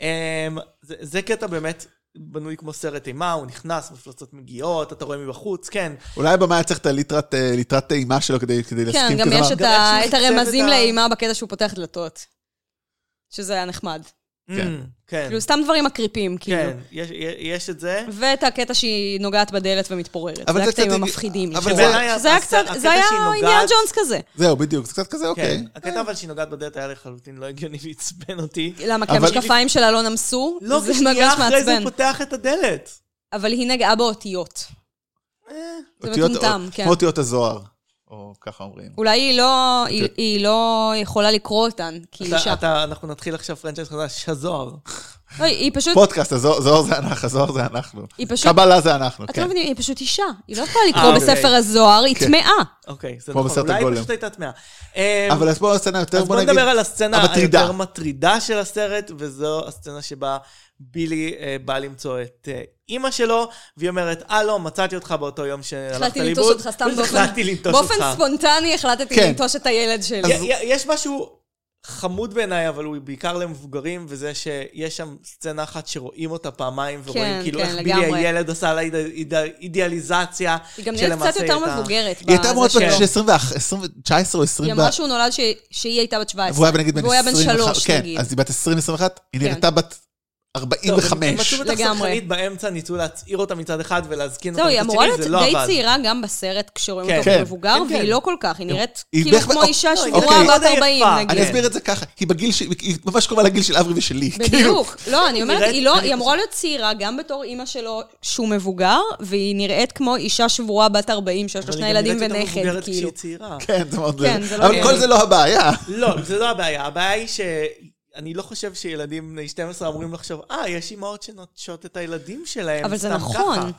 Speaker 3: אמ, זה, זה קטע באמת בנוי כמו סרט אימה, הוא נכנס, מפלצות מגיעות, אתה רואה מבחוץ, כן.
Speaker 2: אולי הבמאי היה צריך את הליטרת אה, ליטרת אימה שלו כדי כדי
Speaker 4: כן,
Speaker 2: להסכים
Speaker 4: גם
Speaker 2: כזה
Speaker 4: יש
Speaker 2: דבר.
Speaker 4: את
Speaker 3: גם
Speaker 4: ה-
Speaker 3: איך
Speaker 4: את
Speaker 3: שהוא מתקצב
Speaker 4: הרמזים
Speaker 3: את ה-
Speaker 4: לאימה בקטע שהוא פותח דלתות. שזה היה נחמד.
Speaker 2: כן.
Speaker 3: Mm, כן,
Speaker 4: כאילו, סתם דברים מקריפים, כאילו.
Speaker 3: כן, יש- יש את זה.
Speaker 4: ואת הקטע שהיא נוגעת בדלת ומתפוררת.
Speaker 2: אבל
Speaker 4: זה
Speaker 2: זה
Speaker 4: הקטעים
Speaker 2: קצת-
Speaker 4: המפחידים. לי.
Speaker 2: אבל
Speaker 4: שזה-
Speaker 3: בעיניי
Speaker 4: זה היה
Speaker 3: הסצנה-
Speaker 4: קצת,
Speaker 3: הקטע
Speaker 4: זה היה
Speaker 3: שהיא נוגעת-
Speaker 4: עניין ג'ונס כזה.
Speaker 2: זהו, בדיוק, זה קצת כזה,
Speaker 3: כן.
Speaker 2: אוקיי.
Speaker 3: הקטע אבל שהיא נוגעת בדלת היה לחלוטין לא הגיוני ועצבן אותי.
Speaker 4: למה? כי
Speaker 2: אבל-
Speaker 4: המשקפיים שלה לא נמסו?
Speaker 3: לא,
Speaker 4: זה
Speaker 3: כי שנייה
Speaker 4: ממש
Speaker 3: אחרי זה
Speaker 4: מעצבן.
Speaker 3: הוא פותח את הדלת.
Speaker 4: אבל היא נגעה באותיות. זה
Speaker 2: אותיות-
Speaker 4: מטומטם,
Speaker 2: או-
Speaker 4: כן.
Speaker 2: כמו אותיות הזוהר, או ככה אומרים.
Speaker 4: אולי היא לא, היא,
Speaker 2: אוקיי.
Speaker 4: היא לא יכולה לקרוא אותן, כי היא
Speaker 3: אתה-
Speaker 4: אישה.
Speaker 3: אתה- אנחנו נתחיל עכשיו פרנצ'ייז חדש, הזוהר.
Speaker 4: לא, היא היא פשוט,
Speaker 2: פודקאסט, הזוה- הזוהר זה אנחנו, הזוהר זה אנחנו.
Speaker 4: היא פשוט,
Speaker 2: קבלה זה אנחנו,
Speaker 4: אתם לא
Speaker 2: כן.
Speaker 4: מבינים, היא פשוט אישה. היא לא יכולה
Speaker 3: אה,
Speaker 4: לקרוא
Speaker 3: אוקיי.
Speaker 4: בספר הזוהר, היא
Speaker 2: כן.
Speaker 4: טמאה.
Speaker 3: אוקיי, זה
Speaker 2: כמו
Speaker 3: נכון,
Speaker 2: בסרט
Speaker 3: אולי היא
Speaker 2: הגולם.
Speaker 3: פשוט הייתה טמאה. אמ,
Speaker 2: אבל אז פה הסצנה יותר,
Speaker 3: אז
Speaker 2: בוא
Speaker 3: בוא
Speaker 2: נגיד,
Speaker 3: נדבר על הסצנה
Speaker 2: המטרידה.
Speaker 3: היותר מטרידה של הסרט, וזו הסצנה שבה בילי אה, בא למצוא את אה, אימא שלו, והיא אומרת, הלו, מצאתי אותך באותו יום שהלכת
Speaker 4: החלטתי
Speaker 3: לאיבוד.
Speaker 4: לנטוש אותך סתם באופן-
Speaker 3: החלטתי לנטוש אותך.
Speaker 4: באופן ספונטני החלטתי
Speaker 2: כן.
Speaker 4: לנטוש את הילד שלי.
Speaker 3: י- י- יש משהו חמוד בעיניי, אבל הוא בעיקר למבוגרים, וזה שיש שם סצנה אחת שרואים אותה פעמיים, ורואים
Speaker 4: כן,
Speaker 3: כאילו
Speaker 4: כן,
Speaker 3: איך בילי
Speaker 4: לגמרי.
Speaker 3: הילד עשה לה איד- איד- אידיאליזציה.
Speaker 4: היא גם נהיית
Speaker 3: שלמעשה
Speaker 4: קצת יותר
Speaker 3: אה. הייתה-
Speaker 4: מבוגרת.
Speaker 2: היא הייתה
Speaker 4: בזה
Speaker 2: אמורה להיות
Speaker 4: שלו.
Speaker 2: בת 21, 20, 19 או
Speaker 4: היא
Speaker 2: 20,
Speaker 4: אמרה שהוא נולד ש- שהיא הייתה בת 17.
Speaker 2: והוא היה נגיד בן 20,
Speaker 4: והוא היה בן 3,
Speaker 2: כן,
Speaker 4: נגיד.
Speaker 2: אז היא בת 20, 21, היא
Speaker 4: כן.
Speaker 2: נראתה בת
Speaker 3: טוב, הם
Speaker 2: 45.
Speaker 3: מצאו אותך
Speaker 4: לגמרי.
Speaker 3: סלחנית באמצע, ניסו להצעיר אותה מצד אחד ולהזקין אותה
Speaker 4: זהו, היא
Speaker 3: מצד
Speaker 4: אמורה
Speaker 3: שני, זה
Speaker 4: להיות
Speaker 3: לא
Speaker 4: די
Speaker 3: עבד.
Speaker 4: צעירה גם בסרט כשרואים
Speaker 3: כן.
Speaker 4: אותו
Speaker 2: כן.
Speaker 4: כמבוגר,
Speaker 3: כן, כן.
Speaker 4: והיא לא כל כך, היא נראית
Speaker 2: היא
Speaker 4: כאילו
Speaker 2: בערך-
Speaker 4: כמו
Speaker 2: אוקיי.
Speaker 4: אישה
Speaker 3: לא, היא
Speaker 4: שבורה
Speaker 2: מאוד
Speaker 4: בת 40,
Speaker 3: יפה.
Speaker 4: נגיד.
Speaker 2: אני אסביר את זה ככה, היא בגיל, ש- היא ממש קרובה לגיל של אברי ושלי. כאילו.
Speaker 4: בדיוק. לא, אני אומרת,
Speaker 3: נראית-
Speaker 4: היא לא,
Speaker 3: אני
Speaker 4: היא אמורה להיות צעירה גם בתור אימא שלו שהוא מבוגר, והיא נראית כמו אישה שבורה בת 40 שיש
Speaker 3: אבל
Speaker 4: לה
Speaker 3: היא
Speaker 4: שני
Speaker 3: גם
Speaker 4: ילדים
Speaker 3: נראית יותר
Speaker 4: ונכד,
Speaker 3: מבוגרת
Speaker 4: כאילו.
Speaker 3: כשהיא צעירה.
Speaker 2: כן, זה מאוד...
Speaker 4: כן, זה לא
Speaker 2: אבל
Speaker 4: נראה.
Speaker 2: כל זה לא הבעיה.
Speaker 3: לא, זה לא הבעיה. הבעיה היא שאני לא חושב שילדים בני 12 אמורים לחשוב, אה, יש אימהות שנוטשות את הילדים שלהם
Speaker 4: אבל זה
Speaker 3: סתם
Speaker 4: נכון.
Speaker 3: ככה."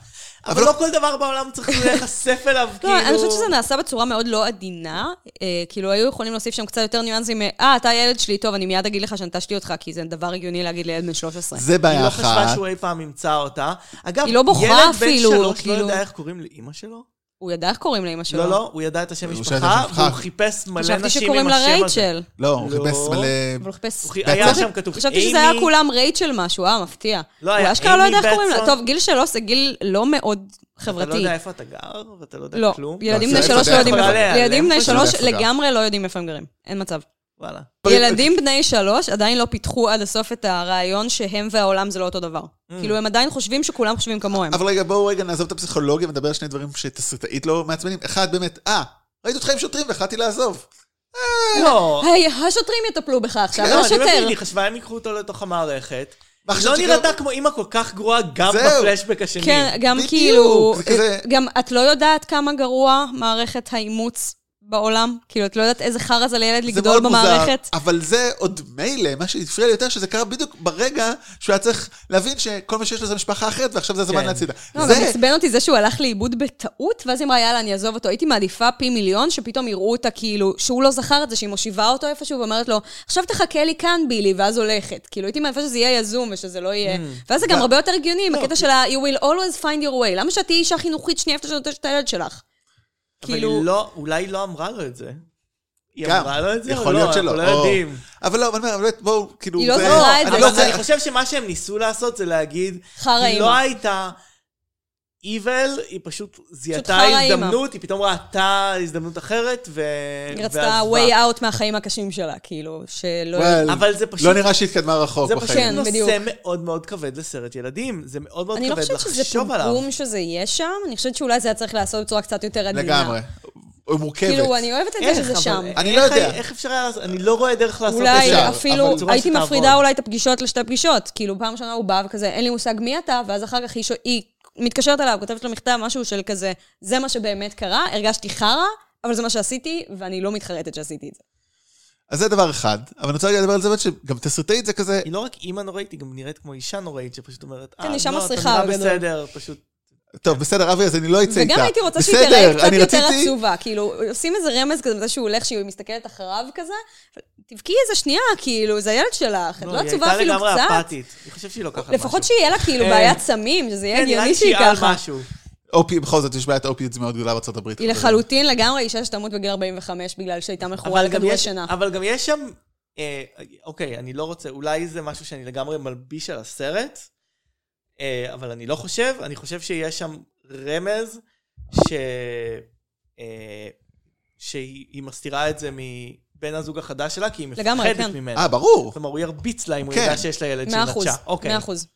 Speaker 3: אבל לא כל דבר בעולם צריך להיחשף אליו, כאילו...
Speaker 4: לא, אני חושבת שזה נעשה בצורה מאוד לא עדינה. אה, כאילו, היו יכולים להוסיף שם קצת יותר ניואנסים, אה, אתה הילד שלי, טוב, אני מיד אגיד לך שנטשתי אותך, כי זה דבר הגיוני להגיד לילד בן 13.
Speaker 2: זה
Speaker 3: היא
Speaker 2: בעיה
Speaker 3: לא חשבה
Speaker 2: אחת.
Speaker 3: שהוא אי פעם ימצא אותה. אגב,
Speaker 4: היא לא בוכה אפילו,
Speaker 3: ילד בן שלוש לא
Speaker 4: כאילו.
Speaker 3: יודע איך קוראים לאימא שלו?
Speaker 4: הוא ידע איך קוראים לאמא שלו.
Speaker 3: לא, לא, הוא ידע את השם
Speaker 2: הוא ידע את
Speaker 3: משפחה,
Speaker 2: השם
Speaker 3: והוא
Speaker 2: משפחה.
Speaker 3: חיפש מלא
Speaker 4: חשבתי
Speaker 3: נשים
Speaker 4: שקוראים
Speaker 3: עם
Speaker 4: לה
Speaker 3: השם הזה.
Speaker 4: רייצ'ל.
Speaker 2: לא, הוא
Speaker 3: לא.
Speaker 2: חיפש
Speaker 4: אבל
Speaker 2: מלא...
Speaker 4: הוא חיפש...
Speaker 3: הוא חי- היה שם כתוב
Speaker 4: חשבתי שזה היה
Speaker 3: אימי.
Speaker 4: כולם רייצ'ל משהו, אה, מפתיע.
Speaker 3: לא
Speaker 4: הוא
Speaker 3: היה,
Speaker 4: אשכרה לא יודע איך
Speaker 3: אימי
Speaker 4: קוראים לה.
Speaker 3: בטסון.
Speaker 4: טוב, גיל שלוש זה גיל לא מאוד
Speaker 3: אתה לא
Speaker 4: חברתי.
Speaker 3: יודע איפה אתה גר, ואתה לא יודע
Speaker 4: לא,
Speaker 3: כלום.
Speaker 4: ילדים
Speaker 2: לא,
Speaker 4: בני
Speaker 2: זה
Speaker 4: שלוש
Speaker 2: איפה
Speaker 4: לא
Speaker 2: אתה
Speaker 4: יודעים
Speaker 2: יכול
Speaker 4: איפה-
Speaker 3: להיעלם?
Speaker 4: ילדים בני
Speaker 3: איפה
Speaker 4: שלוש
Speaker 2: אתה יכול
Speaker 4: לגמרי לא יודעים איפה הם גרים. אין מצב.
Speaker 3: לא, וואלה.
Speaker 4: ילדים בני שלוש עדיין לא פיתחו עד הסוף את הרעיון שהם והעולם זה לא אותו דבר. כאילו, הם עדיין חושבים שכולם חושבים כמוהם.
Speaker 2: אבל רגע, בואו רגע נעזוב את הפסיכולוגיה ונדבר על שני דברים שתסריטאית לא מעצבנים. אחד, באמת, אה, ראיתי אותך עם שוטרים והחלטתי לעזוב.
Speaker 3: לא,
Speaker 4: היי, השוטרים יטפלו בך עכשיו,
Speaker 3: לא, אני מבין,
Speaker 4: השוטר.
Speaker 3: היא חשבה הם ייקחו אותו לתוך המערכת.
Speaker 2: מה,
Speaker 3: לא
Speaker 2: חשבת
Speaker 3: נראתה
Speaker 2: שגם-
Speaker 3: כמו אימא כל כך גרועה גם
Speaker 2: זהו.
Speaker 3: בפלשבק השני.
Speaker 4: כן, גם
Speaker 2: בדיוק,
Speaker 4: כאילו...
Speaker 2: זה כזה-
Speaker 4: גם את לא יודעת כמה גרוע מערכת האימוץ בעולם? כאילו, את לא יודעת איזה חרא זה לילד
Speaker 2: זה
Speaker 4: לגדול
Speaker 2: מאוד מוזר,
Speaker 4: במערכת?
Speaker 2: אבל זה עוד מילא, מה שהפריע לי יותר, שזה קרה בדיוק ברגע שהוא היה צריך להבין שכל מה שיש לו זה משפחה אחרת, ועכשיו זה הזמן
Speaker 3: כן.
Speaker 2: להצידה.
Speaker 4: לא,
Speaker 2: זה
Speaker 4: גם עצבן אותי זה שהוא הלך לאיבוד בטעות, ואז היא אמרה, יאללה, אני אעזוב אותו. הייתי מעדיפה פי מיליון, שפתאום יראו אותה כאילו, שהוא לא זכר את זה, שהיא מושיבה אותו איפשהו ואומרת לו, עכשיו תחכה לי כאן, בילי, ואז הולכת. כאילו, הייתי מעדיפה שזה יהיה יזום ושזה לא יהיה... ואז זה גם הרבה יותר הגיוני, עם הקטע של ה- you will always find your way. למה שאת תהיי אישה חינוכית שנייה איפה שנוטשת את הילד שלך?
Speaker 3: אבל היא
Speaker 4: כאילו-
Speaker 3: לא, אולי היא לא אמרה לו את זה. היא
Speaker 2: גם,
Speaker 3: אמרה לו את זה או
Speaker 2: יכול
Speaker 3: לא?
Speaker 2: להיות שלא.
Speaker 3: אנחנו לא
Speaker 2: או-
Speaker 3: יודעים.
Speaker 2: אבל לא, אבל אני אומר, באמת, בואו, כאילו...
Speaker 4: היא לא
Speaker 2: זה-
Speaker 4: זכרה את
Speaker 2: אני
Speaker 4: זה.
Speaker 3: אבל
Speaker 2: לא
Speaker 4: אבל
Speaker 2: זה-
Speaker 3: אני חושב שמה שהם ניסו לעשות זה להגיד,
Speaker 4: חרא
Speaker 3: היא לא
Speaker 4: אימא.
Speaker 3: הייתה איבל, היא פשוט זיהתה
Speaker 4: חרא אימא.
Speaker 3: הזדמנות, היא פתאום ראתה הזדמנות אחרת, ו...
Speaker 4: היא רצתה
Speaker 3: ועזבה.
Speaker 4: way out מהחיים הקשים שלה, כאילו, שלא...
Speaker 2: וואל,
Speaker 3: אבל זה פשוט-
Speaker 2: לא נראה שהתקדמה רחוק
Speaker 3: זה
Speaker 2: בחיים.
Speaker 3: פשוט
Speaker 4: בחיים.
Speaker 3: נושא
Speaker 4: כן, בדיוק.
Speaker 3: מאוד מאוד כבד לסרט ילדים. זה מאוד מאוד
Speaker 4: אני לא
Speaker 3: כבד
Speaker 4: חושבת שזה
Speaker 3: לחשוב עליו.
Speaker 4: פוגום שזה יהיה שם, אני חושבת שאולי זה היה צריך לעשות בצורה קצת יותר עדינה.
Speaker 2: לגמרי. הוא מורכבת.
Speaker 4: כאילו, אני אוהבת את זה
Speaker 3: איך,
Speaker 4: שזה
Speaker 3: אבל
Speaker 4: שם.
Speaker 3: איך-
Speaker 2: אני לא יודע.
Speaker 3: איך אפשר היה לעשות? אני לא רואה דרך לעשות את זה.
Speaker 4: אולי
Speaker 2: אפשר,
Speaker 4: אפילו,
Speaker 3: אבל צורה
Speaker 4: הייתי
Speaker 3: שתעבוד.
Speaker 4: מפרידה אולי את הפגישות לשתי פגישות. כאילו, פעם ראשונה הוא בא וכזה, אין לי מושג מי אתה, ואז אחר כך היא שו- היא מתקשרת אליו, כותבת לו מכתב, משהו של כזה, זה מה שבאמת קרה, הרגשתי חרא, אבל זה מה שעשיתי, ואני לא מתחרטת שעשיתי את זה.
Speaker 2: אז זה דבר אחד, אבל אני רוצה רגע לדבר על זה באמת שגם תסריטאית זה כזה,
Speaker 3: היא לא רק אימא נוראית, היא גם נראית כמו אישה נוראית, שפשוט אומרת, אה,
Speaker 4: כן,
Speaker 3: לא,
Speaker 4: אישה
Speaker 3: אתה
Speaker 4: מסריחה,
Speaker 3: נראה
Speaker 4: בגדול."
Speaker 3: בסדר, פשוט...
Speaker 2: טוב, בסדר, אבי, אז אני לא אצא איתה.
Speaker 4: וגם הייתי רוצה שהיא
Speaker 2: בסדר,
Speaker 4: תראה קצת
Speaker 2: אני
Speaker 4: יותר
Speaker 2: רציתי-
Speaker 4: עצובה. כאילו, עושים איזה רמז כזה, מתי שהוא הולך, שהיא מסתכלת אחריו כזה, תבכי איזה שנייה, כאילו, זה הילד שלך, את לא עצובה אפילו
Speaker 3: היא הייתה לגמרי
Speaker 4: קצת.
Speaker 3: אפתית. אני חושב שהיא לוקחת משהו.
Speaker 4: לפחות שיהיה לה כאילו
Speaker 3: אה,
Speaker 4: בעיית סמים, שזה יהיה
Speaker 3: כן, נראה לי
Speaker 4: הגיוני שהיא
Speaker 3: על
Speaker 4: ככה.
Speaker 3: משהו.
Speaker 2: אופי, בכל זאת, יש בעיית אופיוטס מאוד גדולה בארצות הברית.
Speaker 4: היא לחלוטין לגמרי אישה שתמות בגיל 45 בגלל שהייתה מכורה
Speaker 3: אבל גם
Speaker 4: לכדורי
Speaker 3: יש-
Speaker 4: שינה.
Speaker 3: אבל גם יש שם... אה, אוקיי, אני לא רוצה, אולי זה משהו שאני לגמרי מלביש על הסרט, אה, אבל אני לא חושב, אני חושב שיש שם רמז ש... אה, שהיא היא מסתירה את זה מבן הזוג החדש שלה, כי היא
Speaker 4: לגמרי,
Speaker 3: מפחדת
Speaker 4: כן.
Speaker 3: ממנה.
Speaker 2: אה, ברור.
Speaker 3: כלומר, הוא ירביץ לה אם הוא
Speaker 2: כן.
Speaker 3: ידע שיש לה ילד שהיא
Speaker 4: מאה אחוז,
Speaker 3: נטשה. אוקיי.
Speaker 4: מאה אחוז.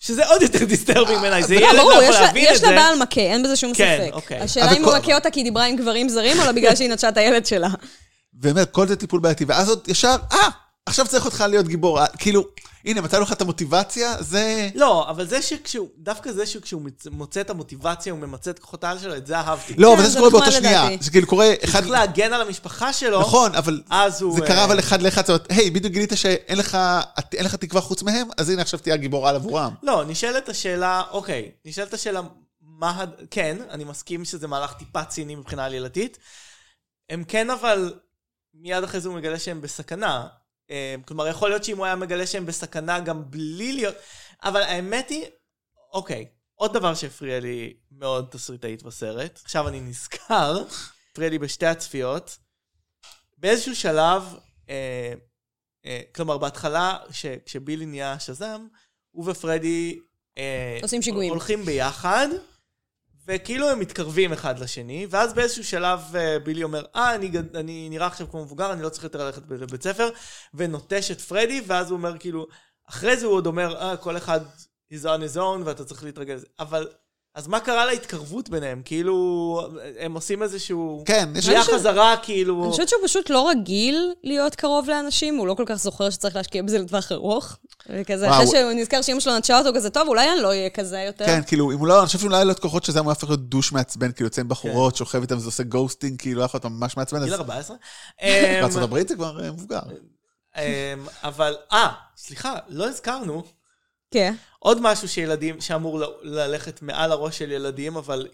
Speaker 3: שזה עוד יותר דיסטרבי ממנה, זה
Speaker 4: אה,
Speaker 3: ילד
Speaker 4: ברור,
Speaker 3: לא
Speaker 4: יש
Speaker 3: יכול
Speaker 4: לה-
Speaker 3: להבין את
Speaker 4: יש
Speaker 3: זה.
Speaker 4: לה בעל מכה, אין בזה שום
Speaker 3: כן,
Speaker 4: ספק.
Speaker 3: אוקיי.
Speaker 4: השאלה אם
Speaker 2: אבל
Speaker 4: הוא
Speaker 2: כל-
Speaker 4: מכה אותה כי היא דיברה עם גברים זרים, או לא בגלל שהיא נטשה את הילד שלה.
Speaker 2: באמת, כל זה טיפול בעייתי, ואז עוד ישר, אה, עכשיו צריך אותך להיות גיבור. אה, כאילו, הנה, מצאנו לך את המוטיבציה, זה...
Speaker 3: לא, אבל זה שכשהוא, דווקא זה שכשהוא מצ- מוצא את המוטיבציה, הוא ממצה את כוחות העל שלו, את זה אהבתי.
Speaker 2: לא, אבל
Speaker 4: כן,
Speaker 2: זה
Speaker 4: זה
Speaker 2: שקורה באותה
Speaker 4: נחמד
Speaker 2: שנייה.
Speaker 4: לדעתי.
Speaker 2: זה כאילו קורה אחד...
Speaker 3: צריך להגן על המשפחה שלו.
Speaker 2: נכון, אבל
Speaker 3: אז הוא...
Speaker 2: זה
Speaker 3: לא. אה,
Speaker 2: קרה אבל אחד לאחד, זאת אומרת, היי, בדיוק גילית שאין לך אין לך תקווה חוץ מהם, אז הנה עכשיו תהיה הגיבור על עבורם.
Speaker 3: לא, נשאלת השאלה, אוקיי, נשאלת השאלה, מה... הד- כן, אני מסכים שזה מהלך טיפה ציני מבחינה עלילתית. הם כן, אבל מיד אחרי זה הוא מגלה שהם בסכנה. אה, כלומר, יכול להיות שאם הוא היה מגלה שהם בסכנה גם בלי להיות... אבל האמת היא, אוקיי, עוד דבר שהפריע לי מאוד תסריטאית בסרט, עכשיו אני נזכר, הפריע לי בשתי הצפיות, באיזשהו שלב, אה, אה, כלומר, בהתחלה, ש- כשבילי נהיה שזם, הוא ופרדי... אה,
Speaker 4: עושים שיגועים.
Speaker 3: הולכים ביחד, וכאילו הם מתקרבים אחד לשני, ואז באיזשהו שלב אה, בילי אומר, אה, אני, גד- אני נראה עכשיו כמו מבוגר, אני לא צריך יותר ללכת ב- לבית ספר, ונוטש את פרדי, ואז הוא אומר, כאילו, אחרי זה הוא עוד אומר, אה, כל אחד is on his own, ואתה צריך להתרגל לזה. אבל, אז מה קרה להתקרבות ביניהם? כאילו, הם עושים איזשהו...
Speaker 2: כן, יש...
Speaker 3: קריאה
Speaker 4: אני חושבת-
Speaker 3: חזרה, כאילו...
Speaker 4: אני חושבת שהוא פשוט לא רגיל להיות קרוב לאנשים, הוא לא כל כך זוכר שצריך להשקיע בזה לטווח ארוך. וכזה,
Speaker 2: וואו.
Speaker 4: אחרי שהוא נזכר שאימא שלו נטשה אותו, כזה, טוב, אולי אני לא אהיה כזה יותר.
Speaker 2: כן, כאילו, אם הוא לא, אני חושב שאולי לא את כוחות שזה, הוא היה הופך להיות דוש מעצבן, כאילו, יוצא עם בחורות,
Speaker 4: כן.
Speaker 2: שוכב איתם, זה עושה גוסטינג, כאילו, היה יכול להיות ממש מעצבן. אז
Speaker 3: גיל 14. אמ,
Speaker 2: בארצות הברית זה כבר אה, מבוגר.
Speaker 3: אמ, אבל, אה, סליחה, לא הזכרנו.
Speaker 4: כן.
Speaker 3: עוד משהו שילדים, שאמור ל- ללכת מעל הראש של ילדים, אבל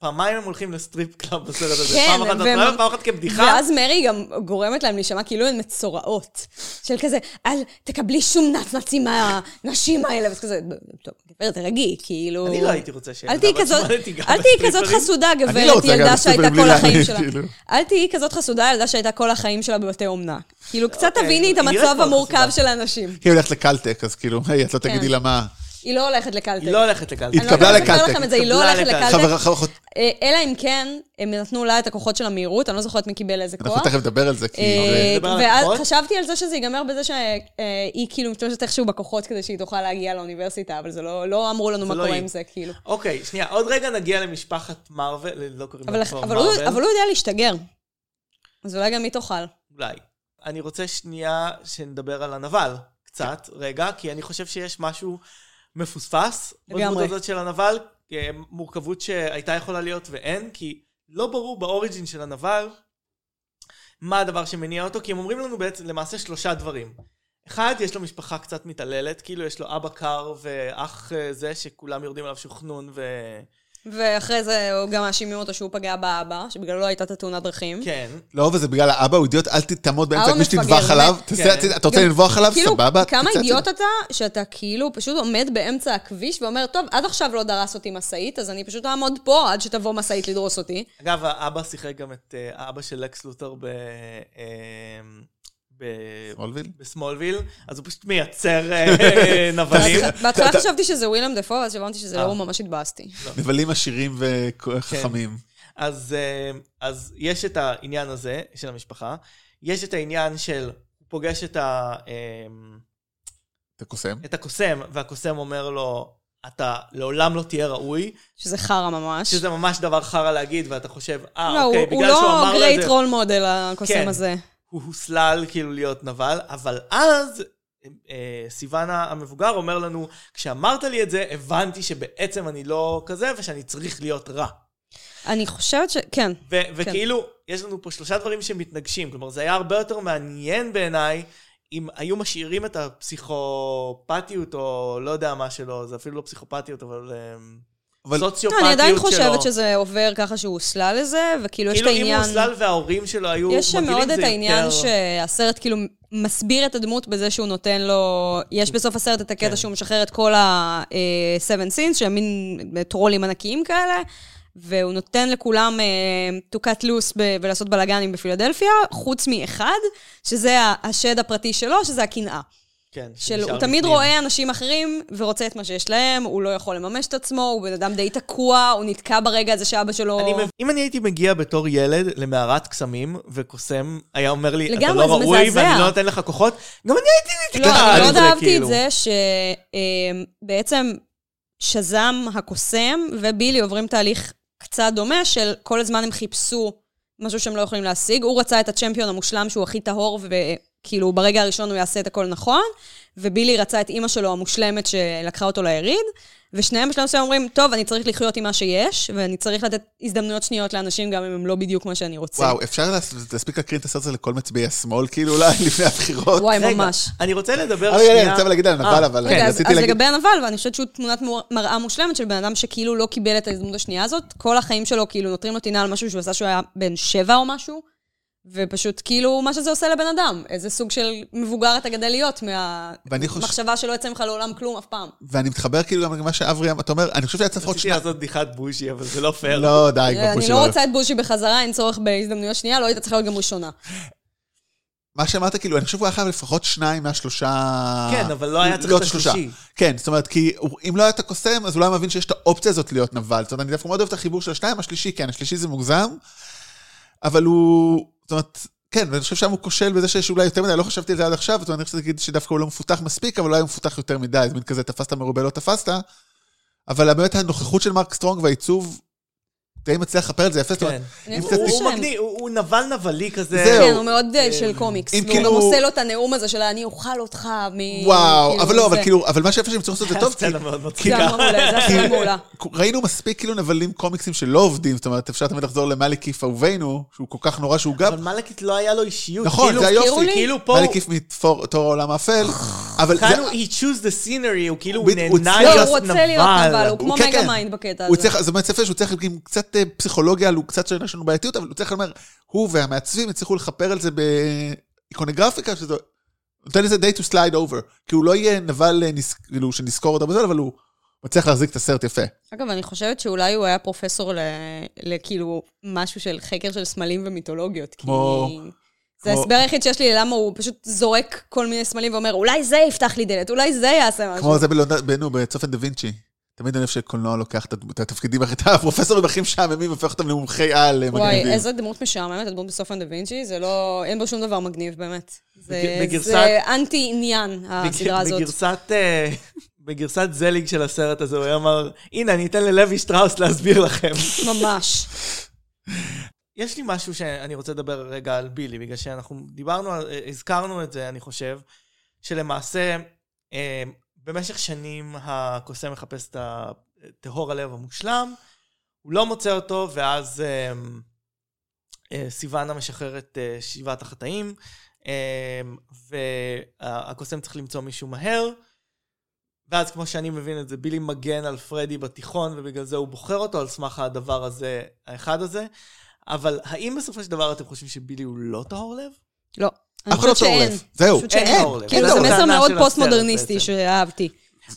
Speaker 3: פעמיים הם הולכים לסטריפ קלאב בסרט הזה.
Speaker 4: כן,
Speaker 3: פעם אחת
Speaker 4: והם-
Speaker 3: בהתחלה ופעם אחת כבדיחה.
Speaker 4: ואז מרי גם גורמת להם להישמע כאילו הן מצורעות. של כזה, אל תקבלי שום נצנצים מהנשים האלה, וזה כזה, טוב, גברת, תרגעי, כאילו...
Speaker 3: אני לא הייתי רוצה
Speaker 4: אל
Speaker 3: שילדה
Speaker 4: תהיי
Speaker 3: בת
Speaker 4: כזאת,
Speaker 3: 18 תיגע
Speaker 4: אל תהיי כזאת
Speaker 3: בסטריפרים.
Speaker 4: חסודה,
Speaker 2: אני לא
Speaker 4: גברת
Speaker 2: רוצה לגעת
Speaker 4: ילדה שהייתה
Speaker 2: בסופר בלי
Speaker 4: כל החיים
Speaker 2: להעליב,
Speaker 4: שלה.
Speaker 2: כאילו.
Speaker 4: אל תהיי כזאת חסודה, ילדה שהייתה כל החיים שלה בבתי אומנה. כאילו, קצת
Speaker 3: אוקיי,
Speaker 4: תביני את
Speaker 3: היא נראית
Speaker 4: המצב
Speaker 3: מאוד
Speaker 4: המורכב
Speaker 3: חסודה.
Speaker 4: של האנשים.
Speaker 2: היא הולכת לקלטק, אז כאילו, היי, את לא
Speaker 4: כן.
Speaker 2: תגידי לה מה.
Speaker 4: היא לא הולכת לקלטק.
Speaker 3: היא לא הולכת לקלטק.
Speaker 4: אני לא
Speaker 2: התקבלה
Speaker 4: יודעת לספר
Speaker 2: לקלטק.
Speaker 4: לכם את זה, היא לא
Speaker 3: התקבלה
Speaker 4: הולכת
Speaker 3: לקלטק.
Speaker 4: לקלטק.
Speaker 2: חברה, חברות,
Speaker 4: אה, אלא אם כן, הם נתנו לה את הכוחות של המהירות, אני לא זוכרת מי קיבל איזה
Speaker 2: אנחנו
Speaker 4: כוח.
Speaker 2: תכף נדבר על זה, כי
Speaker 4: אה,
Speaker 2: זה...
Speaker 3: נדבר על
Speaker 4: ואז
Speaker 3: הכוחות?
Speaker 4: חשבתי על זה שזה ייגמר בזה שהיא כאילו משתמשת איכשהו בכוחות כדי שהיא תוכל להגיע לאוניברסיטה, אבל זה לא לא אמרו לנו מה
Speaker 3: לא
Speaker 4: קורה
Speaker 3: היא.
Speaker 4: עם זה, כאילו.
Speaker 3: אוקיי, שנייה, עוד רגע נגיע למשפחת מארוול, לא קוראים
Speaker 4: אבל
Speaker 3: לה כבר
Speaker 4: אבל הוא-
Speaker 3: מארוול.
Speaker 4: אבל הוא יודע להשתגר. אז אולי גם היא תאכל.
Speaker 3: אולי. אני רוצה שנייה שנדבר על הנבל קצת, רגע, כי אני חושב שיש משהו מפוספס בדמות
Speaker 4: לגמרי.
Speaker 3: הזאת של הנבל, אה, מורכבות שהייתה יכולה להיות ואין, כי לא ברור באוריג'ין של הנבל מה הדבר שמניע אותו, כי הם אומרים לנו בעצם למעשה שלושה דברים. אחד, יש לו משפחה קצת מתעללת, כאילו יש לו אבא קר ואח אה, זה שכולם יורדים עליו שהוא חנון ו...
Speaker 4: ואחרי זה הוא גם מאשימים אותו שהוא פגע באבא, שבגללו לא הייתה את התאונת דרכים.
Speaker 3: כן.
Speaker 2: לא, וזה בגלל האבא, הוא אידיוט, אל תעמוד באמצע
Speaker 4: האבא
Speaker 2: הכביש
Speaker 4: מפגר,
Speaker 2: שתטבח עליו.
Speaker 4: באמת.
Speaker 2: תעשה
Speaker 3: כן.
Speaker 2: הצידה, אתה רוצה
Speaker 4: גם- כאילו,
Speaker 2: לנבוח עליו? סבבה.
Speaker 4: כמה
Speaker 2: תצא
Speaker 4: אידיוט
Speaker 2: הצידה.
Speaker 4: אתה, שאתה כאילו פשוט עומד באמצע הכביש ואומר, טוב, עד עכשיו לא דרס אותי משאית, אז אני פשוט אעמוד פה עד שתבוא משאית לדרוס אותי.
Speaker 3: אגב, האבא שיחק גם את אה, האבא של לקס לותר ב... אה, ב...
Speaker 2: סמולוויל?
Speaker 3: בסמולוויל, אז הוא פשוט מייצר אה, נבלים.
Speaker 4: בהתחלה חשבתי שזה ווילם דפו, ואז הבנתי שזה
Speaker 3: אה.
Speaker 4: לא, הוא ממש התבאסתי.
Speaker 2: נבלים עשירים וחכמים.
Speaker 3: כן. אז, אה, אז יש את העניין הזה של המשפחה, יש את העניין של, הוא פוגש את, ה, אה,
Speaker 2: אתה קוסם.
Speaker 3: את הקוסם, והקוסם אומר לו, אתה לעולם לא תהיה ראוי,
Speaker 4: שזה חרא ממש.
Speaker 3: שזה ממש דבר חרא להגיד, ואתה חושב, אה,
Speaker 4: לא,
Speaker 3: אוקיי,
Speaker 4: הוא- הוא
Speaker 3: בגלל שהוא
Speaker 4: לא
Speaker 3: אמר לו את
Speaker 4: גרייט
Speaker 3: זה,
Speaker 4: רול מודל, הקוסם
Speaker 3: כן.
Speaker 4: הזה.
Speaker 3: הוא הוסלל כאילו להיות נבל, אבל אז אה, סיוונה המבוגר אומר לנו, כשאמרת לי את זה, הבנתי שבעצם אני לא כזה ושאני צריך להיות רע.
Speaker 4: אני חושבת ש... כן.
Speaker 3: ו- וכאילו, יש לנו פה שלושה דברים שמתנגשים, כלומר, זה היה הרבה יותר מעניין בעיניי. אם היו משאירים את הפסיכופתיות, או לא יודע מה שלו, זה אפילו לא פסיכופתיות, אבל, אבל
Speaker 2: אבל-
Speaker 4: לא,
Speaker 3: סוציופתיות שלו.
Speaker 4: אני עדיין חושבת שזה עובר ככה שהוא הוסלל לזה, וכאילו יש את
Speaker 3: כאילו, אם הוא
Speaker 4: העניין...
Speaker 3: הוסלל וההורים שלו היו
Speaker 4: יש שם
Speaker 3: מגעילים,
Speaker 4: מאוד
Speaker 3: זה כן.
Speaker 4: את העניין
Speaker 3: יותר-
Speaker 4: שהסרט כאילו מסביר את הדמות בזה שהוא נותן לו... יש בסוף הסרט את
Speaker 3: כן.
Speaker 4: הקטע שהוא משחרר את כל ה-7 sins, שהם מין אה, טרולים ענקיים כאלה, והוא נותן לכולם אה, to cut loose ב- ולעשות בלאגנים בפילדלפיה, חוץ מאחד, שזה ה- השד הפרטי שלו, שזה הקנאה.
Speaker 3: כן.
Speaker 4: של,
Speaker 3: שנשאר
Speaker 4: הוא תמיד
Speaker 3: בפנים.
Speaker 4: רואה אנשים אחרים ורוצה את מה שיש להם, הוא לא יכול לממש את עצמו, הוא בן אדם די תקוע, הוא נתקע ברגע הזה שאבא שלו...
Speaker 3: אני מב... אם אני הייתי מגיע בתור ילד למערת קסמים, וקוסם היה אומר לי, אתה
Speaker 4: לגמרי,
Speaker 3: לא
Speaker 4: זה
Speaker 3: ראוי
Speaker 4: מזעזע.
Speaker 3: ואני לא נותן לך כוחות, גם אני הייתי
Speaker 4: לא,
Speaker 3: נתקע.
Speaker 4: אני
Speaker 3: על
Speaker 4: מאוד אהבתי את
Speaker 3: כאילו.
Speaker 4: זה שבעצם שזם הקוסם ובילי עוברים תהליך קצת דומה של כל הזמן הם חיפשו משהו שהם לא יכולים להשיג. הוא רצה את הצ'מפיון המושלם שהוא הכי טהור, וכאילו ברגע הראשון הוא יעשה את הכל נכון, ובילי רצה את אימא שלו המושלמת שלקחה אותו ליריד, ושניהם בשלב מסוים אומרים, טוב, אני צריך לחיות עם מה שיש, ואני צריך לתת הזדמנויות שניות לאנשים גם אם הם לא בדיוק מה שאני רוצה.
Speaker 2: וואו, אפשר לה- להספיק להקרין את הסרט הזה לכל מצביעי השמאל, כאילו, אולי לפני הבחירות?
Speaker 4: וואי,
Speaker 3: רגע,
Speaker 4: ממש.
Speaker 3: אני רוצה לדבר
Speaker 2: אבל רגע, אוקיי, אני רוצה להגיד על נבל,
Speaker 3: אה,
Speaker 2: אבל
Speaker 4: רגע, אז,
Speaker 2: כן, רציתי
Speaker 4: אז
Speaker 2: להגיד...
Speaker 4: לגבי הנבל, ואני חושבת שהוא תמונת מור- מראה מושלמת של בן אדם שכאילו לא קיבל את ההזדמנות השנייה הזאת. כל החיים שלו כאילו נותרים לו טינה על משהו שהוא עשה שהוא היה בן שבע או משהו, ופשוט כאילו מה שזה עושה לבן אדם. איזה סוג של מבוגר אתה גדל להיות
Speaker 2: ואני חושב-
Speaker 4: מהמחשבה שלא יצא ממך לעולם כלום אף פעם.
Speaker 2: ואני מתחבר כאילו גם למה שאברי אמר, אתה אומר, אני חושב שהיה צריך לפחות
Speaker 3: רציתי
Speaker 2: שניים.
Speaker 3: לעשות בדיחת בוז'י, אבל זה לא פייר.
Speaker 2: לא, די, כבר
Speaker 4: אני
Speaker 2: בוז'י
Speaker 4: לא
Speaker 2: לא
Speaker 4: רוצה את בוז'י בחזרה, אין צורך בהזדמנויות שנייה, לא היית צריכה להיות גם ראשונה.
Speaker 2: מה שאמרת, כאילו, אני חושב שהוא היה חייב לפחות שניים מהשלושה...
Speaker 3: כן, אבל לא היה צריך
Speaker 2: להיות
Speaker 3: את
Speaker 2: שלושה.
Speaker 3: השלישי.
Speaker 2: כן, זאת אומרת, כי הוא- אם לא היה את הקוסם, אז הוא לא היה מבין שיש את האופציה הזאת להיות נבל. זאת אומרת, אני דווקא מאוד אוהב את החיבור של השניים, השלישי, כן, השלישי זה מוגזם, אבל הוא... זאת אומרת, כן, ואני חושב שם הוא כושל בזה שיש אולי יותר מדי, לא חשבתי על זה עד עכשיו, זאת אומרת, אני חושב להגיד שדווקא הוא לא מפותח מספיק, אבל אולי הוא מפותח יותר מדי, זה מין כזה, תפסת מרובה, לא תפסת. אבל באמת הנוכחות של מרק סטרונג והעיצוב, די מצליח לכפר את זה יפה, זאת אומרת,
Speaker 3: כן.
Speaker 4: אני
Speaker 2: אם
Speaker 4: אוהבת
Speaker 2: קצת
Speaker 4: את זה
Speaker 3: הוא
Speaker 4: שלהם.
Speaker 3: מגניב, הוא הוא נבל נבלי
Speaker 2: זהו.
Speaker 3: כזה.
Speaker 4: כן, הוא מאוד אה, של קומיקס.
Speaker 2: אם
Speaker 4: הוא
Speaker 2: כאילו-
Speaker 4: עושה לו את הנאום הזה של אני אוכל אותך מ...
Speaker 2: וואו,
Speaker 4: כאילו,
Speaker 2: אבל לא, אבל
Speaker 4: זה.
Speaker 2: כאילו, אבל מה שיפה שהם צריכים
Speaker 4: כן,
Speaker 2: לעשות את זה טוב, כי
Speaker 3: הסצנה מאוד
Speaker 4: זה
Speaker 3: מצחיקה.
Speaker 4: היה מעולה, זה היה סרט מעולה.
Speaker 2: ראינו מספיק כאילו נבלים קומיקסים שלא עובדים, זאת אומרת, אפשר תמיד לחזור למליקיף אהובנו, שהוא כל כך נורא שהוא גם...
Speaker 3: אבל מלאקית לא היה לו אישיות.
Speaker 2: נכון,
Speaker 3: כאילו-
Speaker 2: זה
Speaker 4: הזכירו
Speaker 2: היופי.
Speaker 4: לי-
Speaker 3: כאילו פה, הוא-
Speaker 2: מליקיף מתור העולם האפל, אבל זה-
Speaker 3: כאן הוא he choose the scenery, הוא כאילו
Speaker 2: הוא- הוא
Speaker 3: נהנה
Speaker 4: לא,
Speaker 2: צריך-
Speaker 4: הוא
Speaker 3: להיות
Speaker 4: רוצה להיות נבל,
Speaker 3: נבל.
Speaker 4: הוא כמו
Speaker 2: כן,
Speaker 4: מגה
Speaker 2: כן.
Speaker 4: מיינד בקטע
Speaker 2: הוא
Speaker 4: הזה.
Speaker 2: צריך, זה באמת ספר שהוא צריך עם קצת אה, פסיכולוגיה, הוא קצת שיש לנו בעייתיות, אבל הוא צריך לומר, הוא והמעצבים הצליחו לכפר על זה באיקונוגרפיקה, שזה נותן לזה day to slide over, כי הוא לא יהיה נבל אה, נס- כאילו, שנזכור אותו בזה, אבל הוא מצליח להחזיק את הסרט יפה.
Speaker 4: אגב, אני חושבת שאולי הוא היה פרופסור ל- לכאילו משהו של חקר של סמלים ומיתולוגיות. כי
Speaker 2: כמו-
Speaker 4: זה
Speaker 2: כמו-
Speaker 4: ההסבר היחיד שיש לי ללמה הוא פשוט זורק כל מיני סמלים ואומר, אולי זה יפתח לי דלת, אולי זה יעשה משהו.
Speaker 2: כמו זה בלונד- ב- נו, בצופן דה וינצ'י. תמיד אני אוהב שקולנוע לוקח את הד- את התפקידים הכי, את הפרופסורים הכי משעממים, הופך אותם למומחי על אה,
Speaker 4: וואי,
Speaker 2: מגניבים.
Speaker 4: איזה דמות משעממת, הדמות בסופן דה וינצ'י, זה לא... אין בו שום דבר מגניב, באמת. זה-
Speaker 3: בגרסת-
Speaker 4: זה אנטי עניין, הסדרה הזאת.
Speaker 3: בגרסת... אה, בגרסת זליג של הסרט הזה, הוא היה אמר, הנה, אני אתן ללוי שטראוס להסביר לכם.
Speaker 4: ממש.
Speaker 3: יש לי משהו שאני רוצה לדבר רגע על בילי, בגלל שאנחנו דיברנו, על- הזכרנו את זה, אני חושב, שלמעשה, אה, במשך שנים הקוסם מחפש את הטהור הלב המושלם, הוא לא מוצא אותו, ואז אה, אה, סיוונה משחררת אה, שבעת החטאים, אה, והקוסם צריך למצוא מישהו מהר. ואז כמו שאני מבין את זה, בילי מגן על פרדי בתיכון, ובגלל זה הוא בוחר אותו על סמך הדבר הזה, האחד הזה. אבל האם בסופו של דבר אתם חושבים שבילי הוא לא טהור לב?
Speaker 4: לא. אני
Speaker 2: אף אחד לא
Speaker 4: חושבת שאין.
Speaker 2: טורף. זהו.
Speaker 4: פשוט
Speaker 3: אין
Speaker 4: שאין.
Speaker 3: טהור לב.
Speaker 4: כאילו,
Speaker 2: זה
Speaker 4: זה מסר
Speaker 3: הטענה
Speaker 4: מאוד
Speaker 3: של הסרט
Speaker 4: פוסט-מודרניסטי
Speaker 3: בעצם.
Speaker 4: שאהבתי.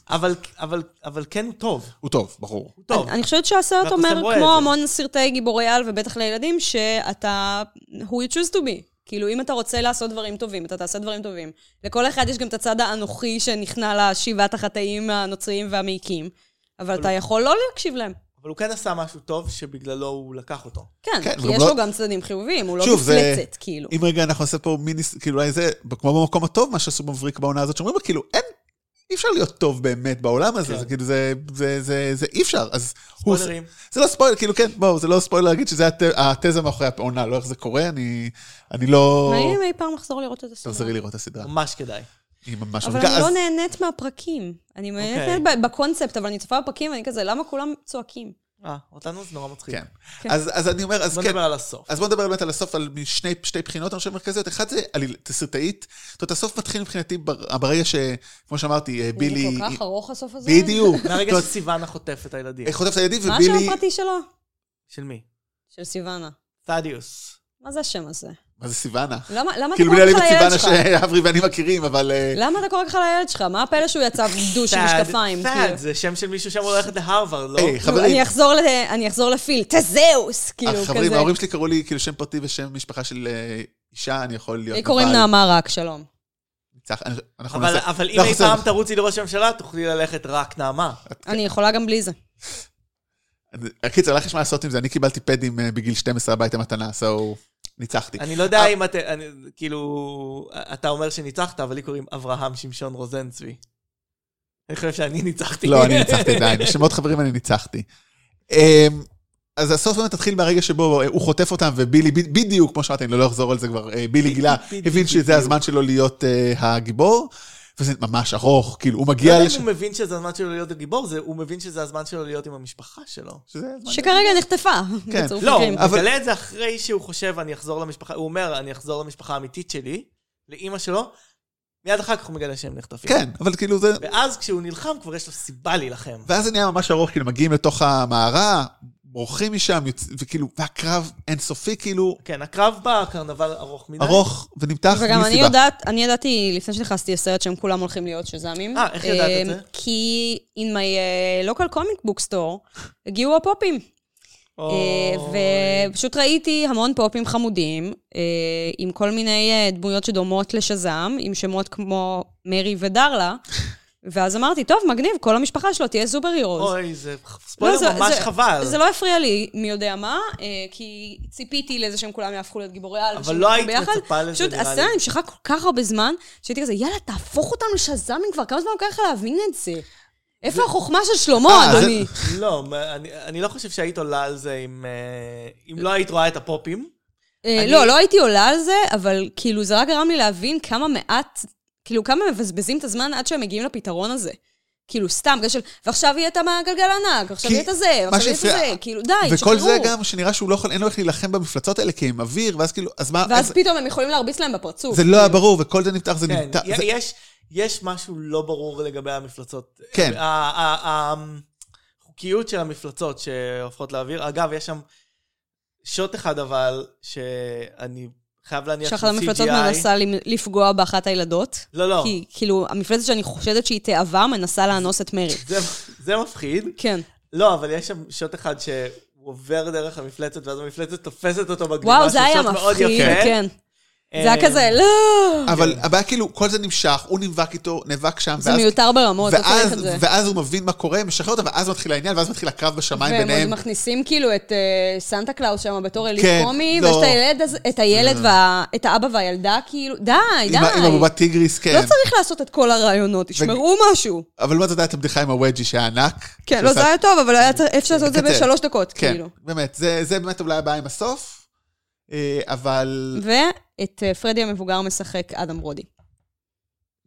Speaker 3: אבל, אבל, אבל כן הוא טוב.
Speaker 2: הוא טוב, ברור.
Speaker 3: הוא טוב.
Speaker 4: אני, אני חושבת שהסרט
Speaker 3: והקוסם
Speaker 4: אומר,
Speaker 3: רואה את
Speaker 4: כמו
Speaker 3: זה.
Speaker 4: המון סרטי גיבורי על, ובטח לילדים, שאתה... who you choose to be. כאילו, אם אתה רוצה לעשות דברים טובים, אתה תעשה דברים טובים. לכל אחד יש גם את הצד האנוכי שנכנע לשבעת החטאים הנוצריים והמעיקים, אבל אתה יכול לא להקשיב להם.
Speaker 3: אבל הוא כן עשה משהו טוב שבגללו הוא לקח אותו.
Speaker 4: כן,
Speaker 2: כן,
Speaker 4: כי
Speaker 2: גם
Speaker 4: יש
Speaker 2: לא-
Speaker 4: לו גם צדדים חיוביים, הוא לא
Speaker 2: שוב, זה-
Speaker 4: מפלצת, כאילו.
Speaker 2: אם רגע אנחנו נעשה פה מיני, כאילו אולי זה, כמו במקום הטוב, מה שעשו מבריק בעונה הזאת, שאומרים, כאילו, אין, אי אפשר להיות טוב באמת בעולם הזה,
Speaker 3: כן.
Speaker 2: זה כאילו, זה, זה, זה, זה אי אפשר, אז הוא...
Speaker 3: ספוילרים.
Speaker 2: זה לא ספוילר, כאילו, כן, בואו, זה לא ספוילר להגיד שזה הת, התזה מאחורי העונה, לא איך זה קורה, אני, אני לא...
Speaker 4: מעניין אם אי פעם לחזור לראות את הסרט.
Speaker 2: תחזרי לראות את הסדרה,
Speaker 3: ממש כדאי.
Speaker 2: היא ממש...
Speaker 4: אבל
Speaker 2: מגה-
Speaker 4: אני לא
Speaker 2: אז-
Speaker 4: נהנית מהפרקים. אני
Speaker 3: אוקיי.
Speaker 4: נהנית ב- בקונספט, אבל אני צופה בפרקים, ואני כזה, למה כולם צועקים?
Speaker 3: אה, אותנו זה נורא מצחיק.
Speaker 2: כן. אז, אז אני אומר, אז
Speaker 3: בוא
Speaker 2: כן,
Speaker 3: נדבר על הסוף.
Speaker 2: אז בואו נדבר באמת על הסוף, על משני, שתי בחינות, אני חושב, מרכזיות. אחד זה עליל- תסרטאית. זאת אומרת, הסוף מתחיל מבחינתי בר- ברגע ש... כמו שאמרתי, אה, בילי...
Speaker 4: זה כל כך ארוך הסוף הזה?
Speaker 2: בדיוק. זאת
Speaker 3: מהרגע
Speaker 2: אומרת, אה,
Speaker 3: שסיוונה חוטף את הילדים.
Speaker 2: חוטף את הילדים
Speaker 4: מה
Speaker 2: ובילי...
Speaker 4: השם הפרטי שלו?
Speaker 3: של מי?
Speaker 4: של סיוונה.
Speaker 3: תדיוס.
Speaker 4: מה זה השם הזה?
Speaker 2: מה זה סיוונה?
Speaker 4: למה למה אתה
Speaker 2: כאילו,
Speaker 4: קורא
Speaker 2: בלי להעליב
Speaker 4: ככה
Speaker 2: את
Speaker 4: לילד
Speaker 2: סיוונה
Speaker 4: שלך?
Speaker 2: שאברי ואני מכירים, אבל... אה,
Speaker 4: למה אתה קורא ככה לילד שלך? מה הפלא שהוא יצא דוש עם משקפיים?
Speaker 3: תד,
Speaker 4: כאילו?
Speaker 3: זה שם של מישהו שאמור ללכת להרווארד, לא?
Speaker 2: היי,
Speaker 4: נו,
Speaker 2: חברים,
Speaker 4: אני אחזור ל- אני אחזור לפיל, תזהוס! כאילו,
Speaker 2: אה, חברים,
Speaker 4: כזה.
Speaker 2: ההורים שלי קראו לי כאילו שם פרטי ושם משפחה של אה, אישה, אני יכול להיות...
Speaker 4: לי קוראים
Speaker 2: נבל.
Speaker 4: נעמה רק, שלום.
Speaker 2: ניצח- אני- אנחנו
Speaker 3: אבל,
Speaker 2: נעשה-
Speaker 3: אבל אם
Speaker 2: אנחנו
Speaker 3: אי
Speaker 2: נעשה-
Speaker 3: פעם תרוצי לראש הממשלה, תוכלי ללכת רק נעמה.
Speaker 4: אני יכולה גם בלי זה.
Speaker 2: אה, קיצר, לך יש מה לעשות עם זה, אני קיבלתי פדים אה, בגיל 12 הביתה מתנה, so ניצחתי.
Speaker 3: אני לא יודע אם אתה, אני- כאילו, אתה אומר שניצחת, אבל לי קוראים אברהם שמשון רוזן צבי. אני חושב שאני ניצחתי.
Speaker 2: לא, אני ניצחתי עדיין, יש שם עוד חברים, אני ניצחתי. אמ, אז הסוף באמת התחיל מהרגע שבו אה, הוא חוטף אותם, ובילי, ב- בדיוק, כמו שאמרתי, אני לא אחזור על זה כבר, אה, בילי גילה,
Speaker 3: בדיוק,
Speaker 2: הבין שזה
Speaker 3: בדיוק.
Speaker 2: הזמן שלו להיות אה, הגיבור, וזה ממש ארוך, כאילו, הוא
Speaker 3: לא
Speaker 2: מגיע
Speaker 3: יודע אם
Speaker 2: לשם.
Speaker 3: הוא מבין שזה הזמן שלו להיות הגיבור, זה- הוא מבין שזה הזמן שלו להיות עם המשפחה שלו.
Speaker 2: שזה הזמן-
Speaker 4: שכרגע נחטפה.
Speaker 2: כן.
Speaker 4: בצירוף
Speaker 3: לא,
Speaker 4: מקרים.
Speaker 3: הוא מגלה את זה אחרי שהוא חושב, אני אחזור למשפחה, הוא אומר, אני אחזור למשפחה האמיתית שלי, לאימא שלו, מיד אחר כך הוא מגלה שהם נחטפים.
Speaker 2: כן, אבל כאילו זה...
Speaker 3: ואז כשהוא נלחם, כבר יש לו סיבה להילחם.
Speaker 2: ואז זה נהיה ממש ארוך, כאילו, מגיעים לתוך המערה, בורחים משם, יוצ- וכאילו, והקרב אינסופי, כאילו,
Speaker 3: כן, הקרב בקרנבל ארוך מדי.
Speaker 2: ארוך ונמתח בלי
Speaker 4: וגם אני
Speaker 2: סיבה.
Speaker 4: יודעת, אני ידעתי לפני שנכנסתי לסרט שהם כולם הולכים להיות שז"מים.
Speaker 3: אה, איך ידעת את
Speaker 4: אמ,
Speaker 3: זה?
Speaker 4: כי in my uh, local comic book store הגיעו הפופים.
Speaker 3: או-
Speaker 4: אה, ופשוט ראיתי המון פופים חמודים, אה, עם כל מיני אה, דמויות שדומות לשזם, עם שמות כמו מרי ודרלה. ואז אמרתי, טוב, מגניב, כל המשפחה שלו תהיה סופר הירוז.
Speaker 3: אוי, זה ספוילר ממש חבל.
Speaker 4: לא, זה לא הפריע לי, מי יודע מה, אה, כי ציפיתי לזה שהם כולם יהפכו להיות גיבורי על.
Speaker 3: אבל
Speaker 4: ושהם
Speaker 3: לא
Speaker 4: ילכו
Speaker 3: היית
Speaker 4: ביחד.
Speaker 3: מצפה לזה,
Speaker 4: פשוט
Speaker 3: נראה לי.
Speaker 4: הסצנה נמשכה כל כך הרבה זמן, שהייתי כזה, יאללה, תהפוך אותנו לשז"מים כבר, כמה זמן לוקח לך להבין את זה? איפה החוכמה של שלמה,
Speaker 2: אה, זה-
Speaker 4: אדוני?
Speaker 3: לא, מה- אני- אני לא חושב שהיית עולה על זה אם... אה, אם לא היית רואה את הפופים.
Speaker 4: אה,
Speaker 3: אני-
Speaker 4: לא, לא הייתי עולה על זה, אבל כאילו זה רק גרם לי להבין כמה מעט, כאילו כמה מבזבזים את הזמן עד שהם מגיעים לפתרון הזה. כאילו סתם, כזה של, ועכשיו יהיה את הגלגל הענק, ועכשיו
Speaker 2: כי
Speaker 4: יהיה את הזה,
Speaker 2: מה
Speaker 4: ועכשיו יהיה את
Speaker 2: שהפריע-
Speaker 4: זה, כאילו די,
Speaker 2: וכל
Speaker 4: שחררו.
Speaker 2: זה גם שנראה שהוא לא יכול, אין לו איך להילחם במפלצות האלה כי הם אוויר, ואז כאילו, אז מה,
Speaker 4: ואז
Speaker 2: אז-
Speaker 4: פתאום הם יכולים להרביץ להם בפרצוף.
Speaker 2: זה לא היה ברור, וכל זה נפתח, זה
Speaker 3: כן,
Speaker 2: נפתח,
Speaker 3: י-
Speaker 2: זה-
Speaker 3: יש- יש משהו לא ברור לגבי המפלצות.
Speaker 2: כן.
Speaker 3: ה- ה- ה- החוקיות של המפלצות שהופכות לאוויר. אגב, יש שם שוט אחד אבל, שאני חייב להניח
Speaker 4: שאחת
Speaker 3: שהוא
Speaker 4: המפלצות
Speaker 3: CGI.
Speaker 4: מנסה למ- לפגוע באחת הילדות.
Speaker 3: לא, לא.
Speaker 4: כי כאילו, המפלצת שאני חושדת שהיא תאווה מנסה לאנוס את מרי.
Speaker 3: זה- זה מפחיד.
Speaker 4: כן.
Speaker 3: לא, אבל יש שם שוט אחד שהוא עובר דרך המפלצת, ואז המפלצת תופסת אותו בגלימה.
Speaker 4: וואו, זה
Speaker 3: שהוא
Speaker 4: היה
Speaker 3: שוט מאוד
Speaker 4: מפחיד,
Speaker 3: יפה.
Speaker 4: כן. זה היה
Speaker 3: אה,
Speaker 4: כזה, לא!
Speaker 2: אבל הבעיה כאילו, כל זה נמשך, הוא נאבק איתו, נאבק שם,
Speaker 4: זה
Speaker 2: ואז-
Speaker 4: מיותר ברמות, לא צריך
Speaker 2: ואז,
Speaker 4: את זה.
Speaker 2: ואז הוא מבין מה קורה, משחרר אותם, ואז מתחיל העניין, ואז מתחיל הקרב בשמיים
Speaker 4: והם
Speaker 2: ביניהם.
Speaker 4: עוד מכניסים כאילו את אה, סנטה קלאוס שם בתור אלי
Speaker 2: כן,
Speaker 4: קומי,
Speaker 2: לא. אה.
Speaker 4: ויש את הילד, הזה- את הילד וה- את האבא והילדה, כאילו, די, די.
Speaker 2: עם ה- עם הבובת טיגריס,
Speaker 4: לא
Speaker 2: כן.
Speaker 4: צריך לעשות את כל הרעיונות, תשמרו משהו.
Speaker 2: אבל לא זאת הייתה הבדיחה עם הווג'י שהיה ענק.
Speaker 4: כן, לא,
Speaker 2: שעשה-
Speaker 4: זה היה טוב, אבל היה צריך- אפשר לעשות את זה
Speaker 2: לקצר.
Speaker 4: בשלוש דקות,
Speaker 2: כן,
Speaker 4: כאילו.
Speaker 2: באמת, זה זה באמת אולי הבעיה עם הסוף, אה, אבל...
Speaker 4: ואת אה, פרדי המבוגר משחק אדם ברודי.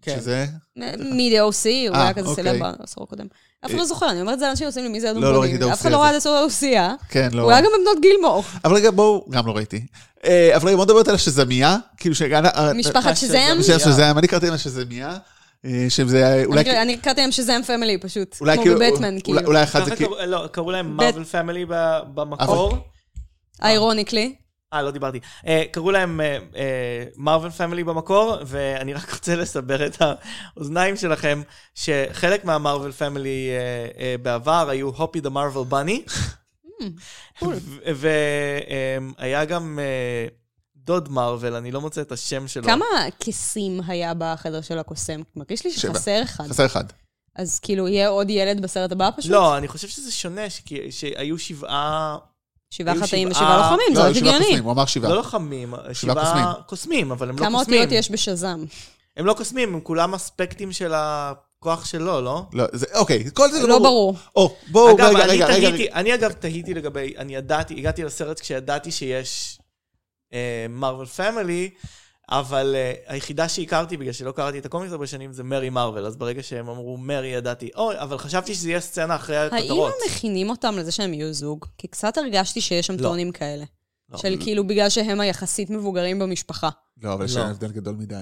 Speaker 3: כן.
Speaker 2: שזה...
Speaker 4: מ-DOC, הוא
Speaker 2: אה,
Speaker 4: היה כזה
Speaker 2: אוקיי. אה.
Speaker 4: סלב בעשור הקודם. אף אחד לא זוכר, אני אומרת את זה לאנשים שעושים לי מי זה אדום
Speaker 2: לא, לא
Speaker 4: ברודים.
Speaker 2: ראיתי
Speaker 4: אף
Speaker 2: DOC
Speaker 4: אחד לא
Speaker 2: הזה.
Speaker 4: ראה את הסוף האוסייה.
Speaker 2: כן, לא. אה,
Speaker 4: הוא היה גם בבנות גילמור.
Speaker 2: אבל רגע, בואו, גם לא ראיתי. אה, אבל רגע, בואו נדבר על השזמיה, כאילו שהגענו...
Speaker 4: משפחת
Speaker 3: שזם.
Speaker 4: שזם.
Speaker 2: אני חושב שזה, אני קראתי להם שזמיה, אה, שזה היה אולי...
Speaker 4: אני- אני קראתי להם שזם פמילי פשוט.
Speaker 2: אולי
Speaker 4: כמו
Speaker 2: כאילו-
Speaker 4: בבטמן,
Speaker 2: אולי-
Speaker 4: כאילו.
Speaker 2: אולי אחד זה
Speaker 3: ככה
Speaker 2: כאילו...
Speaker 3: קראו- לא, קראו להם
Speaker 4: בית-
Speaker 3: מרוויל פמילי במקור.
Speaker 4: איירוניקלי.
Speaker 3: אה, לא דיברתי. אה, קראו להם מרוויל פמילי במקור, ואני רק רוצה לסבר את האוזניים שלכם, שחלק מהמרוויל פמילי אה, בעבר היו הופי דה מרוויל בני,
Speaker 4: Hmm,
Speaker 3: והיה גם אה, דוד מרוויל, אני לא מוצא את השם שלו.
Speaker 4: כמה כיסים היה בחדר של הקוסם? מרגיש לי
Speaker 2: שבע.
Speaker 4: שחסר אחד.
Speaker 2: חסר אחד.
Speaker 4: אז כאילו, יהיה עוד ילד בסרט הבא פשוט?
Speaker 3: לא, אני חושב שזה שונה, שכי- שהיו שבעה,
Speaker 4: שבעה
Speaker 3: היו
Speaker 4: חטאים
Speaker 3: שבעה-
Speaker 4: ושבעה לוחמים, זה
Speaker 2: לא,
Speaker 4: לא
Speaker 2: היו שבעה
Speaker 4: הגיוני.
Speaker 2: קוסמים, הוא אמר שבעה.
Speaker 3: לא לוחמים, שבעה
Speaker 2: קוסמים.
Speaker 3: קוסמים, אבל הם לא
Speaker 4: כמה
Speaker 3: קוסמים.
Speaker 4: אותיות יש בשזם?
Speaker 3: הם לא קוסמים, הם כולם אספקטים של הכוח שלו, לא?
Speaker 2: לא, זה- אוקיי, כל זה
Speaker 4: לא ברור.
Speaker 2: או, בואו,
Speaker 3: אגב,
Speaker 2: רגע,
Speaker 3: אני
Speaker 2: רגע, רגע.
Speaker 3: תהיתי, אני אגב תהיתי לגבי, אני ידעתי, הגעתי לסרט כשידעתי שיש מרוויל פמילי, אבל אה, היחידה שהכרתי, בגלל שלא קראתי את הקומיקס הרבה שנים, זה מרי מרוויל, אז ברגע שהם אמרו מרי ידעתי, אוי, אבל חשבתי שזה יהיה סצנה אחרי
Speaker 4: האם
Speaker 3: הכותרות.
Speaker 4: הם מכינים אותם לזה שהם יהיו זוג? כי קצת הרגשתי שיש שם
Speaker 3: לא.
Speaker 4: טונים כאלה.
Speaker 3: לא.
Speaker 4: של כאילו, בגלל שהם היחסית מבוגרים במשפחה.
Speaker 2: לא, אבל יש
Speaker 3: לא.
Speaker 2: להם הבדל גדול מדי.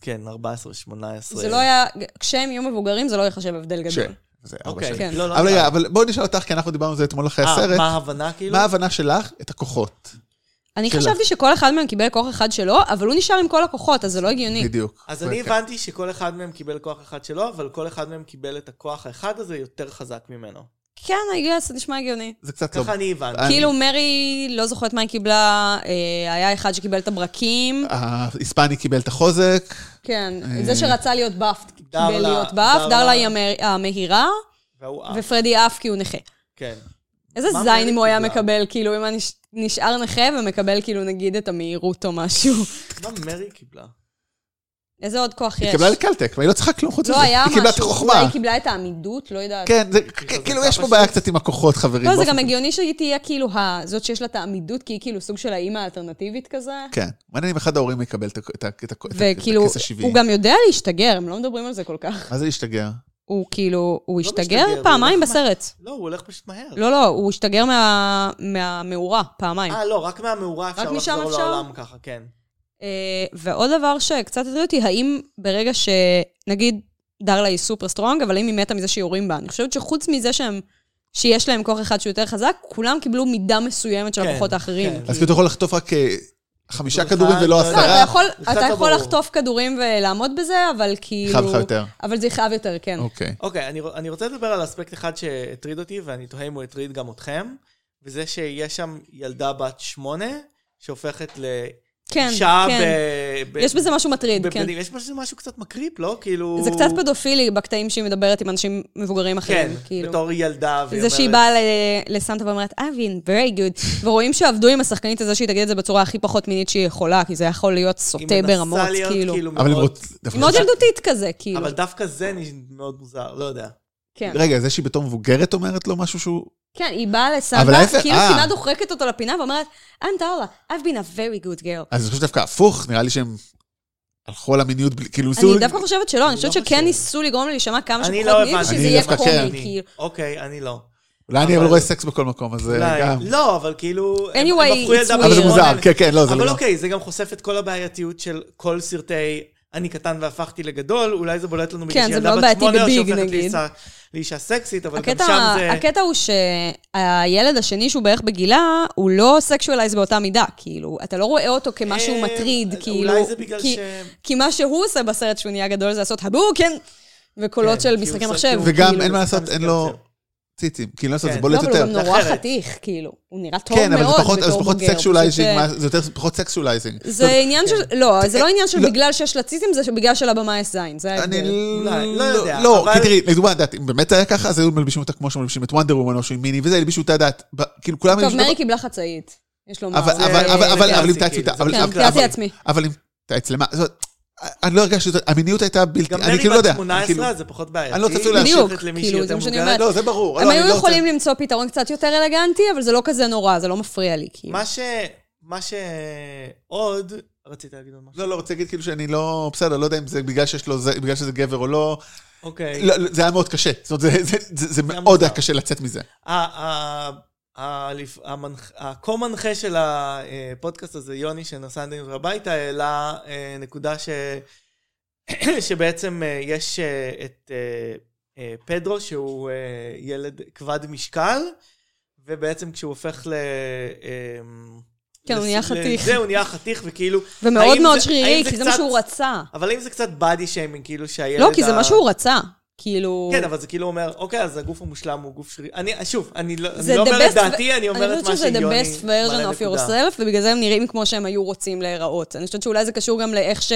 Speaker 3: כן, 14, 18.
Speaker 4: זה לא היה, כשהם יהיו מבוגרים זה לא יחשב הבדל
Speaker 2: ש...
Speaker 4: גדול.
Speaker 2: זה ארבע
Speaker 3: אוקיי,
Speaker 2: שנים.
Speaker 4: כן.
Speaker 3: לא, לא.
Speaker 2: אבל
Speaker 3: נראה
Speaker 2: רגע,
Speaker 3: לי.
Speaker 2: אבל בואי נשאל אותך, כי אנחנו דיברנו על זה אתמול אחרי
Speaker 3: אה,
Speaker 2: הסרט.
Speaker 3: מה ההבנה כאילו?
Speaker 2: מה ההבנה שלך? את הכוחות.
Speaker 4: אני
Speaker 2: שלה.
Speaker 4: חשבתי שכל אחד מהם קיבל כוח אחד שלו, אבל הוא נשאר עם כל הכוחות, אז זה לא הגיוני.
Speaker 2: בדיוק. כן.
Speaker 3: אז אני
Speaker 2: וכן.
Speaker 3: הבנתי שכל אחד מהם קיבל כוח אחד שלו, אבל כל אחד מהם קיבל את הכוח האחד הזה יותר חזק ממנו.
Speaker 4: כן, I guess, זה נשמע הגיוני.
Speaker 2: זה קצת לא...
Speaker 3: ככה אני הבנתי.
Speaker 2: אני-
Speaker 4: כאילו, מרי לא זוכרת מה היא קיבלה, אה, היה אחד שקיבל את הברקים.
Speaker 2: ההיספני קיבל את החוזק,
Speaker 4: כן,
Speaker 2: אה,
Speaker 4: זה שרצה להיות באף,
Speaker 3: דרלה-
Speaker 4: קיבל להיות באף.
Speaker 3: דרלה-
Speaker 4: דרלה היא המר- המהירה,
Speaker 3: והוא אה,
Speaker 4: ופרדי עף כי הוא נכה.
Speaker 3: כן.
Speaker 4: איזה
Speaker 3: מה
Speaker 4: זין אם הוא היה
Speaker 3: מרי קיבלה?
Speaker 4: מקבל, כאילו, אם היה נש- נשאר נכה ומקבל, כאילו, נגיד, את המהירות או משהו.
Speaker 3: מה מרי קיבלה?
Speaker 4: איזה עוד כוח יש?
Speaker 2: היא קיבלה לקלטק, והיא לא צריכה כלום חוץ מזה.
Speaker 4: לא היה
Speaker 2: היא קיבלה את
Speaker 4: משהו.
Speaker 2: החוכמה.
Speaker 4: אולי היא קיבלה את העמידות, לא יודעת.
Speaker 2: כן, זה-
Speaker 3: חזקה
Speaker 2: כאילו יש פה
Speaker 3: פשוט.
Speaker 2: בעיה קצת עם הכוחות, חברים.
Speaker 4: לא, זה
Speaker 2: באופן-
Speaker 4: גם הגיוני שהיא תהיה כאילו ה- זאת שיש לה את העמידות, כי היא כאילו סוג של האימא האלטרנטיבית כזה.
Speaker 2: כן. מעניין אם אחד ההורים יקבל את ה- את ה- את ה- את
Speaker 4: וכאילו,
Speaker 2: הכיס השבעי.
Speaker 4: הוא גם יודע להשתגר, הם לא מדברים על זה כל כך.
Speaker 2: מה זה להשתגע?
Speaker 4: הוא כאילו, הוא
Speaker 3: לא משתגר,
Speaker 4: השתגר
Speaker 3: הוא
Speaker 4: פעמיים
Speaker 3: הולך מה-
Speaker 4: בסרט.
Speaker 3: לא, הוא הולך פשוט מהר.
Speaker 4: לא, לא, הוא השתגר מה- מהמאורה, פעמיים.
Speaker 3: אה, לא, רק מהמאורה אפשר
Speaker 4: משם
Speaker 3: לחזור
Speaker 4: אפשר?
Speaker 3: לעולם ככה, כן.
Speaker 4: אה, ועוד דבר שקצת הטריד אותי, האם ברגע ש... נגיד, דרלה היא סופר סטרונג, אבל האם היא מתה מזה שיורים בה? אני חושבת שחוץ מזה שהם... שיש להם כוח אחד שהוא יותר חזק, כולם קיבלו מידה מסוימת של
Speaker 3: כן,
Speaker 4: הכוחות האחרים.
Speaker 3: כן.
Speaker 2: אז כאילו אתה יכול לחטוף רק אה, חמישה
Speaker 3: כדור
Speaker 2: כדורים
Speaker 3: אחד,
Speaker 2: ולא
Speaker 3: לא,
Speaker 4: לא, אתה
Speaker 2: עשרה,
Speaker 4: יכול,
Speaker 3: זה קצת
Speaker 4: אתה
Speaker 3: לא
Speaker 4: יכול
Speaker 3: ברור.
Speaker 4: לחטוף כדורים ולעמוד בזה, אבל כאילו...
Speaker 2: חייב לך יותר.
Speaker 4: אבל זה חייב יותר, כן.
Speaker 2: אוקיי.
Speaker 3: אוקיי, אני, רוצ- אני רוצה לדבר על אספקט אחד שהטריד אותי, ואני תוהה אם הוא הטריד גם אתכם, וזה שיש שם ילדה בת שמונה, שהופכת לאישה
Speaker 4: כן, כן.
Speaker 3: ב... ב...
Speaker 4: יש בזה משהו מטריד, כן.
Speaker 3: בבגדים. יש בזה משהו קצת מקריפ, לא? כאילו...
Speaker 4: זה קצת פדופילי בקטעים שהיא מדברת עם אנשים מבוגרים
Speaker 3: כן,
Speaker 4: אחרים, כאילו.
Speaker 3: בתור ילדה, והיא
Speaker 4: זה שהיא
Speaker 3: אומרת-
Speaker 4: באה ל- לסנטה ואומרת, I've been very good, ורואים שעבדו עם השחקנית הזו שהיא תגיד את זה בצורה הכי פחות מינית שהיא יכולה, כי זה יכול להיות סוטה ברמות,
Speaker 3: היא מנסה
Speaker 4: כאילו.
Speaker 3: להיות כאילו
Speaker 2: אבל אם
Speaker 3: מאוד...
Speaker 2: רוצ...
Speaker 4: היא מאוד ילדותית כזה, כאילו.
Speaker 3: אבל דווקא זה נש- מאוד מוזר, לא יודע.
Speaker 4: כן.
Speaker 2: רגע, זה שהיא בתור מבוגרת אומרת לו משהו שהוא...
Speaker 4: כן, היא באה
Speaker 2: אבל
Speaker 4: לסנטה,
Speaker 2: ההפך-
Speaker 4: כאילו
Speaker 2: אה.
Speaker 4: כמעט דוחקת אותו לפינה ואומרת, I'm Darla, I've been a very good girl.
Speaker 2: אז אני חושב שדווקא הפוך, נראה לי שהם הלכו על המיניות, בלי- כאילו... ניסו-
Speaker 4: אני דווקא חושבת שלא, אני חושבת
Speaker 3: לא
Speaker 4: שכן
Speaker 3: חושבת.
Speaker 4: ניסו לגרום לי להישמע כמה
Speaker 3: אני
Speaker 4: שפחות
Speaker 3: לא
Speaker 4: מינית,
Speaker 3: הבנתי.
Speaker 4: שזה
Speaker 2: אני
Speaker 4: יהיה
Speaker 2: דווקא כן.
Speaker 4: קומי,
Speaker 3: אני-
Speaker 4: כאילו.
Speaker 3: אוקיי, אני לא.
Speaker 2: אולי אני אבל
Speaker 3: אבל-
Speaker 2: רואה סקס בכל מקום, אז אה,
Speaker 3: אולי-
Speaker 2: גם...
Speaker 3: לא, אבל כאילו... הם-
Speaker 4: Anyway,
Speaker 3: הם הפכו
Speaker 4: it's
Speaker 3: ילדה
Speaker 4: weird.
Speaker 2: אבל זה
Speaker 3: בת
Speaker 2: מוזר,
Speaker 3: שמונה.
Speaker 2: כן, כן, לא, זה
Speaker 3: אבל
Speaker 2: לא...
Speaker 3: אוקיי, זה גם חושף את כל הבעייתיות של כל סרטי אני קטן והפכתי לגדול, אולי זה בולט לנו
Speaker 4: כן,
Speaker 3: בגלל
Speaker 4: זה
Speaker 3: שילדה
Speaker 4: מאוד
Speaker 3: בת
Speaker 4: בעייתי
Speaker 3: שמונה, או
Speaker 4: בביג,
Speaker 3: שהופכת
Speaker 4: נגיד.
Speaker 3: לאישה- לאישה סקסית, אבל גם
Speaker 4: הקטע,
Speaker 3: שם זה...
Speaker 4: הקטע הוא שהילד השני, שהוא בערך בגילה, הוא לא סקשואלייז באותה מידה. כאילו, אתה לא רואה אותו כמשהו
Speaker 3: אה,
Speaker 4: מטריד,
Speaker 3: אולי
Speaker 4: כאילו...
Speaker 3: זה בגלל
Speaker 4: כי,
Speaker 3: ש-
Speaker 4: כי מה שהוא עושה בסרט שהוא נהיה גדול זה לעשות הבוקן, וקולות
Speaker 3: כן,
Speaker 4: של
Speaker 3: כי הוא
Speaker 4: משחקי
Speaker 3: עושה-
Speaker 4: מחשב.
Speaker 3: כי הוא-
Speaker 2: וגם
Speaker 4: כאילו.
Speaker 2: אין מה לעשות,
Speaker 3: זה
Speaker 2: אין
Speaker 3: גם
Speaker 2: לו
Speaker 3: זה.
Speaker 2: ציצים. כאילו, אין לעשות, זה
Speaker 3: כן.
Speaker 2: בולט
Speaker 4: לא, אבל הוא
Speaker 2: יותר.
Speaker 4: גם נורא
Speaker 3: אחרת.
Speaker 4: חתיך, כאילו. הוא נראה טוב
Speaker 2: כן, אבל זה
Speaker 4: מאוד
Speaker 2: פחות- אבל זה
Speaker 4: בתור
Speaker 2: פחות
Speaker 4: בוגר.
Speaker 2: סקשולייזינג,
Speaker 4: פשוט, אה,
Speaker 2: מה- זה יותר פחות סקשולייזינג.
Speaker 4: זה עניין של... לא, זה לא עניין של
Speaker 2: לא.
Speaker 4: בגלל שיש לה ציצים, זה בגלל שלבמה יש זין, זה
Speaker 2: אני
Speaker 4: ההבדל.
Speaker 3: אולי, לא יודע,
Speaker 2: לא,
Speaker 3: אבל-
Speaker 2: כי תראי, לדוגמה, את יודעת, אם באמת היה ככה, אז היו מלבישים אותה כמו שמלבישים את וונדר וומן או שהיא מיני וזה, הלבישו אותה דעת. ב- כאילו, כולם
Speaker 4: טוב,
Speaker 2: הלבישו אותה-
Speaker 4: מרי קיבלה חצאית, יש לומר.
Speaker 2: אבל-
Speaker 4: זה-
Speaker 2: אבל- אבל-
Speaker 3: זה
Speaker 2: אבל- אבל אם
Speaker 3: קלאסי,
Speaker 2: תעצמו אותה,
Speaker 3: כאילו, זה
Speaker 2: אבל- אבל-
Speaker 4: כן, תיארתי
Speaker 2: אבל-
Speaker 4: לעצמי.
Speaker 2: אבל אם תעצלמה, אני לא הרגשתי, אותה- המיניות הייתה בלתי,
Speaker 3: גם
Speaker 2: אני
Speaker 3: מרי
Speaker 2: כאילו לא יודע.
Speaker 3: בת
Speaker 2: אני
Speaker 3: 18
Speaker 2: כאילו-
Speaker 3: זה פחות בעייתי.
Speaker 2: אני לא צפוי להשיב.
Speaker 4: בדיוק,
Speaker 3: הופכת למישהי
Speaker 4: כאילו,
Speaker 3: יותר
Speaker 4: זה מה שאני
Speaker 3: מבוגרת.
Speaker 4: אומרת.
Speaker 2: לא, זה ברור.
Speaker 4: הם
Speaker 2: לא, אני
Speaker 4: היו
Speaker 2: לא
Speaker 4: יכולים
Speaker 2: רוצה-
Speaker 4: למצוא פתרון קצת יותר אלגנטי, אבל זה לא כזה נורא, זה לא מפריע לי, כאילו.
Speaker 3: מה ש... מה שעוד, רצית להגיד עוד משהו?
Speaker 2: לא, לא, רוצה להגיד כאילו שאני לא, בסדר, לא יודע אם זה בגלל שיש לו, זה- בגלל שזה גבר או לא.
Speaker 3: אוקיי.
Speaker 2: לא, לא, זה היה מאוד קשה. זאת אומרת, זה- זה- זה זה
Speaker 3: היה
Speaker 2: מאוד היה
Speaker 3: מוזר.
Speaker 2: קשה לצאת מזה.
Speaker 3: ה- ה- ה- לפ- המנח- הכה-מנחה של הפודקאסט הזה, יוני שנסע אלינו הביתה, העלה אה, נקודה ש... שבעצם אה, יש אה, את אה, אה, פדרו, שהוא אה, ילד כבד משקל, ובעצם כשהוא הופך ל... אה,
Speaker 4: כן, הוא נהיה
Speaker 3: לס-
Speaker 4: חתיך.
Speaker 3: לזה הוא נהיה חתיך, וכאילו...
Speaker 4: ומאוד
Speaker 3: האם
Speaker 4: מאוד
Speaker 3: זה-
Speaker 4: שרירי,
Speaker 3: האם
Speaker 4: כי זה מה
Speaker 3: קצת-
Speaker 4: שהוא רצה.
Speaker 3: אבל האם זה קצת body shaming, כאילו שהילד...
Speaker 4: לא, כי זה
Speaker 3: ה-
Speaker 4: מה שהוא רצה. כאילו...
Speaker 3: כן, אבל זה כאילו אומר, אוקיי, אז הגוף המושלם הוא גוף שרירי. אני, שוב, אני לא
Speaker 4: זה
Speaker 3: אני לא
Speaker 4: the
Speaker 3: אומר את
Speaker 4: best-
Speaker 3: דעתי, אני אומר
Speaker 4: אני
Speaker 3: את מה
Speaker 4: חושבת שזה the
Speaker 3: שיוני מראה
Speaker 4: best version of
Speaker 3: נקודה.
Speaker 4: yourself, ובגלל זה הם נראים כמו שהם היו רוצים להיראות. אני חושבת שאולי זה קשור גם לאיך ש...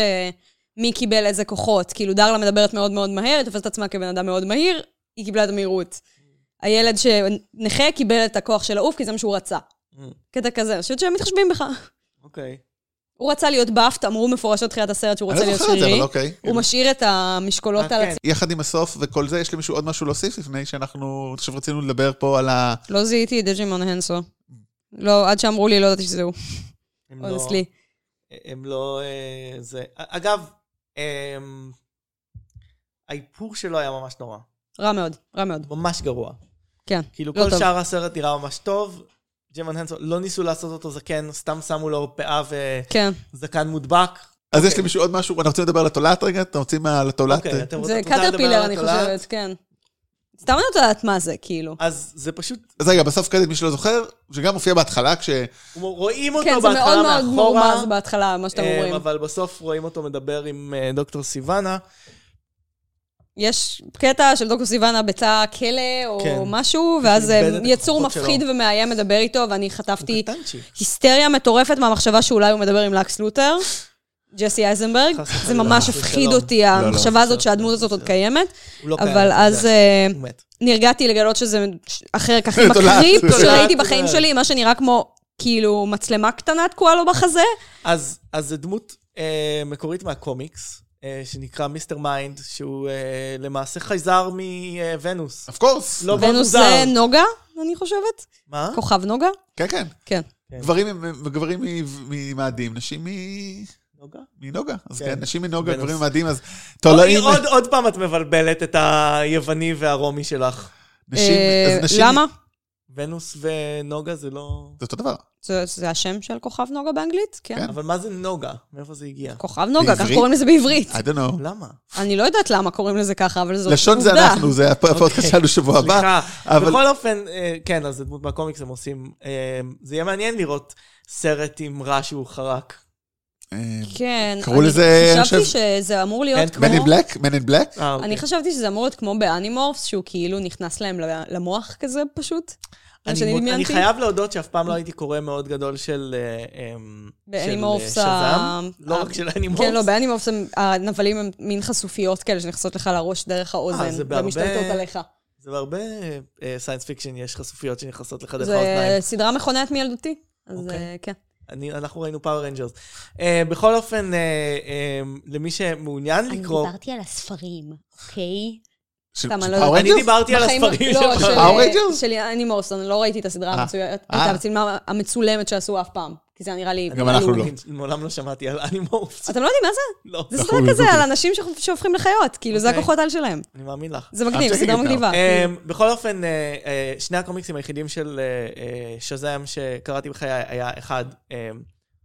Speaker 4: מי קיבל איזה כוחות. כאילו, דרלה מדברת מאוד מאוד מהר, היא תופסת את עצמה כבן אדם מאוד מהיר, היא קיבלה את המהירות. הילד שנכה קיבל את הכוח של העוף, כי זה מה שהוא רצה.
Speaker 3: Mm,
Speaker 4: קטע כזה, אני חושבת שהם מתחשבים בך.
Speaker 3: אולי
Speaker 4: הוא רצה להיות באפט, אמרו מפורשות תחילת הסרט שהוא
Speaker 2: אני
Speaker 4: רוצה
Speaker 2: לא
Speaker 4: להיות
Speaker 2: זוכר את זה,
Speaker 4: שרירי.
Speaker 2: אבל אוקיי.
Speaker 4: הוא משאיר את המשקולות
Speaker 3: אה,
Speaker 4: על
Speaker 3: כן.
Speaker 4: עצמו.
Speaker 2: יחד עם הסוף וכל זה, יש למישהו עוד משהו להוסיף לפני שאנחנו, עכשיו רצינו לדבר פה על ה...
Speaker 4: לא זיהיתי את דג'ימון הנסו. לא, עד שאמרו לי, לא ידעתי שזה הוא,
Speaker 3: הם לא-
Speaker 4: אונסלי.
Speaker 3: הם לא... אה, זה... אגב, אמ, האיפור שלו היה ממש נורא.
Speaker 4: רע מאוד, רע מאוד.
Speaker 3: ממש גרוע.
Speaker 4: כן,
Speaker 3: כאילו,
Speaker 4: לא
Speaker 3: כל
Speaker 4: טוב.
Speaker 3: שאר הסרט נראה ממש טוב. ג'מן הנסון, לא ניסו לעשות אותו זקן, סתם שמו לו פאה
Speaker 4: כן.
Speaker 3: וזקן מודבק.
Speaker 2: אז יש
Speaker 3: אוקיי.
Speaker 2: למישהו עוד משהו? אנחנו רוצים לדבר על התולעת רגע? אתם רוצים על התולעת?
Speaker 3: אוקיי, אתם רוצ-
Speaker 4: זה
Speaker 3: את רוצה לדבר
Speaker 4: קטרפילר,
Speaker 3: על
Speaker 4: אני
Speaker 3: התולעת?
Speaker 4: חושבת, כן. סתם אני לא יודעת מה זה, כאילו.
Speaker 3: אז זה פשוט,
Speaker 2: אז רגע, בסוף קרדיט, מי שלא זוכר, שגם מופיע בהתחלה, כש...
Speaker 3: רואים לא אותו
Speaker 4: כן, זה
Speaker 3: בהתחלה מאחורה.
Speaker 4: מאוד מאוד מרומז בהתחלה, מה שאתם
Speaker 3: אמ,
Speaker 4: אומרים.
Speaker 3: אבל בסוף רואים אותו מדבר עם אה, דוקטור סיוונה,
Speaker 4: יש קטע של דוקו סיוון בתא כלא או
Speaker 3: כן.
Speaker 4: משהו, ואז אה,
Speaker 3: איבד את
Speaker 4: יצור
Speaker 3: הכוחות
Speaker 4: מפחיד
Speaker 3: שלו.
Speaker 4: ומאיים מדבר איתו, ואני חטפתי
Speaker 3: קטנצ'יק.
Speaker 4: היסטריה מטורפת מהמחשבה שאולי הוא מדבר עם לקס לותר, ג'סי אייזנברג.
Speaker 3: חס וחלילה.
Speaker 4: זה ממש
Speaker 3: חס
Speaker 4: הפחיד
Speaker 3: ושלום.
Speaker 4: אותי,
Speaker 2: לא,
Speaker 4: המחשבה הזאת
Speaker 3: בסדר,
Speaker 4: שהדמות הזאת עוד קיימת,
Speaker 3: הוא לא קיים,
Speaker 4: אבל
Speaker 3: אתה
Speaker 4: אז
Speaker 3: יודע.
Speaker 4: אה,
Speaker 3: הוא מת.
Speaker 4: נרגעתי לגלות שזה אחר כך
Speaker 2: תולעת,
Speaker 4: מקריפ
Speaker 2: תולעת,
Speaker 4: שראיתי
Speaker 3: תולעת.
Speaker 4: בחיים שלי, מה שנראה כמו כאילו מצלמה קטנה תקועה לו בחזה.
Speaker 3: אז, אז זו דמות אה, מקורית מהקומיקס, אה, שנקרא מיסטר מיינד, שהוא אה, למעשה חייזר מוונוס.
Speaker 2: אוף קורס.
Speaker 3: לא
Speaker 4: ונוס
Speaker 3: במוזר.
Speaker 4: זה נוגה, אני חושבת.
Speaker 3: מה?
Speaker 4: כוכב נוגה?
Speaker 2: כן, כן.
Speaker 4: כן.
Speaker 2: גברים הם- גברים מ- ממאדים, נשים מ-
Speaker 3: נוגה?
Speaker 2: מנוגה. אז
Speaker 3: כן.
Speaker 2: כן, נשים מנוגה,
Speaker 3: ונוס.
Speaker 2: גברים ממאדים, אז
Speaker 3: אוי,
Speaker 2: תולעים.
Speaker 3: עוד, עוד פעם את מבלבלת את היווני והרומי שלך.
Speaker 2: נשים-
Speaker 4: אה,
Speaker 2: אז נשים-
Speaker 4: למה?
Speaker 3: ונוס ונוגה זה לא...
Speaker 2: זה אותו דבר.
Speaker 4: זה- זה השם של כוכב נוגה באנגלית? כן.
Speaker 2: כן.
Speaker 3: אבל מה זה נוגה? מאיפה זה הגיע?
Speaker 4: כוכב נוגה, כך
Speaker 2: בעברית? אה.
Speaker 4: קוראים לזה בעברית.
Speaker 2: I don't know.
Speaker 3: למה?
Speaker 4: אני לא יודעת למה קוראים לזה ככה, אבל זאת עובדה.
Speaker 2: לשון זה אנחנו, זה הפ- הפודקאסט שלנו שבוע הבא.
Speaker 3: סליחה.
Speaker 2: אבל-
Speaker 3: בכל אופן, אה, כן, אז זה דמות מהקומיקס הם עושים... אה, זה יהיה מעניין לראות סרט עם רע שהוא חרק.
Speaker 2: אה,
Speaker 4: כן.
Speaker 2: קראו
Speaker 4: אני
Speaker 2: לזה, אני
Speaker 4: חשבתי
Speaker 2: חושב-
Speaker 4: שזה אמור להיות
Speaker 3: And
Speaker 4: כמו...
Speaker 2: Men in Black? Men in Black?
Speaker 3: אה, אוקיי.
Speaker 4: אני חשבתי שזה אמור להיות כמו באנימורפס, שהוא כאילו נכנס להם ל- למוח כזה פשוט. מה
Speaker 3: אני,
Speaker 4: שאני
Speaker 3: מוד... אני
Speaker 4: דמיינתי.
Speaker 3: חייב להודות שאף פעם לא הייתי קורא מאוד גדול של אה, אמ,
Speaker 4: באנימורפס
Speaker 3: של, אה,
Speaker 4: ה-
Speaker 3: שזאם, לא
Speaker 4: ה-
Speaker 3: רק של אנימורפס.
Speaker 4: כן, לא, באנימורפס הם- הנבלים הם מין חשופיות כאלה שנכנסות לך לראש דרך האוזן.
Speaker 3: אה, זה בהרבה-
Speaker 4: ומשתלטות עליך.
Speaker 3: זה בהרבה סיינס פיקשן, יש חשופיות שנכנסות לך דרך
Speaker 4: זה
Speaker 3: האוזניים.
Speaker 4: סדרה מכוננת מילדותי. אז
Speaker 3: אוקיי.
Speaker 4: אה, כן.
Speaker 3: אני, אנחנו ראינו פאוור רנג'רס. אה, בכל אופן, אה, אה, למי שמעוניין לקרוא...
Speaker 4: על הספרים, אוקיי?
Speaker 2: של
Speaker 4: סתם, אני לא
Speaker 2: פאור
Speaker 4: יודעת.
Speaker 3: אני
Speaker 2: רנג'רס?
Speaker 3: דיברתי על הספרים
Speaker 4: לא,
Speaker 3: שלך.
Speaker 4: של-
Speaker 2: פאור רנג'רס?
Speaker 4: של אני מורסון, לא ראיתי את הסדרה
Speaker 2: אה.
Speaker 4: המצוינת, את
Speaker 2: אה.
Speaker 4: הצילמה המצולמת שעשו אף פעם, כי זה היה נראה לי...
Speaker 2: גם אנחנו
Speaker 4: עלוב.
Speaker 2: לא.
Speaker 3: אני מעולם לא שמעתי על אנימורפס.
Speaker 4: אתם לא יודעים מה זה?
Speaker 3: לא,
Speaker 4: זה סדרה כזה על אנשים שח- שהופכים לחיות, כאילו, זה
Speaker 3: אוקיי.
Speaker 4: הכוחות על שלהם.
Speaker 3: אני מאמין לך.
Speaker 4: זה מגניב,
Speaker 2: I'm checking
Speaker 4: סדרה
Speaker 2: it now.
Speaker 4: מגניבה.
Speaker 3: אמ, בכל אופן, אה, אה, שני הקומיקסים היחידים של אה, אה, שזאם שקראתי בחיי היה אחד, אמ,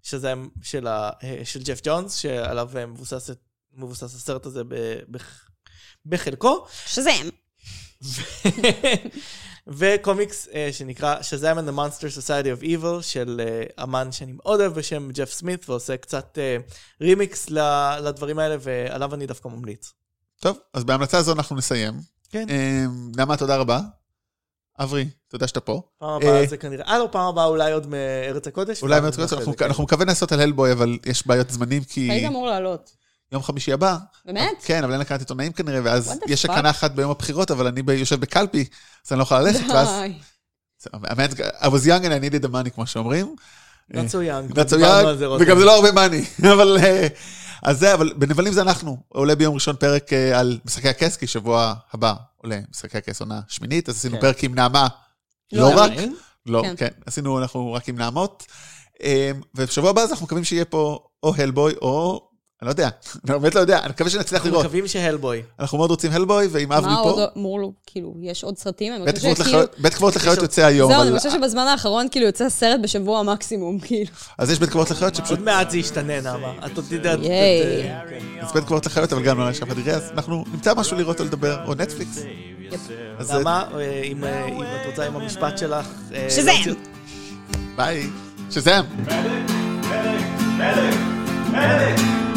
Speaker 3: שזאם של ה- אה, של ג'ף ג'ונס, שעליו אה, מבוסס את- מבוסס הסרט הזה ב- בח- בחלקו,
Speaker 4: שזה הם.
Speaker 2: אה,
Speaker 3: ו- וקומיקס אה, שנקרא שזאם and the Monster Society of Evil, של אה, אמן שאני מאוד אוהב בשם ג'ף סמית, ועושה קצת אה, רימיקס ל- לדברים האלה, ועליו אני דווקא ממליץ.
Speaker 2: טוב, אז בהמלצה זו אנחנו נסיים.
Speaker 3: כן.
Speaker 2: אה, נעמה, תודה רבה. אברי, תודה שאתה פה.
Speaker 3: פעם הבאה
Speaker 2: אה,
Speaker 3: זה כנראה, אה לא, פעם הבאה אולי עוד מארץ הקודש.
Speaker 2: אולי
Speaker 3: ואז
Speaker 2: מארץ קודש,
Speaker 3: אחרי
Speaker 2: אנחנו-
Speaker 3: זה, כן.
Speaker 2: אנחנו מקווים לעשות על הלבוי, אבל יש בעיות זמנים, כי
Speaker 4: היית אמור לעלות.
Speaker 2: יום חמישי הבא.
Speaker 4: באמת?
Speaker 2: כן, אבל אין לקראת עיתונאים כנראה, ואז
Speaker 4: What the
Speaker 2: יש
Speaker 4: fuck?
Speaker 2: הקרנה אחת ביום הבחירות, אבל אני ב- יושב בקלפי, אז אני לא יכול ללכת, ואז...
Speaker 4: די.
Speaker 2: האמת, I was young and I needed the money, כמו שאומרים.
Speaker 3: Not so young.
Speaker 2: That's so
Speaker 3: לא דיברנו על זה,
Speaker 2: young,
Speaker 3: רותם.
Speaker 2: אה, לא וגם זה לא הרבה money. אבל... אה, אז זה, אבל בנבלים זה אנחנו. עולה ביום ראשון פרק אה, על משחקי הכס, כי שבוע הבא עולה משחקי הכס עונה שמינית, אז עשינו
Speaker 3: כן.
Speaker 2: פרק עם נעמה.
Speaker 4: לא
Speaker 2: לא
Speaker 4: נעמה,
Speaker 2: רק,
Speaker 3: אין?
Speaker 2: לא,
Speaker 4: כן.
Speaker 2: כן. עשינו, אנחנו רק עם נעמות. אמ, ובשבוע הבא אז אנחנו מקווים שיהיה פה או הלבוי או... אני לא יודע, אני באמת לא יודע, אני מקווה שנצליח
Speaker 3: אנחנו
Speaker 2: לראות.
Speaker 3: מקווים שהלבוי.
Speaker 2: אנחנו מאוד רוצים הלבוי, ואם אברי
Speaker 4: מה
Speaker 2: פה,
Speaker 4: עוד אמור לו, כאילו, יש עוד סרטים? אני
Speaker 2: בית
Speaker 4: חושבת
Speaker 2: קברות
Speaker 4: שכאילו-
Speaker 2: לחיות- בית קברות לחיות
Speaker 3: יש
Speaker 2: יוצא היום,
Speaker 4: זהו,
Speaker 2: אבל...
Speaker 4: אני חושבת שבזמן האחרון כאילו יוצא סרט בשבוע מקסימום, כאילו.
Speaker 2: אז יש בית קברות לחיות שפשוט...
Speaker 3: עוד מעט זה ישתנה, נעמה. את אה, עוד תדעת.
Speaker 2: אה,
Speaker 4: ייי.
Speaker 2: אז בית קברות לחיות, אבל גם לא נשאר פדירי, אז אנחנו נמצא משהו לראות או לדבר, או נטפליקס. אז אה,
Speaker 3: נעמה, אה, אם אה, אם את רוצה עם המשפט שלך... אה,
Speaker 4: שזה
Speaker 3: להוציא-
Speaker 4: הם.
Speaker 2: ביי. שזם.
Speaker 1: Medic, medic, medic,